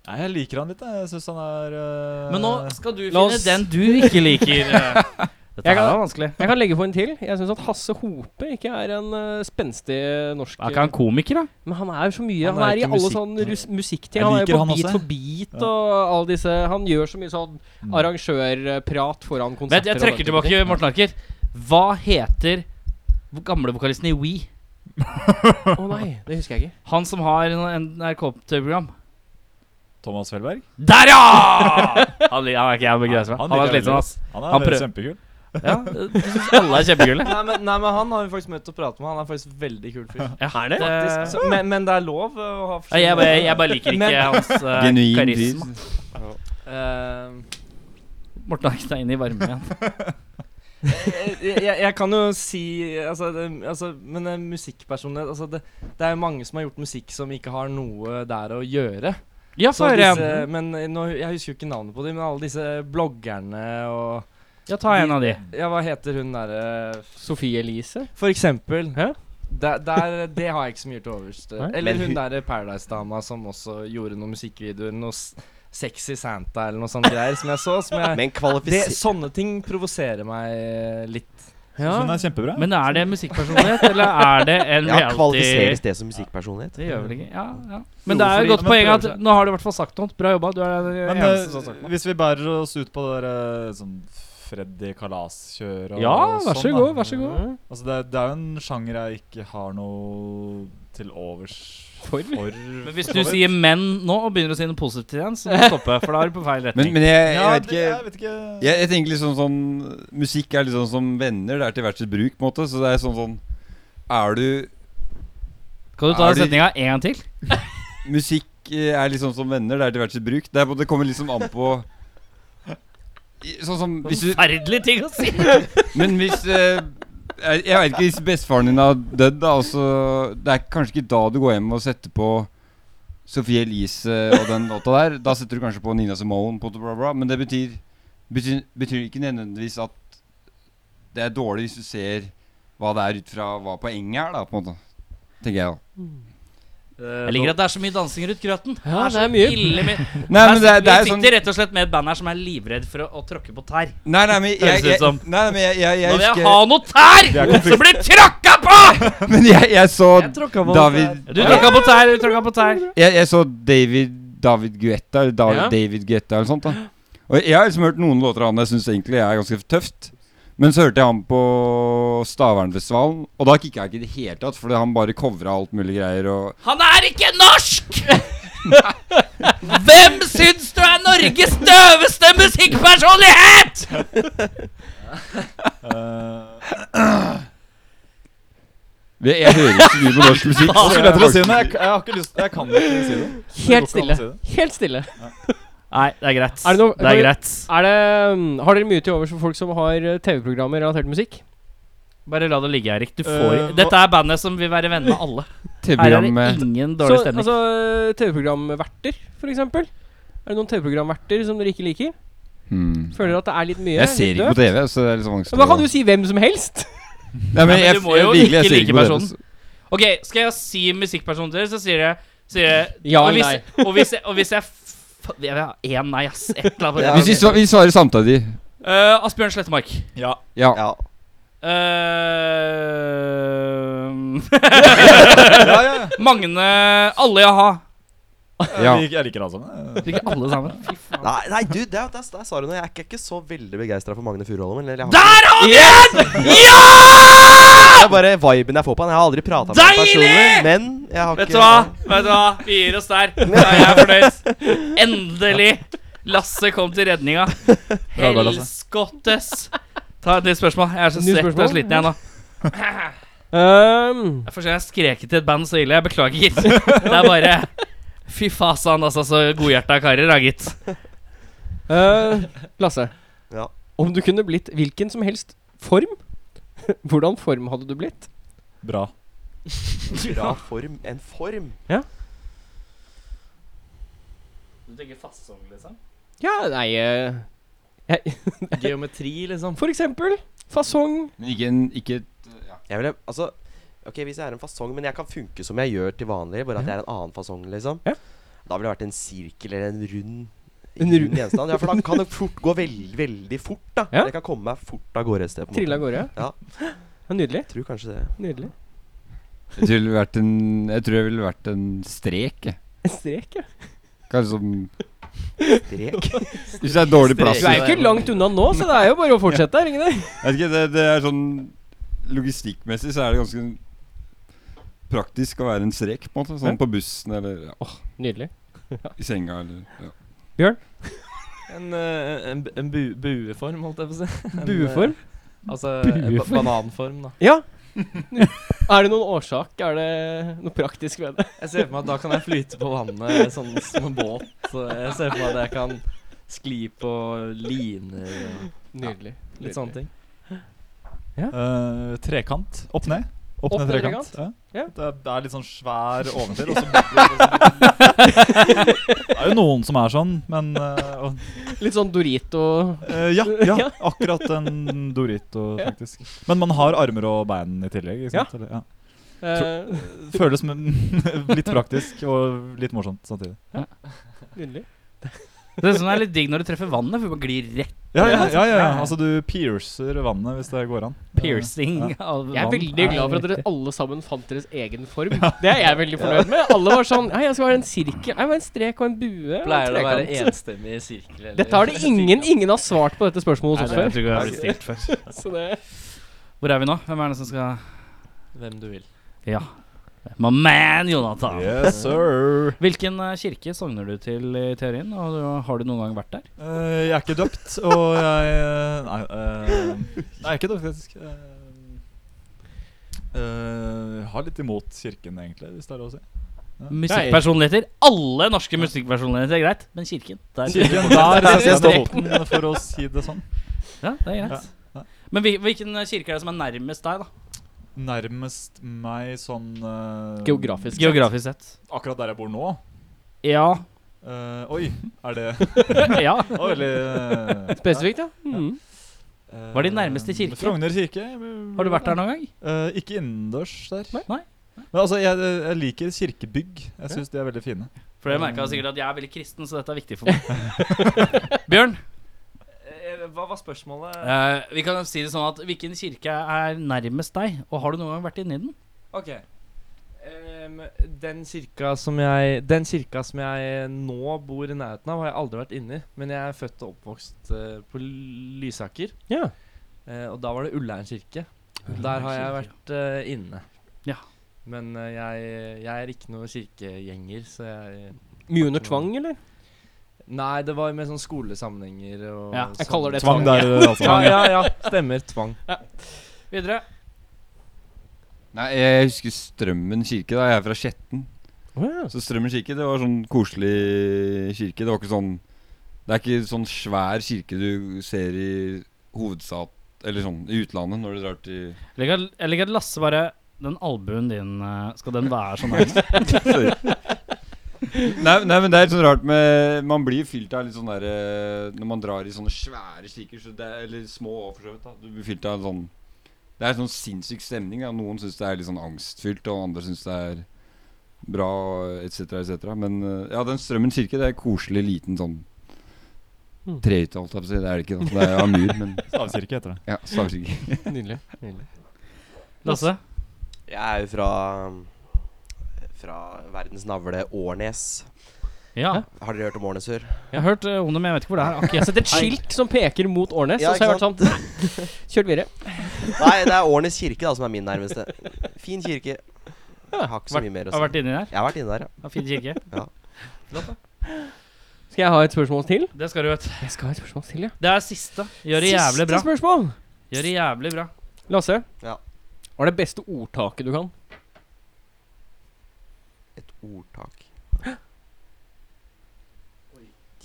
Speaker 5: Nei, jeg liker han litt. jeg. Jeg syns han er eh,
Speaker 3: Men nå skal du
Speaker 2: La
Speaker 3: finne
Speaker 2: oss-
Speaker 3: den du ikke liker. eh. Dette
Speaker 2: Jeg
Speaker 3: her
Speaker 2: kan-
Speaker 3: var vanskelig.
Speaker 2: Jeg kan legge på en til. Jeg syns at Hasse Hope ikke er en eh, spenstig norsk
Speaker 3: Er ikke han komiker, da?
Speaker 2: Men han er jo så mye
Speaker 5: Han
Speaker 2: Han er,
Speaker 5: er
Speaker 2: i
Speaker 5: ikke
Speaker 2: alle
Speaker 5: musikk-
Speaker 2: sånne rus- musikkting.
Speaker 5: Jeg
Speaker 2: Han er
Speaker 5: liker
Speaker 2: jo på
Speaker 5: han
Speaker 2: Beat
Speaker 5: også,
Speaker 2: for beat
Speaker 5: Ja.
Speaker 2: og alle disse Han gjør så mye sånn
Speaker 5: Mm.
Speaker 2: arrangørprat foran
Speaker 3: Vent,
Speaker 2: konserter.
Speaker 3: jeg trekker tilbake Morten Harket. Hva heter gamle vokalisten i We?
Speaker 2: Å nei, det husker jeg ikke.
Speaker 3: Han som har en- en NRK-program.
Speaker 5: Thomas Felberg.
Speaker 3: Der, ja! Han, li- han er ikke jeg begeistra. Han
Speaker 5: Han
Speaker 3: var slitsom,
Speaker 5: liker jeg veldig
Speaker 3: ass.
Speaker 5: Han
Speaker 3: Han
Speaker 5: er
Speaker 3: prøv-
Speaker 5: kjempekul.
Speaker 3: Ja, du synes alle er kjempekule.
Speaker 6: Nei men, nei, men han har vi faktisk møtt og pratet med. Han er faktisk veldig kul fyr.
Speaker 3: Ja, er det?
Speaker 6: Faktisk, så- Men, men det er lov eh, å ha
Speaker 3: Ja, jeg, bare, jeg bare liker ikke
Speaker 6: Men-
Speaker 3: hans eh,
Speaker 8: Genuin
Speaker 3: karisma.
Speaker 8: fyr.
Speaker 6: Eh,
Speaker 3: Morten Harket er inne i varmen igjen.
Speaker 6: Eh, jeg, jeg, jeg kan jo si altså, det, altså, Men eh, musikkpersonlighet altså, det, det er jo mange som har gjort musikk som ikke har noe der å gjøre.
Speaker 3: Ja,
Speaker 6: Så
Speaker 3: få høre
Speaker 6: disse,
Speaker 3: igjen.
Speaker 6: men eh, nå, jeg husker jo ikke navnet på dem, men alle disse bloggerne og
Speaker 3: Ja, ta en av de.
Speaker 6: Ja, hva heter hun derre
Speaker 2: Sophie Elise.
Speaker 6: For eksempel.
Speaker 2: Hæ?
Speaker 6: Der, der, det har jeg ikke så mye til overs til.
Speaker 2: Nei?
Speaker 6: Eller
Speaker 8: Men
Speaker 6: hun
Speaker 8: hun-
Speaker 6: derre Paradise-dama som også gjorde noen musikkvideoer. Noe s- sexy Santa eller noe sånt greier som jeg så. Som jeg,
Speaker 7: men
Speaker 6: det,
Speaker 3: sånn
Speaker 7: kvalifiser...
Speaker 6: sånne ting provoserer meg eh, litt. Sånn
Speaker 5: Ja. Hun er kjempebra.
Speaker 3: Men er det musikkpersonlighet, eller er det en
Speaker 7: Ja,
Speaker 3: reality
Speaker 7: kvalifiseres det som musikkpersonlighet?
Speaker 3: Det gjør vel ikke ja, ja.
Speaker 6: Jo,
Speaker 3: Men det er
Speaker 6: fordi-
Speaker 3: et godt
Speaker 6: men
Speaker 3: poeng at
Speaker 6: prøver seg.
Speaker 3: nå har du i hvert fall sagt noe. Bra jobba. Du er den eh,
Speaker 5: Men
Speaker 3: eneste som har
Speaker 5: eh,
Speaker 3: sagt noe.
Speaker 5: hvis vi bærer oss ut på det der eh, sånn Freddy Kalas-kjør og
Speaker 3: Ja,
Speaker 5: og
Speaker 3: vær så
Speaker 5: sånn, da.
Speaker 3: god. Vær så god.
Speaker 5: Altså, det, er- det er jo en sjanger jeg ikke har noe til overs
Speaker 2: For?
Speaker 5: for.
Speaker 3: Men hvis
Speaker 5: for
Speaker 3: du
Speaker 5: så vidt.
Speaker 3: sier 'men' nå og begynner å si noe positivt igjen, så må du stoppe. For da er du på feil
Speaker 8: Men,
Speaker 3: retning.
Speaker 8: men jeg, jeg
Speaker 5: ja,
Speaker 8: vet
Speaker 5: det-
Speaker 8: ikke
Speaker 5: jeg vet ikke
Speaker 8: Jeg, jeg tenker liksom sånn Musikk er liksom som venner. Det er til hvert sitt bruk, på en måte. Så det er sånn sånn Er du
Speaker 3: kan du ta
Speaker 8: er du-
Speaker 3: setninga en gang til?
Speaker 8: Musikk eh, er liksom som venner. Det er til hvert sitt bruk. Det, er, på- det kommer liksom an på I- Sånn som hvis du
Speaker 3: Forferdelig ting å si!
Speaker 8: Men hvis eh, Jeg jeg vet ikke hvis bestefaren din har dødd, da. og så- det er kanskje ikke da du går hjem og setter på Sophie Elise og den låta der. Da setter du kanskje på Nina Simone, på bla, bla, men det betyr, betyr, betyr ikke nødvendigvis at det er dårlig hvis du ser hva det er ut fra hva poenget er, da, på en måte. Tenker jeg, da.
Speaker 3: Jeg liker at det er så mye dansing rundt grøten.
Speaker 2: Ja,
Speaker 3: så
Speaker 2: det er mye.
Speaker 3: ille mye.
Speaker 8: Nei, men det, er- det er
Speaker 3: Vi
Speaker 8: sånn
Speaker 3: sitter rett og slett med et band her som er livredd for å, å tråkke på tær.
Speaker 8: Nei, nei, men jeg,
Speaker 3: Høres ut
Speaker 8: jeg,
Speaker 3: som.
Speaker 8: nei, nei, men jeg, jeg, jeg
Speaker 3: Nå vil jeg ha
Speaker 8: husker
Speaker 3: noe tær som blir tråkka på!
Speaker 8: Men jeg, jeg så David
Speaker 3: Du tråkka på tær, du tråkka på tær.
Speaker 8: jeg, jeg så David David Guetta eller David,
Speaker 2: Ja.
Speaker 8: David Guetta eller sånt. da Og Jeg har liksom hørt noen låter av han jeg syns egentlig er ganske tøft. Men så hørte jeg han på Stavernfestivalen, og da kicka jeg ikke i det hele tatt. Fordi han bare covra alt mulig greier. Og
Speaker 3: Han er ikke norsk! Hvem syns du er Norges døveste musikkpersonlighet?!
Speaker 5: Eh,
Speaker 8: jeg, jeg hører ikke så mye på norsk musikk.
Speaker 5: Hva
Speaker 8: så
Speaker 5: skulle jeg til å si
Speaker 8: orker
Speaker 5: det? Jeg,
Speaker 8: ikke.
Speaker 5: jeg har ikke lyst Jeg kan ikke si det.
Speaker 2: Helt
Speaker 5: Det går ikke an å
Speaker 2: stille.
Speaker 5: si det.
Speaker 2: Helt stille.
Speaker 3: Nei, det er greit.
Speaker 2: Er det noe-
Speaker 3: er greit.
Speaker 2: Er det, mm, har dere mye til overs for folk som har eh, TV-programmer relatert til musikk?
Speaker 3: Bare la det ligge, Erik. Du får
Speaker 8: Øh,
Speaker 5: Eh,
Speaker 3: Dette er bandet som vil være venn med alle. Her er
Speaker 8: TV-program
Speaker 3: det
Speaker 8: med
Speaker 3: ingen
Speaker 2: Så,
Speaker 3: dårlig stemning.
Speaker 2: altså TV-programverter, for eksempel. Er det noen TV-programverter som dere ikke liker?
Speaker 8: hmm.
Speaker 2: Føler at det er litt mye?
Speaker 8: Jeg ser ikke på TV, så det er liksom vanskelig
Speaker 2: Da kan
Speaker 8: å-
Speaker 2: du si hvem som helst.
Speaker 8: Nei, men
Speaker 3: Nei, men
Speaker 8: jeg,
Speaker 3: du må jo
Speaker 8: jeg, virkelig, jeg
Speaker 3: ikke
Speaker 8: ser
Speaker 3: like
Speaker 8: ikke på altså.
Speaker 3: personen.
Speaker 8: TV. så-
Speaker 3: Ok, skal jeg si musikkpersonen til dere, så sier jeg, sier jeg
Speaker 2: Ja
Speaker 3: og
Speaker 2: eller
Speaker 3: hvis, og hvis jeg, og hvis jeg f- Jeg vil ha én nei, ass. Et eller annet.
Speaker 7: Ja,
Speaker 8: Hvis vi, svar, vi svarer samtidig
Speaker 3: Eh, Asbjørn Slettemark.
Speaker 5: Ja.
Speaker 8: Ja.
Speaker 7: Ja.
Speaker 3: Eh,
Speaker 5: Ja, ja, ja.
Speaker 3: Magne Alle jeg har.
Speaker 8: Ja.
Speaker 5: Jeg, liker, jeg liker alle sammen. jeg.
Speaker 3: Ikke alle sammen. Fy faen.
Speaker 7: Nei, nei, du, der, der, der sa du noe. Jeg er ikke, ikke så veldig begeistra for Magne Furuholm. Eller jeg har
Speaker 3: Der har vi en! Ja!
Speaker 7: Det er bare viben jeg får på han. Jeg har aldri prata med han
Speaker 3: Deilig!
Speaker 7: personlig, men jeg har
Speaker 3: Vet
Speaker 7: ikke
Speaker 3: du hva? Vet du hva? Vi gir oss der. Da er jeg fornøyd. Endelig. Lasse kom til redninga.
Speaker 5: Bra, Lasse.
Speaker 3: Helskottes. Ta et nytt spørsmål. Jeg er så
Speaker 2: Nytt
Speaker 3: svett og
Speaker 2: spørsmål?
Speaker 3: sliten jeg nå.
Speaker 2: Um,
Speaker 3: Jeg får se jeg skrek til et band så ille. Jeg beklager. Det er bare Fy fasan, altså. Så godhjerta karer, da, gitt.
Speaker 2: eh, Lasse.
Speaker 7: Ja.
Speaker 2: Om du kunne blitt hvilken som helst form, hvordan form hadde du blitt?
Speaker 5: Bra.
Speaker 7: Bra form. En form.
Speaker 3: Du tenker fasong, liksom?
Speaker 2: Ja, nei eh,
Speaker 6: Geometri, liksom.
Speaker 2: For eksempel fasong.
Speaker 8: Men ikke, en, ikke et ja.
Speaker 7: Jeg ville, altså Ok, hvis jeg er en fasong, men jeg kan funke som jeg gjør til vanlig, bare at jeg er en annen fasong, liksom.
Speaker 2: Ja.
Speaker 7: Da ville det vært en sirkel eller en rund
Speaker 2: En
Speaker 7: rund
Speaker 2: rund-
Speaker 7: gjenstand. Ja, for da kan det fort gå veldig, veldig fort, da.
Speaker 2: Ja.
Speaker 7: Jeg kan komme meg fort av gårde et sted. på en måte.
Speaker 2: Trille av gårde.
Speaker 7: Ja.
Speaker 2: Ja, Nydelig.
Speaker 7: Jeg tror kanskje det.
Speaker 2: Nydelig.
Speaker 8: Jeg tror det ville vært en Jeg tror det ville vært en strek. jeg.
Speaker 2: En strek, ja.
Speaker 8: Kanskje som
Speaker 7: Strek.
Speaker 8: Hvis det er dårlig plass
Speaker 2: Du er jo ikke langt unna nå, så det er jo bare å fortsette. er det ikke det?
Speaker 8: Jeg vet ikke, det, det er sånn Logistikkmessig så er det ganske praktisk å være en strek, på en måte. Sånn på bussen eller ja,
Speaker 2: Nydelig.
Speaker 8: i senga eller ja.
Speaker 6: En, eh, en, en bu bueform, holdt jeg på å si. En, eh,
Speaker 2: Bueform.
Speaker 6: Altså en ba bananform, da.
Speaker 2: Ja. Er det noen årsak? Er det noe praktisk ved det?
Speaker 6: Jeg ser for meg at da kan jeg flyte på vannet sånn som en båt. Så Jeg ser for meg at jeg kan skli på liner og
Speaker 2: Nydelig.
Speaker 6: litt sånne ting.
Speaker 5: Eh, trekant. Opp ned. Opp ned trekant. Ja.
Speaker 2: Ja.
Speaker 5: Det, er, det er litt sånn svær oventil. Og så liksom det er jo noen som er sånn, men eh, og,
Speaker 2: Litt sånn Dorito
Speaker 5: eh, ja, ja,
Speaker 2: Ja.
Speaker 5: akkurat en Dorito,
Speaker 2: Ja.
Speaker 5: faktisk. Men man har armer og bein i tillegg. Ikke sant? Eller, ja.
Speaker 2: eh,
Speaker 5: Føles som en- litt praktisk og litt morsomt samtidig.
Speaker 2: Nydelig.
Speaker 3: Det er sånn det er litt digg når du treffer vannet, for du bare glir rett
Speaker 5: Ja, ja, ja, ja. Altså, du piercer vannet hvis det går an.
Speaker 3: piercing av vann.
Speaker 2: Jeg er veldig glad for at dere alle sammen fant deres egen form. Det er jeg veldig fornøyd med. Alle var sånn Hei, jeg skal ha en sirkel. Nei, men en strek og en bue. og en
Speaker 6: Pleier det å være
Speaker 2: trekant».
Speaker 6: enstemmig sirkel? eller-
Speaker 2: Dette har det ingen Ingen har svart på dette spørsmålet hos
Speaker 3: Nei,
Speaker 2: oss
Speaker 3: det tror jeg har blitt stilt før.
Speaker 2: før. Så det
Speaker 3: Hvor er vi nå? Hvem er det som skal
Speaker 6: Hvem du vil.
Speaker 3: Ja. My man, Jonathan.
Speaker 5: Yes, sir.
Speaker 3: Hvilken eh, kirke sogner du til i teorien? Og du- har du noen gang vært der?
Speaker 5: Eh, jeg er ikke døpt, og jeg eh, Nei, eh, jeg er ikke døpt, faktisk. Eh, eh, jeg har litt imot kirken, egentlig, hvis det er lov å si.
Speaker 3: Musikkpersonligheter. Alle norske musikkpersonligheter er greit, men kirken der.
Speaker 5: Kirken der
Speaker 2: Der
Speaker 5: setter jeg
Speaker 2: står
Speaker 5: foten, for å si det sånn.
Speaker 3: Ja, det er greit.
Speaker 5: Ja, ja.
Speaker 3: Men hvil- hvilken eh, kirke er det som er nærmest deg, da?
Speaker 5: Nærmest meg sånn eh,
Speaker 2: Geografisk.
Speaker 3: Geografisk sett.
Speaker 5: Akkurat der jeg bor nå.
Speaker 3: Ja.
Speaker 5: Eh, oi, er det
Speaker 3: ja.
Speaker 5: det var veldig eh,
Speaker 2: Spesifikt, ja. Mm.
Speaker 5: eh,
Speaker 3: Var det nærmeste kirke?
Speaker 5: Frogner kirke.
Speaker 3: Har du vært der noen gang?
Speaker 5: Eh, ikke innendørs der.
Speaker 3: Nei. Nei.
Speaker 5: Men altså, jeg, jeg liker kirkebygg. Jeg syns de er veldig fine.
Speaker 3: For jeg merka sikkert at jeg er veldig kristen, så dette er viktig for meg. Bjørn,
Speaker 6: Eh, Hva var spørsmålet?
Speaker 3: eh, vi kan si det sånn at hvilken kirke er nærmest deg? Og har du noen gang vært inni den?
Speaker 6: Ok. Ehm, den, kirka som jeg, den kirka som jeg nå bor i nærheten av, har jeg aldri vært inni. Men jeg er født og oppvokst eh, på Lysaker,
Speaker 2: ja.
Speaker 6: eh, og da var det Ullern kirke. Der har jeg vært eh, inne.
Speaker 3: Ja.
Speaker 6: Men eh, jeg, jeg er ikke noen kirkegjenger, så jeg
Speaker 2: Mye under tvang, eller?
Speaker 6: Nei, det var med sånne skolesammenhenger og
Speaker 3: Ja,
Speaker 2: Jeg
Speaker 6: sånn.
Speaker 2: kaller det
Speaker 5: Tvang
Speaker 2: tvang.
Speaker 5: der, altså.
Speaker 6: Ja, ja, ja. Stemmer. Tvang.
Speaker 3: Videre.
Speaker 8: Nei, jeg husker Strømmen kirke. da Jeg er fra Skjetten.
Speaker 2: Å, ja.
Speaker 8: Så Strømmen kirke det var sånn koselig kirke. Det var ikke sånn Det er ikke sånn svær kirke du ser i hovedstad Eller sånn i utlandet når du drar til
Speaker 3: Jeg liker at- jeg liker at Lasse bare Den albuen din, eh, skal den være sånn her?
Speaker 8: Sorry. Nei, nei, men det er sånn rart med Man blir fylt av litt sånn der eh, Når man drar i sånne svære kirker, så det er, eller små også, for så vidt, da. Du blir fylt av en sånn Det er en sånn sinnssyk stemning. Da. Noen syns det er litt sånn angstfylt, og andre syns det er bra, etc., etc. Men eh, ja, den Strømmen kirke, det er koselig liten sånn
Speaker 2: Mm.
Speaker 8: Trehytte, holdt jeg på å si. Det er det ikke, da. Det er av mur, men
Speaker 5: Stavkirke heter det.
Speaker 8: ja, stavkirke.
Speaker 2: Nydelig.
Speaker 3: Lasse?
Speaker 7: Jeg er jo fra Fra verdens navle, Årnes.
Speaker 3: Ja.
Speaker 7: Har dere hørt om Årnes før?
Speaker 3: Jeg har hørt eh, om det, men jeg vet ikke hvor det er. Akkurat.
Speaker 2: Jeg setter et skilt som peker mot Årnes,
Speaker 7: Ja,
Speaker 2: og så har jeg vært
Speaker 7: ikke
Speaker 2: sånn Kjørt videre.
Speaker 7: Nei, det er Årnes kirke da som er min nærmeste. Fin kirke. Jeg har ikke så mye mer å
Speaker 3: Har vært
Speaker 7: si.
Speaker 3: inni der.
Speaker 7: Jeg har vært inne der, ja.
Speaker 3: Ja, Fin kirke.
Speaker 2: Skal jeg ha et spørsmål til?
Speaker 3: Det skal du vet.
Speaker 2: Jeg skal ha et spørsmål til, ja.
Speaker 3: Det er siste. Gjør det jævlig bra.
Speaker 2: Siste spørsmål.
Speaker 3: Gjør det jævlig bra.
Speaker 2: Lasse,
Speaker 7: Ja.
Speaker 2: hva er det beste ordtaket du kan?
Speaker 7: Et ordtak.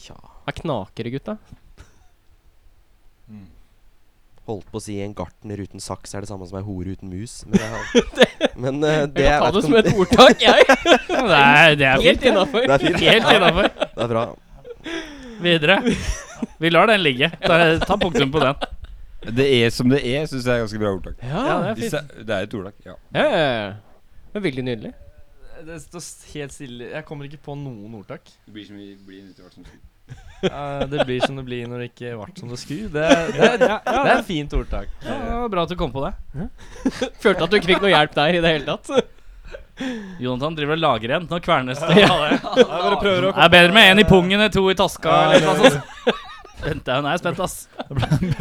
Speaker 7: Tja
Speaker 2: Er knakere, gutta?
Speaker 7: Holdt på å si en gartner uten saks er det samme som ei hore uten mus. Men, jeg har, men eh, det
Speaker 2: Jeg kan ta det
Speaker 7: vet ikke
Speaker 2: som
Speaker 7: om-
Speaker 2: et ordtak, jeg.
Speaker 3: Ja, Det er, det er fint.
Speaker 2: Helt innafor.
Speaker 7: Det er fint.
Speaker 3: Helt innafor.
Speaker 7: Det er bra.
Speaker 3: Videre. Vi lar den ligge. Ta, ta punktum på den.
Speaker 8: Det er som det er, syns jeg er ganske bra ordtak.
Speaker 2: Ja, det er
Speaker 8: Hvis
Speaker 2: fint.
Speaker 8: det er, det er et ordtak, ja.
Speaker 2: Ja, ja, ja. Det er veldig nydelig.
Speaker 6: Det står s- helt stille. Jeg kommer ikke på noen ordtak.
Speaker 8: Det blir som vi blir nødt til å være som
Speaker 6: Eh, det blir som det blir når det ikke vart som det skulle. Det, er- det, er- det er et fint ordtak.
Speaker 3: Ja, det var bra at du kom på det.
Speaker 2: Følte at du ikke fikk noe hjelp der i det hele tatt.
Speaker 3: Jonathan driver og lager en. Nå kvernes det. Ja,
Speaker 5: Jeg bare prøver å
Speaker 3: Det er bedre med én i pungen enn to i taska. Eller noe sånt. Vent, da, Nå er jeg spent, ass.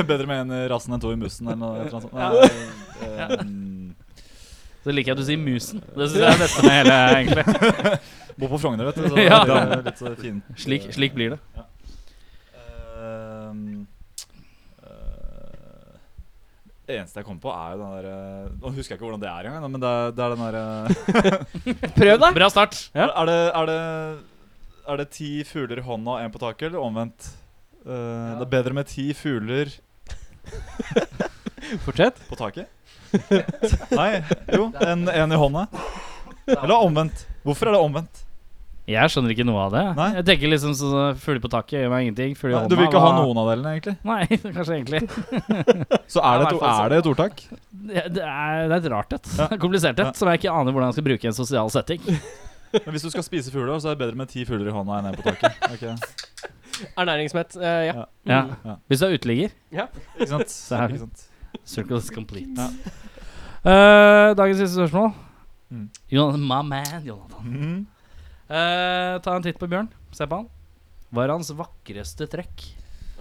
Speaker 5: Bedre med en i rassen enn to i mussen, eller noe sånt. Nei, eh,
Speaker 3: Så liker jeg at du sier musen. Det syns jeg er det beste med hele, egentlig.
Speaker 5: Bor på Frogner, vet du. Så
Speaker 3: Ja.
Speaker 5: det er litt så fint.
Speaker 3: Slik, slik blir det.
Speaker 5: Ehm, eh, Det eneste jeg kom på, er jo den derre Nå husker jeg ikke hvordan det er engang, da, men det er, det er den derre
Speaker 2: Prøv, da.
Speaker 3: Bra start.
Speaker 5: er, det, er, det, er det ti fugler i hånda og én på taket, eller omvendt? Eh, Det er bedre med ti fugler
Speaker 2: Fortsett.
Speaker 5: på taket? Nei, jo. Enn en i hånda. Eller omvendt. Hvorfor er det omvendt?
Speaker 3: Jeg skjønner ikke noe av det.
Speaker 5: Nei.
Speaker 3: Jeg tenker liksom så, så Fugler på taket gjør meg ingenting. Fugler i
Speaker 5: Nei, Du vil
Speaker 3: hånda,
Speaker 5: ikke ha
Speaker 3: hva-
Speaker 5: noen av delene, egentlig?
Speaker 3: Nei, kanskje egentlig.
Speaker 5: Så
Speaker 3: Ja, i
Speaker 5: er det et,
Speaker 3: hvert fall
Speaker 5: er det et ordtak?
Speaker 3: Det det er, det er et rart et.
Speaker 5: Ja.
Speaker 3: Det er Komplisert et,
Speaker 5: Ja.
Speaker 3: som jeg ikke aner hvordan jeg skal bruke i en sosial setting.
Speaker 5: Men hvis du skal spise fugler, så er det bedre med ti fugler i hånda enn en på taket. Ok.
Speaker 2: Ernæringsmett. eh, ja.
Speaker 3: Ja.
Speaker 5: Ja.
Speaker 3: Hvis du er uteligger,
Speaker 5: Ikke sant?
Speaker 3: Så er det.
Speaker 5: Ikke sant?
Speaker 3: circle is complete.
Speaker 5: Ja.
Speaker 3: Eh, dagens siste spørsmål.
Speaker 5: Mm.
Speaker 3: Jonathan, my man, Jonathan.
Speaker 5: Mhm.
Speaker 3: Eh, ta en titt på Bjørn. Se på han. Hva er hans vakreste trekk?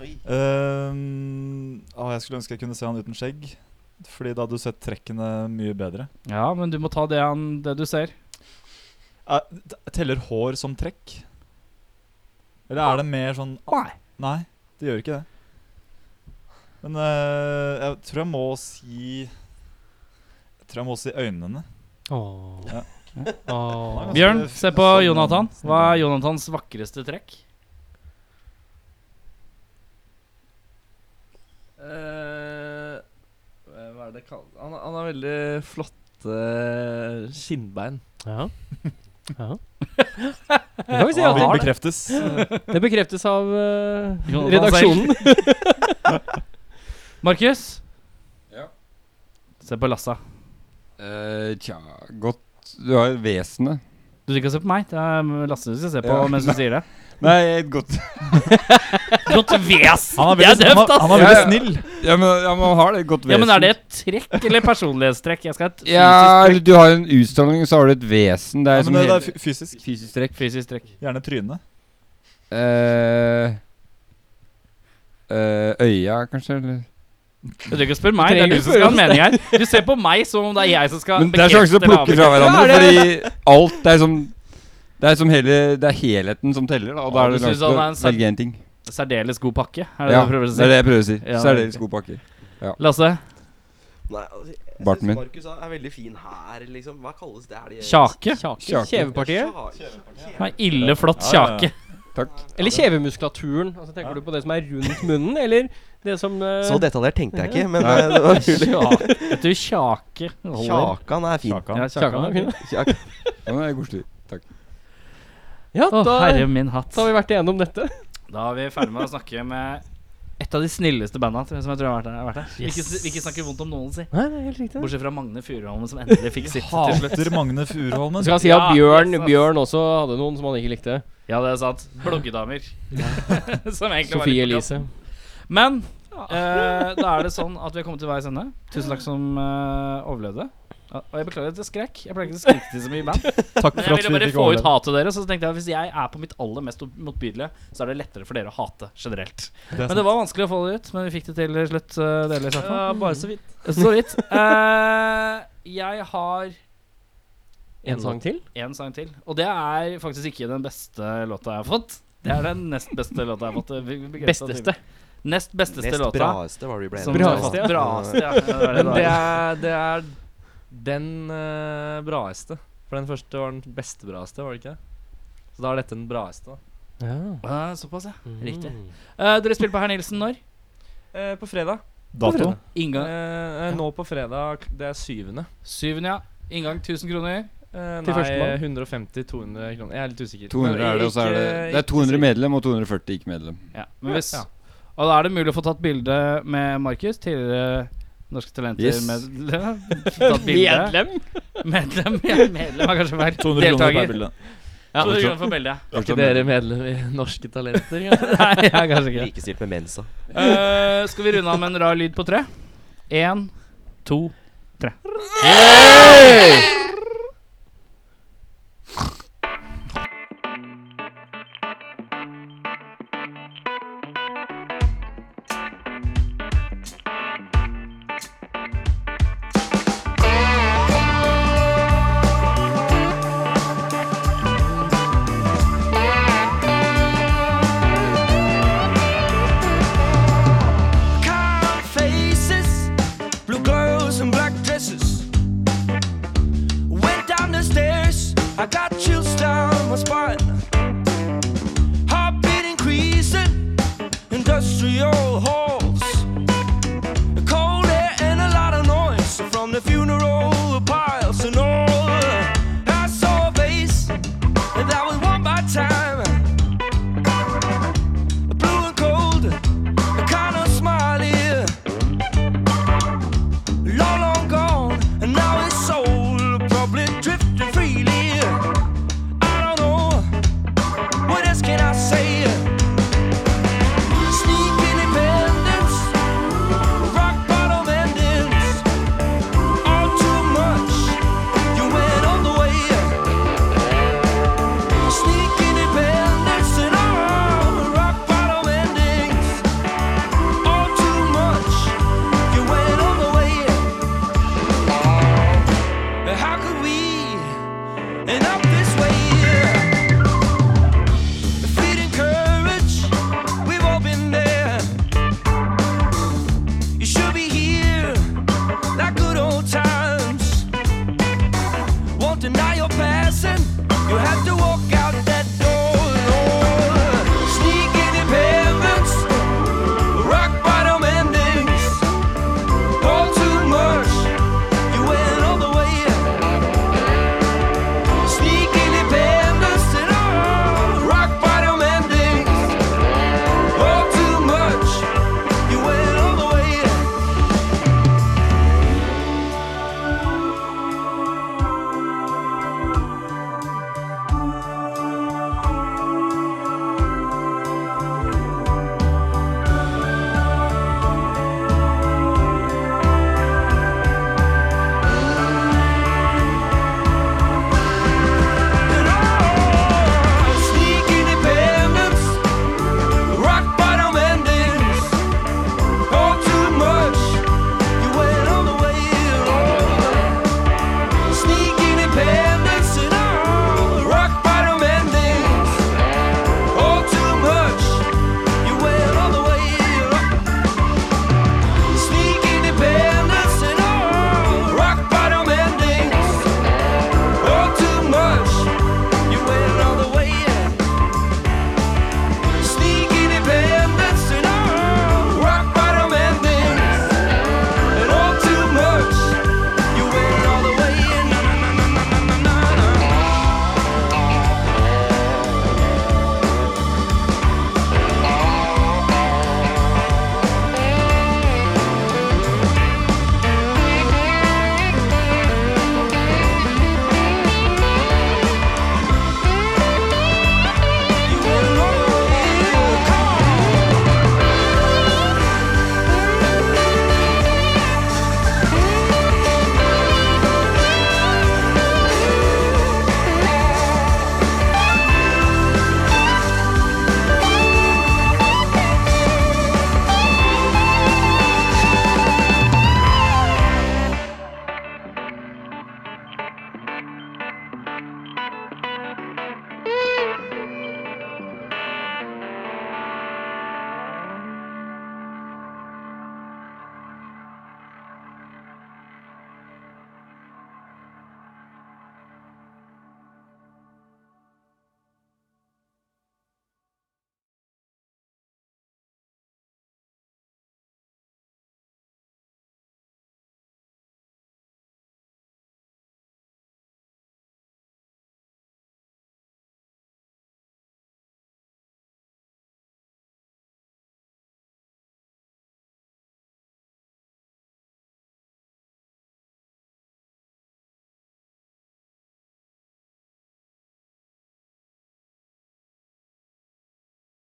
Speaker 5: Ehm, å, jeg skulle ønske jeg kunne se han uten skjegg. Fordi da hadde du sett trekkene mye bedre.
Speaker 3: Ja, men du må ta det, han, det du ser.
Speaker 5: Eh, t- teller hår som trekk? Eller er det mer sånn
Speaker 3: Nei.
Speaker 5: Nei, det gjør ikke det. Men eh, jeg tror jeg må si Jeg tror jeg må si øynene. Ja.
Speaker 2: Mm. Åh.
Speaker 3: Bjørn, se på
Speaker 5: sånn-
Speaker 3: Jonathan. Hva er Jonathans vakreste trekk?
Speaker 6: Eh, hva er det kall- han, han har veldig flotte skinnbein.
Speaker 2: Ja. ja. Det kan vi si.
Speaker 5: Ja,
Speaker 2: at
Speaker 5: det
Speaker 2: det,
Speaker 5: bekreftes.
Speaker 2: det bekreftes av eh,
Speaker 3: Jonathan
Speaker 2: redaksjonen.
Speaker 3: Markus?
Speaker 8: Ja.
Speaker 3: Se på Lassa.
Speaker 8: Eh, tja, godt Du har vesenet.
Speaker 3: Du skal ikke se på meg. Det er Lasse du skal se på
Speaker 8: Ja.
Speaker 3: mens du sier det.
Speaker 8: Nei, et godt
Speaker 3: Godt vesen!
Speaker 5: Han er
Speaker 3: Det er
Speaker 5: veldig, han,
Speaker 3: døvt,
Speaker 5: er-
Speaker 3: ass!
Speaker 5: han er
Speaker 8: Ja,
Speaker 5: veldig
Speaker 8: ja.
Speaker 5: snill.
Speaker 8: Ja, men, ja, man har det. Et godt vesen.
Speaker 3: Ja, men er det et trekk eller personlighetstrekk? Jeg skal ha et fysisk
Speaker 8: Ja,
Speaker 3: trekk.
Speaker 8: du har en utstråling, så har du et vesen. Det
Speaker 5: Ja,
Speaker 8: er
Speaker 5: men
Speaker 8: som
Speaker 5: det, det
Speaker 8: hele
Speaker 5: er fy- fysisk.
Speaker 8: Fysisk trekk.
Speaker 3: Fysisk trekk.
Speaker 5: Gjerne trynet.
Speaker 8: Eh, eh, øya, kanskje? Eller?
Speaker 3: Du trenger ikke å spørre meg. Det er
Speaker 2: Trenger
Speaker 3: du
Speaker 2: ikke
Speaker 3: som skal
Speaker 2: spørre
Speaker 3: ha en mening her. Du ser på meg som om det er jeg som skal
Speaker 8: Men det er sjanse til å
Speaker 3: eller
Speaker 8: plukke fra
Speaker 3: avkrefte.
Speaker 8: hverandre,
Speaker 2: Ja, det-
Speaker 8: fordi alt Det er som Det er som hele Det er helheten som teller, da. Og
Speaker 3: Ja,
Speaker 8: da er det
Speaker 3: du synes
Speaker 8: langt
Speaker 3: han er
Speaker 8: å
Speaker 3: en sant-
Speaker 8: velge én ting.
Speaker 3: Særdeles god pakke. Er det
Speaker 8: Ja,
Speaker 3: det du prøver å
Speaker 8: det er
Speaker 3: si?
Speaker 8: det jeg prøver å si.
Speaker 3: Ja,
Speaker 8: Særdeles
Speaker 3: ok.
Speaker 8: god pakke.
Speaker 3: Lasse?
Speaker 7: Nei, altså, jeg synes
Speaker 8: Barten min.
Speaker 7: Markus er veldig fin her, liksom. Hva kalles det? Er det
Speaker 3: Kjake?
Speaker 2: Kjake. Kjevepartiet.
Speaker 7: Kjevepartiet.
Speaker 3: Nei, ille flott
Speaker 5: Ja, ja, ja.
Speaker 3: kjake.
Speaker 8: Takk.
Speaker 2: Eller kjevemuskulaturen. Altså, tenker du på det som er rundt munnen, eller det som eh,
Speaker 7: Så detaljert tenkte jeg ikke, men
Speaker 8: Nei.
Speaker 7: eh, det var mulig.
Speaker 3: Kjake. Jeg tror kjake holder.
Speaker 7: Kjakan er fin.
Speaker 5: Kjakan.
Speaker 3: Ja, kjakan er fin.
Speaker 7: Kjak-
Speaker 8: Ja, det er god stil. Takk.
Speaker 2: Ja,
Speaker 3: Å,
Speaker 2: da,
Speaker 3: herre min hatt.
Speaker 2: da har vi vært igjennom dette.
Speaker 3: Da er vi ferdig med å snakke med et av de snilleste banda som jeg tror har vært her. Har vært her. Vi ikke, vi ikke snakker vondt om noen, si.
Speaker 2: Nei, det er helt riktig.
Speaker 3: Bortsett fra Magne Furuholmen, som endelig fikk sitt til slutt.
Speaker 5: Hater Magne Furuholmen.
Speaker 2: Skal jeg si at
Speaker 3: Ja,
Speaker 2: Bjørn,
Speaker 3: yes, ass.
Speaker 2: Bjørn også hadde noen som han ikke likte.
Speaker 3: Ja, det er sant. Bloggedamer. som egentlig
Speaker 2: Sofie
Speaker 3: var litt på
Speaker 2: Elise.
Speaker 3: kanten. Men eh, da er det sånn at vi er kommet til veis ende. Tusen takk som eh, overlevde. Ja, Og jeg beklager at jeg skrek. Jeg pleier ikke å skrike til så mye i band.
Speaker 5: Takk
Speaker 3: Men
Speaker 5: for
Speaker 3: jeg
Speaker 5: at
Speaker 3: ville
Speaker 5: vi
Speaker 3: bare
Speaker 5: fikk
Speaker 3: få ut
Speaker 5: overleve.
Speaker 3: hatet deres. Og så tenkte jeg at hvis jeg er på mitt aller mest motbydelige, så er det lettere for dere å hate generelt.
Speaker 5: Det er
Speaker 3: Men det
Speaker 5: sant.
Speaker 3: var vanskelig å få det ut, men vi fikk det til til slutt. eh, delvis, i hvert fall.
Speaker 6: Ja, bare så vidt.
Speaker 3: Så vidt. Eh, jeg har
Speaker 2: En sang til.
Speaker 3: en sang til. Og det er faktisk ikke den beste låta jeg har fått. Det er den nest beste låta jeg har fått. eh, vi- vi begrenset
Speaker 2: Besteste.
Speaker 3: til- Nest besteste
Speaker 7: Nest
Speaker 3: låta.
Speaker 7: braeste var det vi ble
Speaker 3: som-
Speaker 7: enige om.
Speaker 2: Braeste,
Speaker 3: ja. Braeste, ja.
Speaker 6: Men det er, Eh, det er den eh, braeste. For den første var den beste braeste, var det ikke? det? Så da er dette den braeste. da.
Speaker 3: Eh, Såpass, ja. Riktig.
Speaker 2: Mm.
Speaker 3: Eh, dere spilte på Herr Nilsen når?
Speaker 6: Eh, på fredag.
Speaker 5: Dato.
Speaker 3: Inngang
Speaker 6: Eh, eh, nå på fredag, det er syvende.
Speaker 3: 7. ja. Inngang 1000 kroner.
Speaker 6: Eh,
Speaker 2: Til
Speaker 6: nei,
Speaker 2: førstemann.
Speaker 6: 150-200 kroner. Jeg er litt usikker.
Speaker 8: 200
Speaker 6: Men
Speaker 8: er det, og så er det
Speaker 6: ikke-
Speaker 8: Det er 200
Speaker 6: ikke
Speaker 8: medlem og 240 ikke-medlem.
Speaker 3: Ja, men hvis,
Speaker 6: Ja.
Speaker 3: Og da er det mulig å få tatt bilde med Markus, tidligere Norske Talenter
Speaker 8: Yes.
Speaker 3: medlem. Tatt bilde. Medlem, ja, medlem er kanskje feil.
Speaker 5: 200 kroner per
Speaker 3: Deltaker.
Speaker 5: bilde.
Speaker 3: Ja, 200 kroner for bildet.
Speaker 6: sikker. Er ikke dere medlem i Norske Talenter? kanskje?
Speaker 3: Nei, jeg er kanskje ikke det.
Speaker 7: Likestilt med Mensa.
Speaker 3: Eh, skal vi runde av med en rar lyd på tre? Én, to, tre.
Speaker 1: Calm faces, blue clothes and black dresses. Went down the stairs, I got you